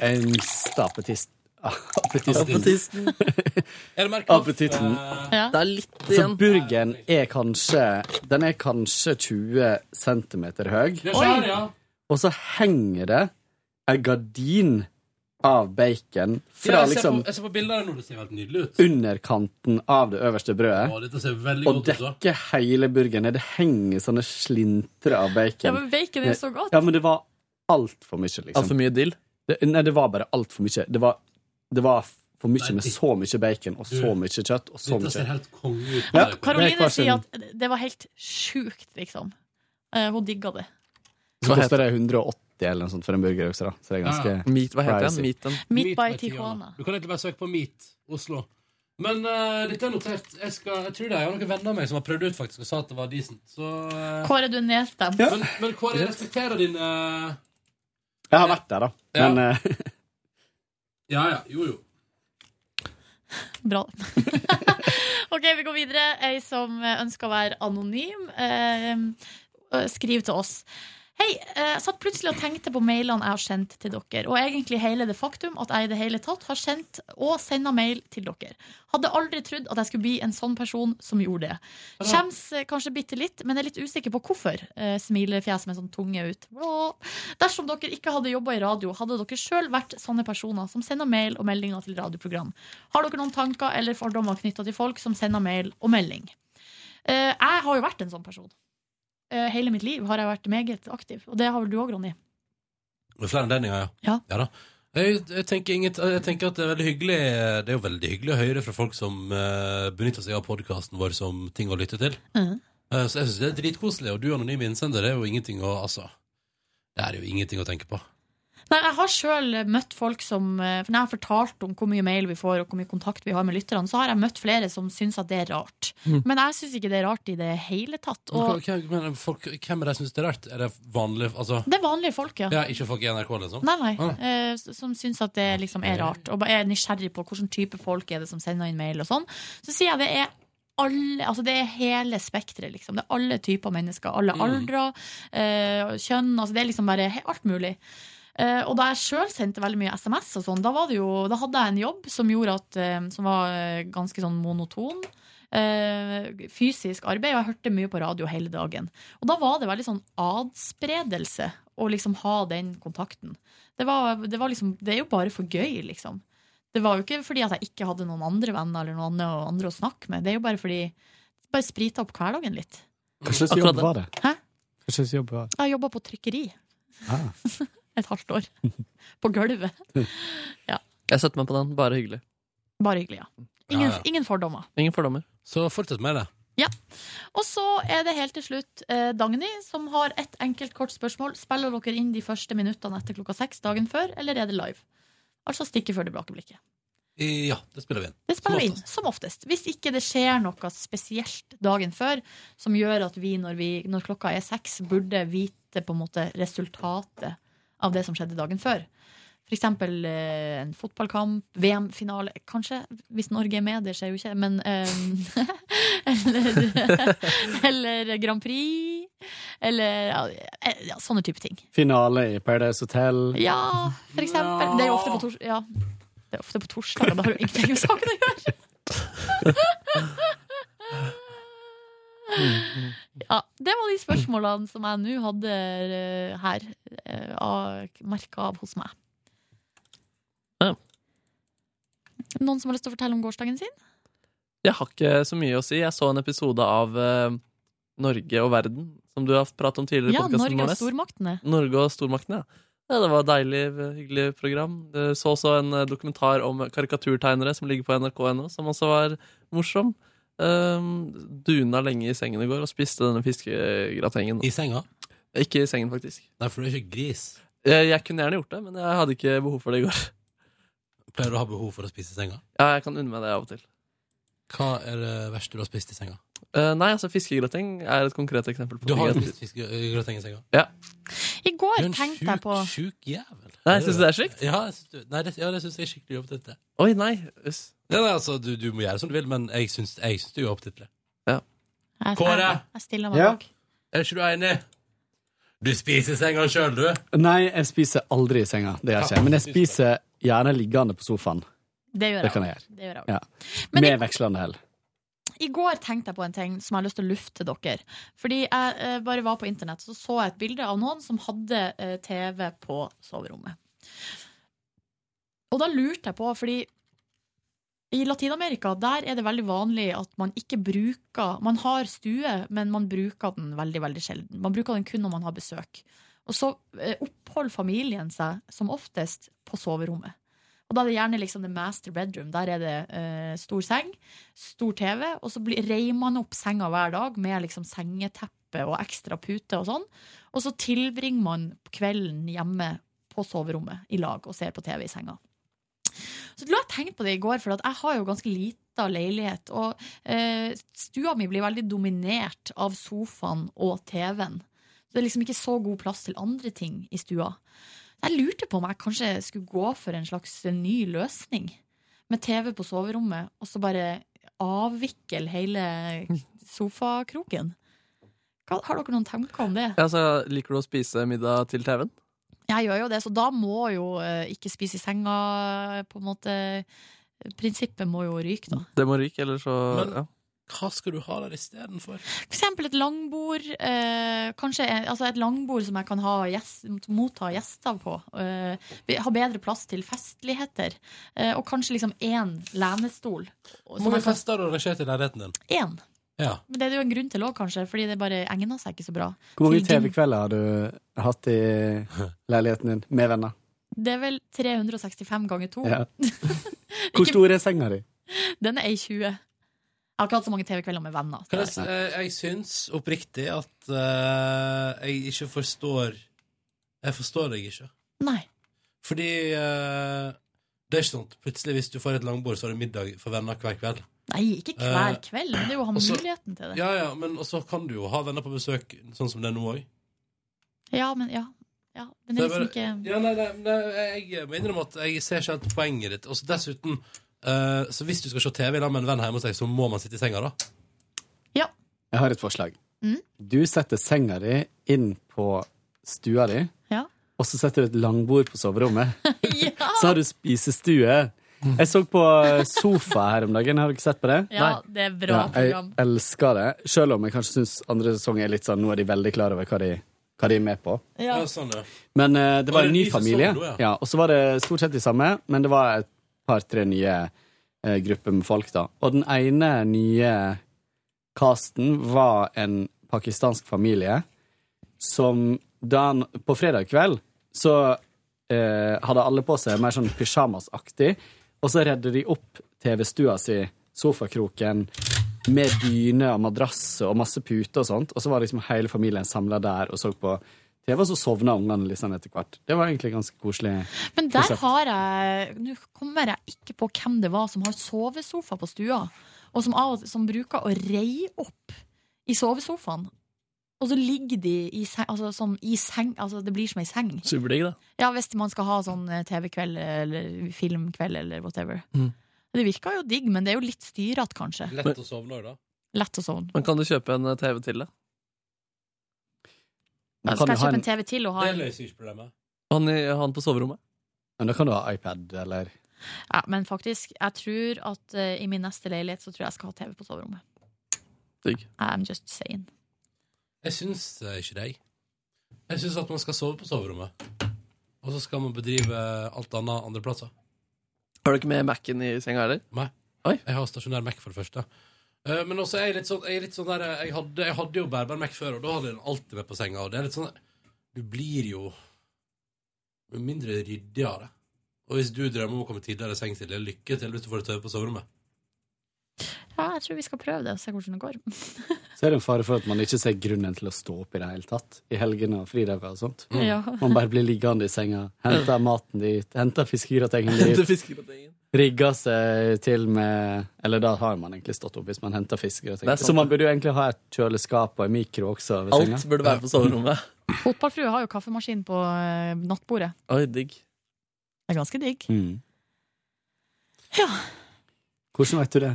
Speaker 14: jeg mista appetist... Appetisten.
Speaker 2: Er det merkelig? Eh,
Speaker 14: Appetitten.
Speaker 3: Ja.
Speaker 4: Det er litt
Speaker 14: Så Altså, burgeren er kanskje Den er kanskje 20 cm høy.
Speaker 2: Ja, så her, ja.
Speaker 14: Og så henger det ei gardin av bacon
Speaker 2: Ja,
Speaker 14: fra
Speaker 2: jeg, ser
Speaker 14: liksom
Speaker 2: på, jeg ser på bilder her nå, det ser helt nydelig ut.
Speaker 14: underkanten av det øverste brødet.
Speaker 2: Å, dette ser veldig
Speaker 14: Og
Speaker 2: godt ut. da.
Speaker 14: dekker hele burgeren. Det henger sånne slintre av bacon.
Speaker 3: Ja, men bacon er jo så godt.
Speaker 14: Ja, men det var altfor mye, liksom.
Speaker 4: Altfor mye dill?
Speaker 14: Nei, det var bare altfor mye. Det var, det var for mye med så mye bacon og så mye kjøtt og så
Speaker 2: Dette ser
Speaker 14: mye
Speaker 2: helt konge ut. Det
Speaker 14: sånn Ja.
Speaker 2: er-
Speaker 14: Det er
Speaker 3: Karoline
Speaker 14: hver sin.
Speaker 3: sier at det var helt sjukt, liksom. Eh, hun digga det.
Speaker 14: Så koster det 180 eller noe sånt for en burger også, da. Så det er ganske
Speaker 2: Ja. Meat, hva heter den? Meat, den?
Speaker 3: Meat by
Speaker 2: by Tijuana. Du kan egentlig bare søke på Meat Oslo. Men eh, dette er notert. Jeg, skal, jeg tror det er jeg har noen venner av meg som har prøvd ut faktisk og sa at det var decent. Så, eh,
Speaker 3: Kåre, du er nedstemt.
Speaker 2: Men, men Kåre, jeg respekterer din eh,
Speaker 14: Jeg har vært der, da.
Speaker 2: Ja.
Speaker 14: Men eh,
Speaker 2: Ja ja, jo jo.
Speaker 3: Bra. Ok, vi går videre. Ei som ønsker å være anonym, eh, skriv til oss. Hei, eh, satt plutselig og tenkte på mailene jeg har sendt til dere, og egentlig hele det faktum at jeg i det hele tatt har sendt og senda mail til dere. Hadde aldri trodd at jeg skulle bli en sånn person som gjorde det. Skjems eh, kanskje bitte litt, men er litt usikker på hvorfor. Eh, smilefjes med sånn tunge ut. Blå. Dersom dere ikke hadde jobba i radio, hadde dere sjøl vært sånne personer som sender mail og meldinger til radioprogram. Har dere noen tanker eller fordommer knytta til folk som sender mail og melding? Eh, jeg har jo vært en sånn person. Eh, hele mitt liv har jeg vært meget aktiv, og det har vel du òg, Ronny?
Speaker 2: Med flere anledninger, ja.
Speaker 3: Ja.
Speaker 2: da. Jeg, jeg, tenker inget, jeg tenker at det er veldig hyggelig Det er jo veldig hyggelig å høre fra folk som eh, benytter seg av podkasten vår som ting å lytte til.
Speaker 3: Mhm.
Speaker 2: Eh, så jeg syns det er dritkoselig. Og du anonyme innsender er jo ingenting å Altså, det er jo ingenting å tenke på.
Speaker 3: Nei, Jeg har sjøl møtt folk som eh, For når jeg har fortalt om hvor mye mail vi får, og hvor mye kontakt vi har med lytterne, så har jeg møtt flere som syns at det er rart.
Speaker 2: Mm.
Speaker 3: Men jeg syns ikke det er rart i det hele tatt.
Speaker 2: Men hva-
Speaker 3: Og
Speaker 2: hvem, men folk, hvem er det som syns det er rart? Er det vanlige altså,
Speaker 3: det er vanlige folk, ja.
Speaker 2: ja, Ikke folk i NRK, liksom?
Speaker 3: Nei, nei.
Speaker 2: Ah,
Speaker 3: eh, s- som syns at det liksom er rart, og ba- er nysgjerrig på hvilken type folk er det som sender inn mail og sånn. Så sier jeg det er alle, altså det er hele spekteret, liksom. Det er alle typer mennesker. Alle
Speaker 13: Mm.
Speaker 3: aldre, eh, kjønn. Altså det er liksom bare he- alt mulig. Eh, og da jeg sjøl sendte veldig mye SMS, og sånn, da, var det jo, da hadde jeg en jobb som gjorde at eh, Som var eh, ganske sånn monoton. eh, fysisk arbeid, og jeg hørte mye på radio hele dagen. Og da var det veldig sånn adspredelse å liksom ha den kontakten. Det, var, det, var liksom, det er jo bare for gøy, liksom. Det var jo ikke fordi at jeg ikke hadde noen andre venner eller noen andre, andre å snakke med. Det er jo bare fordi Bare sprita opp hverdagen litt.
Speaker 14: Hva slags jobb var det?
Speaker 3: Hæ?
Speaker 14: Hva slags jobb var det?
Speaker 3: Jeg har jobba på trykkeri
Speaker 14: Ah.
Speaker 3: et halvt år. På gulvet.
Speaker 4: Jeg setter meg på den. Bare hyggelig.
Speaker 3: Bare hyggelig, ja. Ingen,
Speaker 4: Ja, ja.
Speaker 3: ingen fordommer.
Speaker 4: Ingen fordommer.
Speaker 2: Så fortsett med det.
Speaker 3: Ja. Og så er det helt til slutt eh, Dagny som har et enkelt, kort spørsmål. Spiller dere inn de første minuttene etter klokka seks dagen før, eller er det live? Altså stikke før det blake blikket.
Speaker 2: Ja, det spiller vi inn.
Speaker 3: Det spiller vi inn, som oftest. Hvis ikke det skjer noe spesielt dagen før som gjør at vi når, vi, når klokka er seks, burde vite på en måte resultatet av det som skjedde dagen før. For eksempel eh, en fotballkamp, VM-finale Kanskje, hvis Norge er med, det skjer jo ikke, men eh, eller, eller Grand Prix. Eller ja, eh, ja, sånne type ting.
Speaker 14: Finale i Paradise Hotel.
Speaker 3: Ja, for eksempel. Det er jo ofte på, tors ja. det er ofte på torsdag, og da har du ingenting med saken å gjøre. Ja, det var de spørsmålene som jeg nå hadde eh, her, uh, merka av hos meg. Noen som har lyst til å fortelle om gårsdagen sin?
Speaker 4: Jeg har ikke så mye å si. Jeg så en episode av eh, Norge og verden, som du har pratet om tidligere. i
Speaker 3: Ja,
Speaker 4: podcasten,
Speaker 3: Norge og
Speaker 4: Nordnes.
Speaker 3: stormaktene.
Speaker 4: Norge og stormaktene, ja. ja. Det var et deilig, hyggelig program. Jeg så også en eh, dokumentar om karikaturtegnere som ligger på nrk.no, som også var morsom. Um, duna lenge i sengen i går og spiste denne fiskegratengen.
Speaker 2: I senga?
Speaker 4: Ikke i sengen, faktisk. Eh,
Speaker 2: Nei, for du er ikke gris.
Speaker 4: Jeg, jeg kunne gjerne gjort det, men jeg hadde ikke behov for det i går.
Speaker 2: Pleier du å ha behov for å spise i senga?
Speaker 4: Ja, jeg kan unne meg det av og til.
Speaker 2: Hva er det verste du har spist i senga?
Speaker 4: Eh, nei, altså fiskegrateng er et konkret eksempel på
Speaker 2: Du har
Speaker 4: ting jeg-
Speaker 2: spist fiskegrateng i senga?
Speaker 4: Ja.
Speaker 3: I går
Speaker 2: Du er en
Speaker 3: tenkte jeg på
Speaker 2: Sjuk jævel.
Speaker 4: Nei, syns du det er sjukt?
Speaker 2: Ja, jeg synes, du- nei, det, ja, det syns jeg er skikkelig uopptittelig.
Speaker 4: Oi, nei. Uss.
Speaker 2: Ja, nei, altså, du, du må gjøre som du vil, men jeg syns, jeg syns du er uopptittelig.
Speaker 4: Ja.
Speaker 3: Jeg-
Speaker 2: Kåre!
Speaker 3: Jeg stiller meg
Speaker 2: Ja?
Speaker 3: bak.
Speaker 2: Er ikke du enig? Du spiser i senga sjøl, du.
Speaker 14: Nei, jeg spiser aldri i senga. Det gjør jeg ikke. Men jeg spiser gjerne liggende på sofaen.
Speaker 3: Det gjør jeg
Speaker 14: Det kan jeg
Speaker 3: også. Det gjør jeg
Speaker 14: Ja. Med vekslende hell.
Speaker 3: I går tenkte jeg på en ting som jeg har lyst til å lufte dere. Fordi jeg eh, bare var på internett, så så jeg et bilde av noen som hadde eh, TV på soverommet. Og da lurte jeg på, fordi i Latin-Amerika der er det veldig vanlig at man ikke bruker Man har stue, men man bruker den veldig veldig sjelden. Man bruker den kun når man har besøk. Og så eh, oppholder familien seg som oftest på soverommet. Og da er det gjerne liksom the master bedroom. Der er det eh, stor seng, stor TV, og så blir, reier man opp senga hver dag med liksom sengeteppe og ekstra pute og sånn. Og så tilbringer man kvelden hjemme på soverommet i lag og ser på TV i senga. Så la jeg tenke på det i går, for at jeg har jo ganske lita leilighet. Og eh, stua mi blir veldig dominert av sofaen og TV-en. Så det er liksom ikke så god plass til andre ting i stua. Jeg lurte på om jeg kanskje skulle gå for en slags ny løsning. Med TV på soverommet, og så bare avvikle hele sofakroken. Hva, har dere noen tanker om det?
Speaker 4: Ja, så Liker du å spise middag til TV-en?
Speaker 3: Jeg gjør jo det, så da må jo eh, ikke spise i senga, på en måte. Prinsippet må jo ryke, da.
Speaker 4: Det må ryke, eller så
Speaker 2: Men-
Speaker 4: ja.
Speaker 2: Hva skal du ha der istedenfor?
Speaker 3: For eksempel et langbord, eh, kanskje eh, altså et langbord som jeg kan ha gjest, motta gjester på. Eh, be- ha bedre plass til festligheter. Eh, og kanskje liksom én lenestol. og-
Speaker 2: Hvor
Speaker 3: som
Speaker 2: mange
Speaker 3: jeg kan-
Speaker 2: fester har du arrangert i leiligheten din?
Speaker 3: Én.
Speaker 2: Ja.
Speaker 3: Men det er det jo en grunn til òg, kanskje, fordi det bare egner seg ikke så bra.
Speaker 14: Hvor mange
Speaker 3: Til din-
Speaker 14: TV-kvelder har du hatt i leiligheten din med venner?
Speaker 3: Det er vel 365 ganger to.
Speaker 14: Ja. Hvor stor er senga di?
Speaker 3: Den er ei 20. Jeg har ikke hatt så mange TV-kvelder med venner.
Speaker 2: Kan jeg, s- eh, jeg syns oppriktig at eh, jeg ikke forstår Jeg forstår deg ikke.
Speaker 3: Nei.
Speaker 2: Fordi eh, det er ikke sånn at plutselig hvis du får et langbord, så har du middag for venner hver kveld.
Speaker 3: Nei, ikke hver
Speaker 2: Eh,
Speaker 3: kveld, men det er jo å ha
Speaker 2: og så-
Speaker 3: muligheten til det.
Speaker 2: Ja, ja, men også kan du jo ha venner på besøk sånn som det er nå òg.
Speaker 3: Ja, men ja. ja men det er liksom ikke
Speaker 2: ja, nei, nei, nei, Jeg må innrømme at jeg ser ikke helt poenget ditt. Og så dessuten, eh, så hvis du skal se TV sammen med en venn hjemme hos deg, så må man sitte i senga, da.
Speaker 14: Jeg har et forslag.
Speaker 3: Mm.
Speaker 14: Du setter senga di inn på stua di,
Speaker 3: Ja.
Speaker 14: og så setter du et langbord på soverommet. Så har du spisestue. Jeg så på Sofa her om dagen, har du ikke sett på det?
Speaker 3: Ja, det er bra program.
Speaker 14: Jeg elsker det, selv om jeg kanskje syns andre sesong er litt sånn, nå er de veldig klar over hva de, hva de er med på.
Speaker 3: Ja.
Speaker 2: sånn, ja.
Speaker 14: Men eh, det
Speaker 2: Var
Speaker 14: var
Speaker 2: det en
Speaker 14: en
Speaker 2: ny
Speaker 14: ny
Speaker 2: sesong
Speaker 14: familie,
Speaker 2: nå, ja?
Speaker 14: ja, og så var det stort sett de samme, men det var et par-tre nye eh, grupper med folk, da. Og den ene nye casten var en pakistansk familie som da han- På fredag kveld så eh, hadde alle på seg mer sånn pysjamasaktig, og så redde de opp TV-stua si, sofakroken, med dyne og madrass og masse puter og sånt, og så var liksom hele familien samla der og så på TV, og så sovna ungene litt sånn etter hvert. Det var egentlig ganske koselig.
Speaker 3: Men der
Speaker 14: konsept.
Speaker 3: har jeg Nå kommer jeg ikke på hvem det var som har sovesofa på stua, og som, av, og- som bruker å reie opp i sovesofaen. Og så ligger de i seng, altså, sånn, i seng altså, Det blir som ei seng.
Speaker 4: Superdigg, da.
Speaker 3: Ja, Hvis man skal ha sånn eh, TV-kveld eller filmkveld eller whatever.
Speaker 4: Mm.
Speaker 3: Det virker jo digg, men det er jo litt styrete, kanskje.
Speaker 2: Lett å sovne òg, da.
Speaker 3: Lett å sovne.
Speaker 4: Men kan du kjøpe en eh, TV til, da?
Speaker 14: Man
Speaker 3: Skal jeg kjøpe en TV til og ha en
Speaker 2: løser ikke problemet.
Speaker 4: Han, i- han på soverommet?
Speaker 14: Men da kan du ha iPad, eller
Speaker 3: ja, Men faktisk, jeg tror at eh, i min neste leilighet så tror jeg jeg skal ha TV på soverommet.
Speaker 4: Digg.
Speaker 3: I'm just saying.
Speaker 2: Jeg syns eh, ikke det, jeg. Jeg syns at man skal sove på soverommet. Og så skal man bedrive eh, alt annet andre plasser.
Speaker 4: Har du ikke med Mac-en i senga, eller?
Speaker 2: Nei. Jeg har stasjonær Mac, for det første. Eh, Men også er jeg litt sånn, jeg er litt sånn der eh, jeg hadde, jeg hadde jo bærbar Mac før, og da hadde jeg den alltid med på senga. Og det er litt sånn Du blir jo mindre ryddig av det. Og hvis du drømmer om å komme tidligere i seng til det, lykke til hvis du får det tøyet på soverommet.
Speaker 3: Ja, jeg tror vi skal prøve det og se hvordan det går.
Speaker 14: Så er det en fare for at man ikke ser grunnen til å stå opp i det hele tatt. I helgene og fridager og sånt.
Speaker 3: Mm. Ja.
Speaker 14: Man bare blir liggende i senga, henter maten dit, henter fiskegratengen dit. Rigger seg til med Eller da har man egentlig stått opp hvis man henter
Speaker 4: Det er
Speaker 14: fiskegratengen.
Speaker 4: sant.
Speaker 14: Så man burde jo egentlig ha et kjøleskap og en mikro også ved senga.
Speaker 4: Alt burde være på soverommet.
Speaker 3: Fotballfrue har jo kaffemaskin på eh, nattbordet.
Speaker 4: Oi, digg.
Speaker 3: Det er ganske digg.
Speaker 14: Mm. Hvordan vet du det?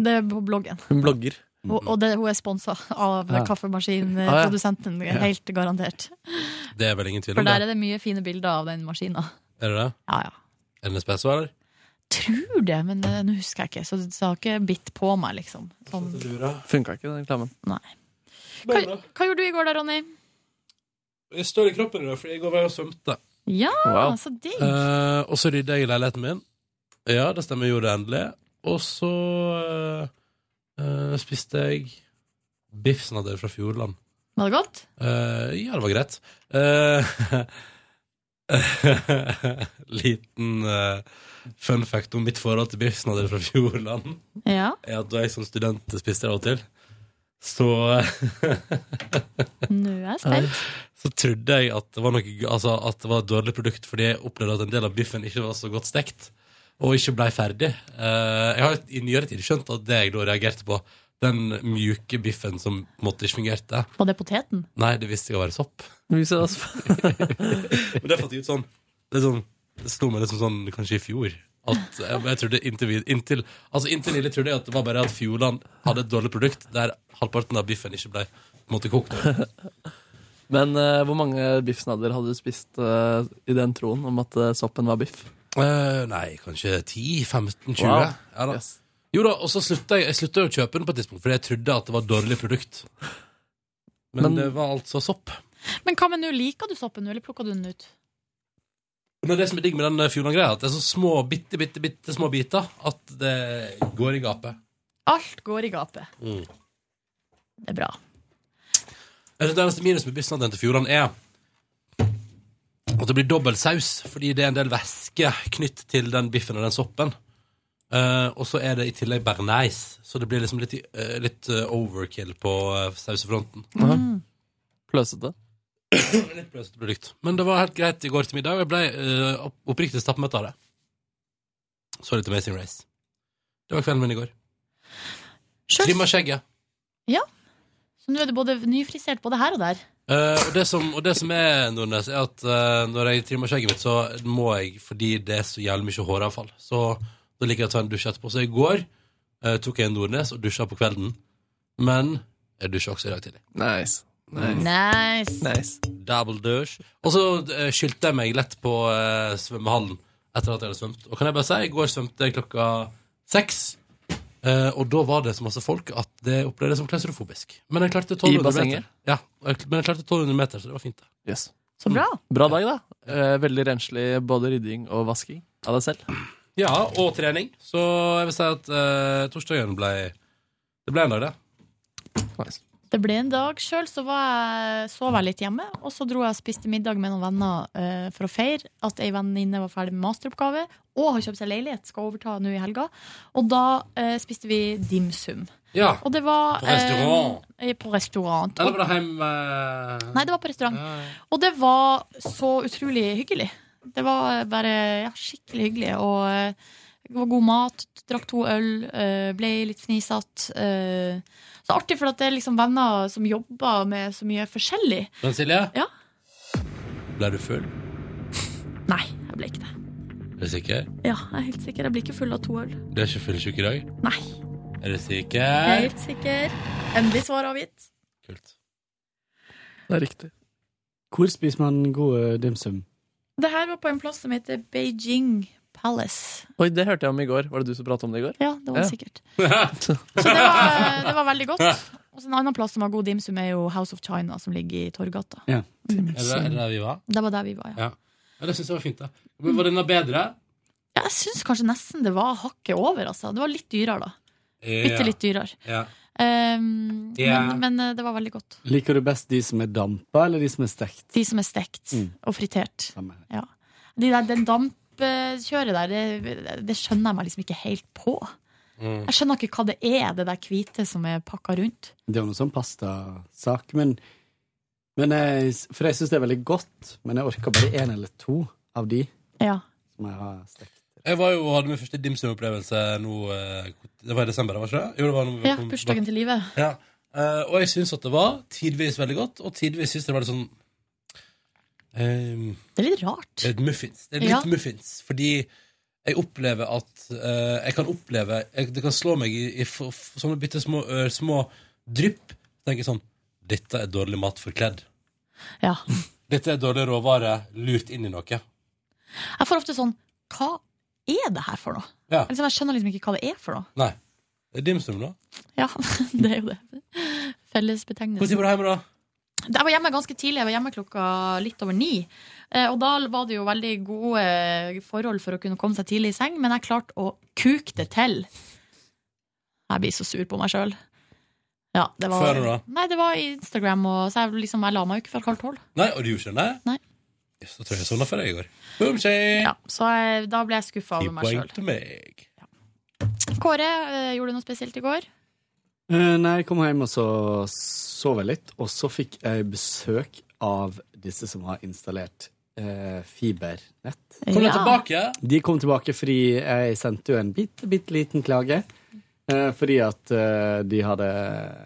Speaker 3: Det er på bloggen.
Speaker 4: Hun blogger.
Speaker 3: Og, og det, hun er sponsa av
Speaker 2: Ja.
Speaker 3: kaffemaskinprodusenten,
Speaker 2: Ja.
Speaker 3: helt garantert.
Speaker 2: Det er vel ingen tvil
Speaker 3: For
Speaker 2: om
Speaker 3: der
Speaker 2: det.
Speaker 3: er det mye fine bilder av den maskina.
Speaker 2: Er det det?
Speaker 3: Ja, ja.
Speaker 2: Er det espresso, eller?
Speaker 3: Tror det, men eh, nå husker jeg ikke. Så det har ikke bitt på meg, liksom. Sånn.
Speaker 4: Funka ikke den reklamen.
Speaker 3: Nei. Hva, hva gjorde du i går da, Ronny?
Speaker 2: Jeg står i kroppen i dag, fordi jeg går vei og svømte.
Speaker 3: Ja,
Speaker 2: Wow.
Speaker 3: så digg!
Speaker 2: Eh, og så rydder jeg i leiligheten min. Ja, det stemmer, jeg gjorde det endelig. Og så eh, eh, spiste jeg biffsnadder fra Fjordland.
Speaker 3: Var det godt?
Speaker 2: Eh, ja, det var greit. Eh, liten eh, fun fact om mitt forhold til biffsnadder fra Fjordland
Speaker 3: Ja.
Speaker 2: er at da jeg som student spiste det av og til, så
Speaker 3: Nå er jeg spent.
Speaker 2: Så trodde jeg at det var, noe, altså, at det var et dårlig produkt, fordi jeg opplevde at en del av biffen ikke var så godt stekt, og ikke blei ferdig. Eh, jeg har i nyere tid skjønt at det jeg da reagerte på, den mjuke biffen som på en måte ikke fungerte
Speaker 3: Var det poteten?
Speaker 2: Nei, det visste jeg å være sopp.
Speaker 4: Vi ser oss.
Speaker 2: Men det fant jeg ut liksom sånn Det, er sånn, det slo meg litt som sånn kanskje i fjor. at jeg, jeg trodde inntil, vi- inntil, altså inntil nylig trodde jeg at det var bare at Fjordland hadde et dårlig produkt der halvparten av biffen ikke ble på en måte kokt.
Speaker 4: Men eh, hvor mange biffsnadder hadde du spist eh, i den troen om at eh, soppen var biff?
Speaker 2: Eh, nei, kanskje 10-15-20.
Speaker 4: Wow.
Speaker 2: Ja, da. Jo da, og så slutta jeg, jeg slutta jo å kjøpe den på et tidspunkt fordi jeg trodde at det var et dårlig produkt. Men,
Speaker 4: Men-
Speaker 2: det var altså sopp.
Speaker 3: Men hva med nå? Liker du soppen nå, eller plukker du den ut?
Speaker 2: Men det som er digg med den eh, Fjordland-greia, er at det er så små, bitte, bitte, bitte små biter at det går i gapet.
Speaker 3: Alt går i gapet.
Speaker 2: Mm.
Speaker 3: Det er bra.
Speaker 2: Det eneste minus med biffsnadden til Fjordland er at det blir dobbel saus, fordi det er en del væske knytt til den biffen og den soppen. Eh, og så er det i tillegg bearnés, så det blir liksom litt, i- eh, litt eh, overkill på eh, sausefronten.
Speaker 4: Pløsete?
Speaker 2: litt pløsete produkt. Men det var helt greit i går til middag, og jeg ble eh, opp- oppriktig stappmøtt av det. Så litt Amazing Race. Det var kvelden min i går. Trimma skjegget.
Speaker 3: Ja. Så nå er du både nyfrisert både her og der.
Speaker 2: Eh, og, det som, og det som er, Nordnes, er at eh, når jeg trimmer skjegget mitt, så må jeg, fordi det er så jævlig mye håravfall, så da liker jeg å ta en dusj etterpå. Så i går eh, tok jeg en Nordnes og dusja på kvelden, men jeg dusja også i dag tidlig.
Speaker 4: Nice.
Speaker 3: Nice.
Speaker 2: Double douche. Og så eh, skyldte jeg meg lett på eh, svømmehallen etter at jeg hadde svømt. Og kan jeg bare si, i går svømte jeg klokka seks. eh, og da var det så masse folk at det opplevdes som klaustrofobisk. Men jeg klarte 1200
Speaker 4: bassenget?
Speaker 2: meter. Ja, og jeg- men jeg klarte 1200 meter, så det var fint. det.
Speaker 4: Yes.
Speaker 3: Så bra.
Speaker 4: Bra dag, da. Eh, veldig renslig både rydding og vasking av deg selv.
Speaker 2: Ja, og trening. Så jeg vil si at eh, torsdagen ble Det ble en dag, det.
Speaker 3: Det ble en dag sjøl, så var jeg, sov jeg litt hjemme. Og så dro jeg og spiste middag med noen venner eh, for å feire at ei venninne var ferdig med masteroppgave og har kjøpt seg leilighet, skal overta nå i helga. Og da eh, spiste vi dimsum.
Speaker 2: Ja.
Speaker 3: Og det var
Speaker 2: På restaurant.
Speaker 3: eh, på restaurant.
Speaker 2: Eller var det eh, hjem
Speaker 3: Nei, det var på restaurant. Og det var så utrolig hyggelig. Det var bare ja, skikkelig hyggelig. Og eh, det var god mat, drakk to øl, eh, ble litt fnisete. eh. Så artig, for at det er liksom venner som jobber med så mye forskjellig.
Speaker 2: Men Silje,
Speaker 3: Ja.
Speaker 2: ble du full?
Speaker 3: Nei, jeg ble ikke det.
Speaker 2: Er du sikker?
Speaker 3: Ja, jeg er helt sikker. Jeg blir ikke full av to øl.
Speaker 2: Du er ikke fullsjuk i dag?
Speaker 3: Nei.
Speaker 2: Er du
Speaker 3: Jeg er
Speaker 2: sikker?
Speaker 3: helt sikker. Endelig svar avgitt.
Speaker 4: Det er riktig.
Speaker 14: Hvor spiser man god eh, dimsum?
Speaker 3: Det her var på en plass som heter Beijing Palace.
Speaker 4: Oi, det hørte jeg om i går. Var det du som pratet om det i går?
Speaker 3: Ja, det var det sikkert.
Speaker 4: Så
Speaker 3: det var, det var veldig godt. Og så En annen plass som har god dimsum, er jo House of China, som ligger i Torgata.
Speaker 14: Ja.
Speaker 2: Er det, er det der vi var?
Speaker 3: Det var der vi var, ja.
Speaker 2: Ja. ja det syns jeg var fint, da. Men var denne bedre?
Speaker 3: ja jeg syns kanskje nesten det var hakket over, altså. Det var litt dyrere, da. Bitte litt dyrere.
Speaker 2: Ja.
Speaker 3: Ehm,
Speaker 14: Ja.
Speaker 3: men, men eh, det var veldig godt.
Speaker 14: Liker du best de som er dampa, eller de som er stekt?
Speaker 3: De som er stekt
Speaker 14: Mm.
Speaker 3: og fritert.
Speaker 14: Samme her.
Speaker 3: Ja. De der, den dampkjøret der, det, det skjønner jeg meg liksom ikke helt på. Jeg skjønner ikke hva det er, det der hvite som er pakka rundt.
Speaker 14: Det er jo noe sånn pastasak, men, men jeg, For jeg syns det er veldig godt, men jeg orker bare én eller to av de
Speaker 3: Ja.
Speaker 14: som jeg har stekt.
Speaker 2: Jeg var jo, hadde min første dimsum-opplevelse nå eh, Det var i desember, var ikke det? Jo, det var når vi
Speaker 3: Ja,
Speaker 2: kom-
Speaker 3: bursdagen til livet.
Speaker 2: Ja. Eh, og jeg syns at det var tidvis veldig godt, og tidvis syns jeg det var litt sånn ehm,
Speaker 3: Det er litt rart.
Speaker 2: Det er et muffins. Det er litt
Speaker 3: Ja.
Speaker 2: muffins fordi jeg opplever at eh, Jeg kan oppleve jeg, Det kan slå meg i, i f f sånne bitte små, ø, små drypp. Tenker sånn Dette er dårlig mat forkledd.
Speaker 3: Ja.
Speaker 2: Dette er dårlig råvare lurt inn i noe.
Speaker 3: Jeg får ofte sånn Hva er det her for noe?
Speaker 2: Ja.
Speaker 3: Liksom, jeg skjønner liksom ikke hva det er for noe.
Speaker 2: Nei. Det er dimsum, da.
Speaker 3: Ja, det er jo det.
Speaker 2: Hvor tid
Speaker 3: Fellesbetegnelse.
Speaker 2: var du hjemme, da?
Speaker 3: Jeg var hjemme ganske tidlig. Jeg var hjemme klokka litt over ni. Eh, Og da var det jo veldig gode eh, forhold for å kunne komme seg tidlig i seng, men jeg klarte å kuke det til. Jeg blir så sur på meg sjøl. Ja, det var,
Speaker 2: Før da?
Speaker 3: Nei, det var Instagram, og så jeg, liksom, jeg la meg jo ikke før halv tolv.
Speaker 2: Nei, og du gjorde ikke det?
Speaker 3: Nei.
Speaker 2: Yes, Da tror jeg jeg sovna før deg i går. Boom, shake.
Speaker 3: Ja, så jeg, da ble jeg skuffa
Speaker 2: Ti
Speaker 3: over meg
Speaker 2: poeng
Speaker 3: sjøl.
Speaker 2: til meg.
Speaker 3: Kåre, eh, gjorde du noe spesielt i går?
Speaker 14: Eh, nei, jeg kom hjem og så sov jeg litt, og så fikk jeg besøk av disse som har installert eh, fibernett.
Speaker 2: Kom du tilbake?
Speaker 14: De kom tilbake fordi jeg sendte jo en bitte, bitte liten klage. eh, Fordi at eh, de hadde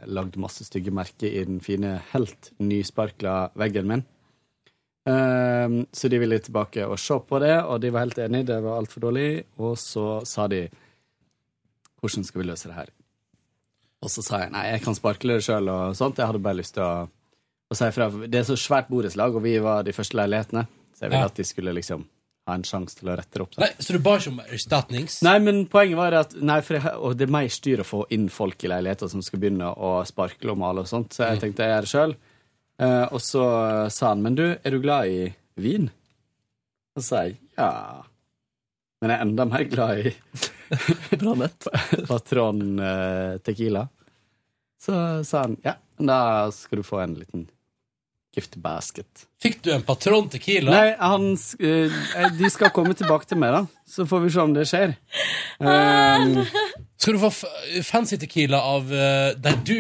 Speaker 14: lagd masse stygge merker i den fine, helt nysparkla veggen min. Ehm, så de ville tilbake og se på det, og de var helt enige, det var altfor dårlig. Og så sa de hvordan skal vi løse det her? Og så sa jeg nei, jeg kan sparkle det sjøl og sånt, jeg hadde bare lyst til å, å si ifra. Det er så svært borettslag, og vi var de første leilighetene, så jeg ville
Speaker 2: Ja.
Speaker 14: at de skulle liksom ha en sjanse til å rette det opp.
Speaker 2: Nei, så du ba ikke om erstatnings?
Speaker 14: Nei, men poenget var at nei, for jeg, og det er mer styr å få inn folk i leiligheter som skal begynne å sparkle og male og sånt, så jeg tenkte jeg gjør det sjøl. og så sa han men du, er du glad i vin? Og så sa jeg ja. Men jeg er enda mer glad i Patron eh, Tequila. Så sa han ja, men da skal du få en liten gift basket.
Speaker 2: Fikk du en patron tequila?
Speaker 14: Nei, han, sk- eh, de skal komme tilbake til meg, da. Så får vi se om det skjer. Um,
Speaker 2: Skal du få f- fancy tequila av eh, Nei, du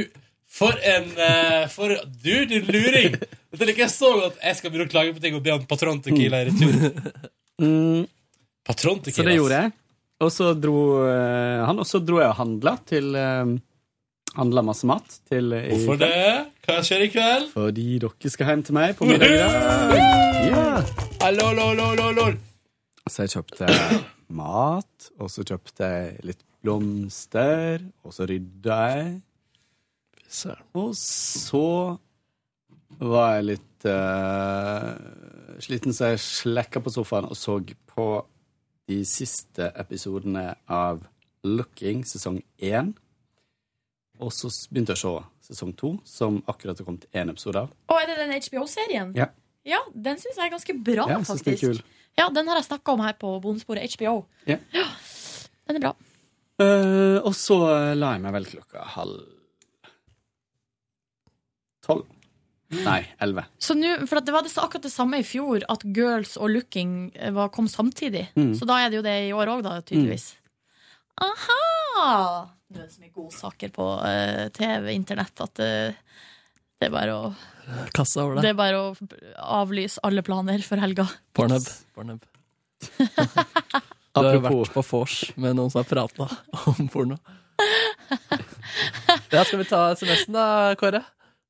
Speaker 2: For en eh, for, Du, din luring! Dette liker jeg så godt. Jeg skal begynne å klage på ting og be om patron tequila i retur.
Speaker 14: mm,
Speaker 2: Patron tequila.
Speaker 14: så det gjorde jeg. Og så dro eh, han, og så dro jeg og handla til eh, Handla masse mat til eh, i-
Speaker 2: Hvorfor det? Hva skjer i kveld?
Speaker 14: Fordi dere skal hjem til meg på middag. Ja.
Speaker 2: Hallo, hallo, hallo, hallo, hallo.
Speaker 14: Så jeg kjøpte mat, og så kjøpte jeg litt blomster, og så rydda jeg. Og så var jeg litt eh, sliten, så jeg slekka på sofaen og så på de siste episodene av Looking sesong én. Og så s- begynte jeg å se sesong to, som akkurat har kommet én episode av.
Speaker 3: Og er det den HBO-serien?
Speaker 14: Ja.
Speaker 3: Ja, den syns jeg er ganske bra,
Speaker 14: Ja, jeg synes den er
Speaker 3: faktisk.
Speaker 14: kul.
Speaker 3: Ja, den har jeg snakka om her på bondesporet HBO.
Speaker 14: Ja.
Speaker 3: Den er bra.
Speaker 14: Eh, og så la jeg meg vel klokka halv tolv. Nei, elleve.
Speaker 3: Så nå, for at Det var det, akkurat det samme i fjor, at Girls og Looking eh, var, kom samtidig.
Speaker 14: Mm.
Speaker 3: Så da er det jo det i år òg, tydeligvis. Aha! Nå er det så mye godsaker på eh, TV, internett, at eh, det er bare å
Speaker 4: Kassa over
Speaker 3: Det
Speaker 4: deg.
Speaker 3: er bare å avlyse alle planer for helga.
Speaker 4: Pornhub. Pornhub. Du har jo vært på vors med noen som har prata om porno. Ja, skal vi ta SMS-en da, Kåre?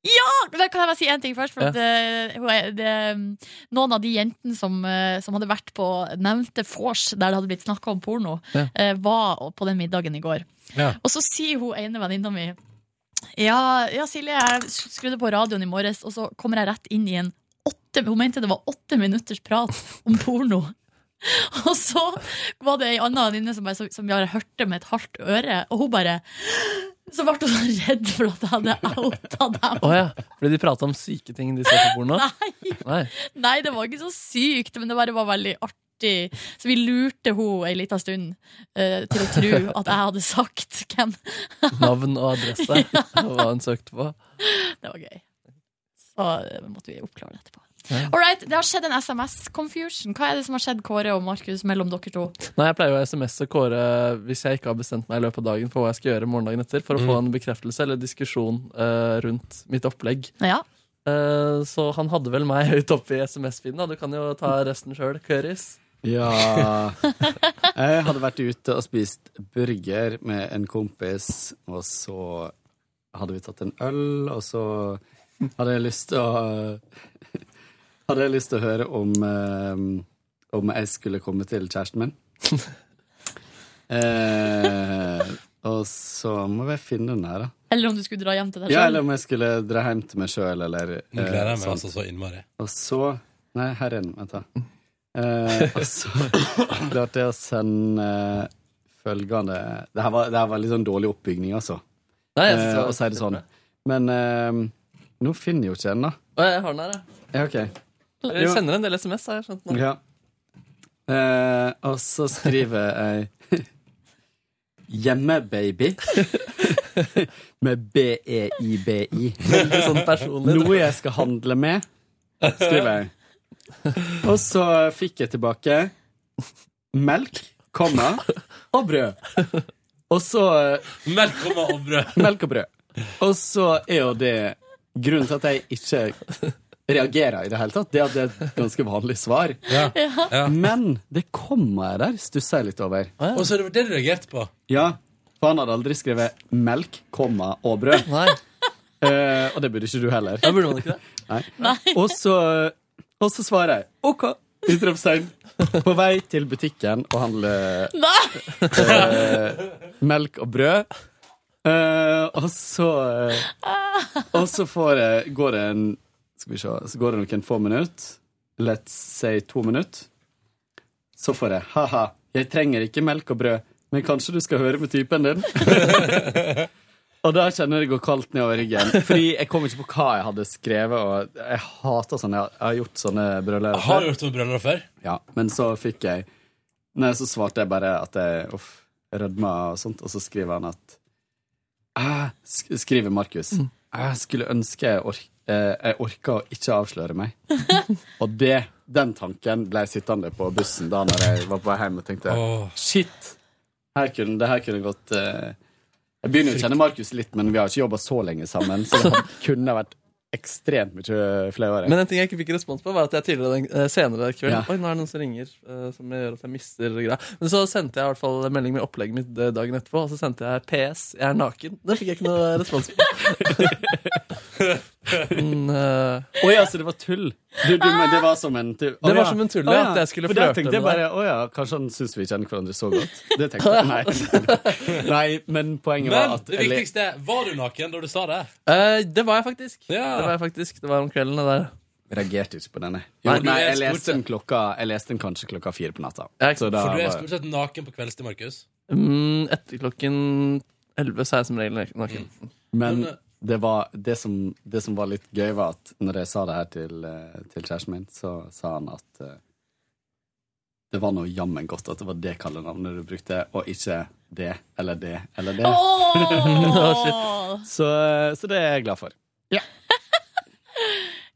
Speaker 3: Ja! Men kan jeg bare si én ting først? For
Speaker 4: Ja.
Speaker 3: at, eh, hun er- det, eh, noen av de jentene som, eh, som hadde vært på nevnte vors, der det hadde blitt snakka om porno,
Speaker 13: Ja.
Speaker 3: eh, var på den middagen i går.
Speaker 13: Ja.
Speaker 3: Og så sier hun ene venninna mi ja, ja, Silje, jeg skrudde på radioen i morges, og så kommer jeg rett inn i en åtte Hun mente det var åtte minutters prat om porno. Og så var det ei anna venninne som, bare- som- som jeg hørte med et halvt øre, og hun bare Så ble hun så redd for at jeg hadde outa dem.
Speaker 4: Å ja. Fordi de prata om syke ting de ser på porno?
Speaker 3: Nei.
Speaker 4: Nei.
Speaker 3: Nei, det var ikke så sykt, men det bare var veldig artig. Så vi lurte hun ei lita stund eh, til å tro at jeg hadde sagt hvem.
Speaker 4: Navn og adresse
Speaker 3: Ja.
Speaker 4: og hva hun søkte på.
Speaker 3: Det var gøy. Så eh, måtte vi oppklare det etterpå. All right, det har skjedd en SMS-confusion. Hva er det som har skjedd Kåre og Markus mellom dere to?
Speaker 4: Nei, jeg pleier å SMS-e Kåre hvis jeg ikke har bestemt meg i løpet av dagen for hva jeg skal gjøre morgendagen etter, for å få en bekreftelse eller diskusjon eh, rundt mitt opplegg. Eh, så han hadde vel meg høyt oppe i SMS-feeden. da. Du kan jo ta resten sjøl, Køris.
Speaker 14: Ja Jeg hadde vært ute og spist burger med en kompis, og så hadde vi tatt en øl, og så hadde jeg lyst til å Hadde jeg lyst til å høre om eh, Om jeg skulle komme til kjæresten min. Eh, og så må vi finne den her, da.
Speaker 3: Eller om du skulle dra hjem til deg
Speaker 14: Ja, eller
Speaker 3: sjøl?
Speaker 14: om jeg skulle dra hjem til meg sjøl, eller
Speaker 2: Nå
Speaker 14: eh,
Speaker 2: gleder jeg meg
Speaker 14: sånt.
Speaker 2: altså så innmari.
Speaker 14: Og så Nei, her er den. Vent, da. Eh, og så klarte jeg å sende eh, følgende Det her var, det her var litt sånn dårlig oppbygning, altså.
Speaker 4: Nei, jeg synes det
Speaker 14: Eh,
Speaker 4: var
Speaker 14: å si det sånn. Men eh, nå finner jeg jo ikke den, da.
Speaker 4: Å, jeg har den her, jeg.
Speaker 14: Ja, OK.
Speaker 4: Jeg sender en del SMS, har jeg skjønt nå.
Speaker 14: Ja. Eh, og så skriver jeg Hjemmebaby. med E B-E-I-B-I.
Speaker 4: Veldig sånn personlig.
Speaker 14: Noe jeg skal handle med, skriver jeg. Og så fikk jeg tilbake melk, komma, og brød. Og så eh,
Speaker 2: Melk, komma, og brød.
Speaker 14: Melk og brød. Og så er jo det Grunnen til at jeg ikke reagerer i det hele tatt, det er at det er et ganske vanlig svar. Men det kommaet der stusser jeg litt over.
Speaker 2: Og så er det det du reagerte på.
Speaker 14: Ja, for han hadde aldri skrevet melk, komma og brød.
Speaker 4: Nei.
Speaker 14: og det burde ikke du heller.
Speaker 4: Ja, burde man ikke det?
Speaker 14: Nei. Og så Og så svarer jeg OK! Utropstegn. På vei til butikken og handle eh, melk og brød. Eh, og så eh, Og så får jeg, går det en Skal vi se, så går det noen få minutter. Let's say to minutter. Så får jeg ha-ha, jeg trenger ikke melk og brød, men kanskje du skal høre med typen din? og da kjenner jeg det går kaldt nedover ryggen. Fordi jeg kom ikke på hva jeg hadde skrevet, og jeg hater sånne Jeg har gjort sånne brøler.
Speaker 2: Har du gjort noen brøller før?
Speaker 14: Ja, men så fikk jeg Nei, så svarte jeg bare at jeg uff, jeg rødma og sånt, og så skriver han at «Æ», sk Skriver Markus. "Ah, Jeg skulle ønske jeg, ork eh, jeg orka å ikke avsløre meg. og det, den tanken ble jeg sittende på bussen da når jeg var på vei hjem og tenkte shit, her kunne, det her kunne gått eh, Jeg begynner jo å kjenne Markus litt, men vi har ikke jobba så lenge sammen, så det kunne vært ekstremt mye flauere.
Speaker 4: Men en ting jeg ikke fikk respons på, var at jeg tidligere den, eh, senere den kvelden
Speaker 14: Ja.
Speaker 4: Oi, nå er det noen som ringer eh, som gjør at jeg mister greia. Men så sendte jeg i hvert fall en melding med opplegget mitt eh, dagen etterpå, og så sendte jeg PS. Jeg er naken. Det fikk jeg ikke noe respons på. Men, eh,
Speaker 14: Å ja, så det var tull? Du, du, men det var som en tull? Å
Speaker 4: Det var
Speaker 14: ja.
Speaker 4: som en tull,
Speaker 14: Å
Speaker 4: ja, at jeg skulle
Speaker 14: For da
Speaker 4: flørte med
Speaker 14: tenkte jeg bare, Å ja, kanskje han syns vi kjenner hverandre så godt. Det tenkte jeg. Nei, nei men poenget var
Speaker 2: Men
Speaker 14: at
Speaker 2: det viktigste er, var du naken da du sa det?
Speaker 4: eh, det var jeg faktisk.
Speaker 2: Ja.
Speaker 4: Det var jeg faktisk. Det var om kvelden, det der.
Speaker 14: Reagerte ikke på denne. Jo,
Speaker 4: Nei,
Speaker 14: nei,
Speaker 4: du er
Speaker 14: jeg,
Speaker 4: stort
Speaker 14: leste den klokka, jeg leste den kanskje klokka fire på natta.
Speaker 4: Jeg-
Speaker 14: Så da
Speaker 2: For du er
Speaker 14: var
Speaker 2: stort sett naken på kveldstid, Markus.
Speaker 4: Mm, etter klokken 11 så er jeg som regel naken.
Speaker 14: Men
Speaker 2: eh,
Speaker 14: det, var, det, som, det som var litt gøy, var at når jeg sa det her til, eh, til kjæresten min, så sa han at eh, det var noe jammen godt at det var det kallenavnet du brukte, og ikke det eller det eller det.
Speaker 3: Åh!
Speaker 14: så, så det er jeg glad for.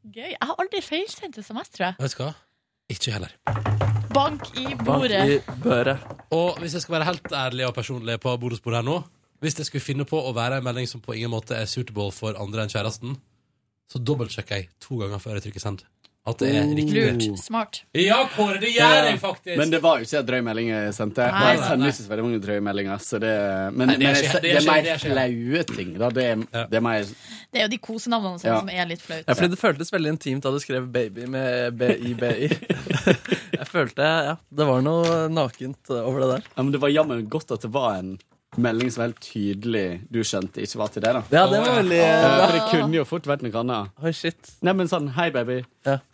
Speaker 3: Gøy. Jeg har aldri feilsendt SMS, tror jeg.
Speaker 2: Vet du hva? Ikke heller.
Speaker 3: Bank i bordet.
Speaker 2: Og hvis jeg skal være helt ærlig og personlig på bonusbordet her nå Hvis jeg skulle finne på å være en melding som på ingen måte er suitable for andre enn kjæresten, så dobbeltsjekker jeg to ganger før jeg trykker send. At det er riktig.
Speaker 3: Lurt. Smart.
Speaker 2: Oh. Ja, Kåre, det gjør jeg
Speaker 14: Ja.
Speaker 2: faktisk!
Speaker 14: Men det var jo ikke en drøy melding jeg sendte.
Speaker 2: Nei,
Speaker 14: Og jeg
Speaker 2: nei,
Speaker 14: sender
Speaker 2: nei.
Speaker 14: ikke så veldig mange drøye meldinger. Så det, men
Speaker 2: Nei,
Speaker 14: men
Speaker 2: det er
Speaker 14: jeg
Speaker 2: ikke-
Speaker 14: se-
Speaker 2: det
Speaker 14: det
Speaker 2: er
Speaker 14: er
Speaker 2: ikke-
Speaker 14: mer
Speaker 2: det er ikke-
Speaker 14: flaue ting. Da. Det, er, det er mer
Speaker 3: Det er jo de kosenavnene sånn,
Speaker 14: Ja.
Speaker 3: som er litt flaut.
Speaker 4: Ja, fordi det føltes veldig intimt da du skrev 'baby' med BIBI. jeg følte ja, det var noe nakent over det der.
Speaker 14: ja, men Det var jammen godt at det var en melding som helt tydelig du skjønte ikke var til deg. da
Speaker 4: Ja, det var veldig-
Speaker 14: Eh, For det kunne jo fort vært noe annet.
Speaker 4: Oi, shit.
Speaker 14: Nei, men sånn Hei, baby.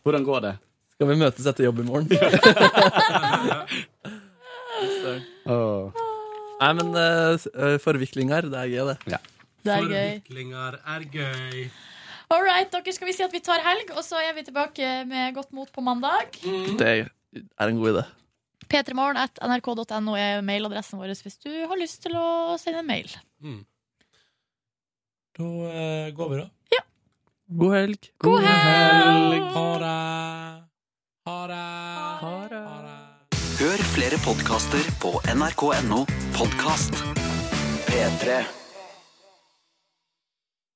Speaker 14: Hvordan går det?
Speaker 4: Skal vi møtes etter jobb i morgen?
Speaker 14: Åh.
Speaker 4: Nei, men uh, forviklinger, det er gøy, det.
Speaker 3: Det er gøy.
Speaker 2: Forviklinger er gøy.
Speaker 3: All right, dere skal vi si at vi tar helg, og så er vi tilbake med godt mot på mandag.
Speaker 4: Det er en god idé.
Speaker 3: P3morgen at nrk.no er mailadressen vår hvis du har lyst til å sende en mail.
Speaker 2: Da eh, går vi, da.
Speaker 4: God helg.
Speaker 3: God helg!
Speaker 2: Ha det!
Speaker 13: Hør flere podkaster på nrk.no podkast. P3.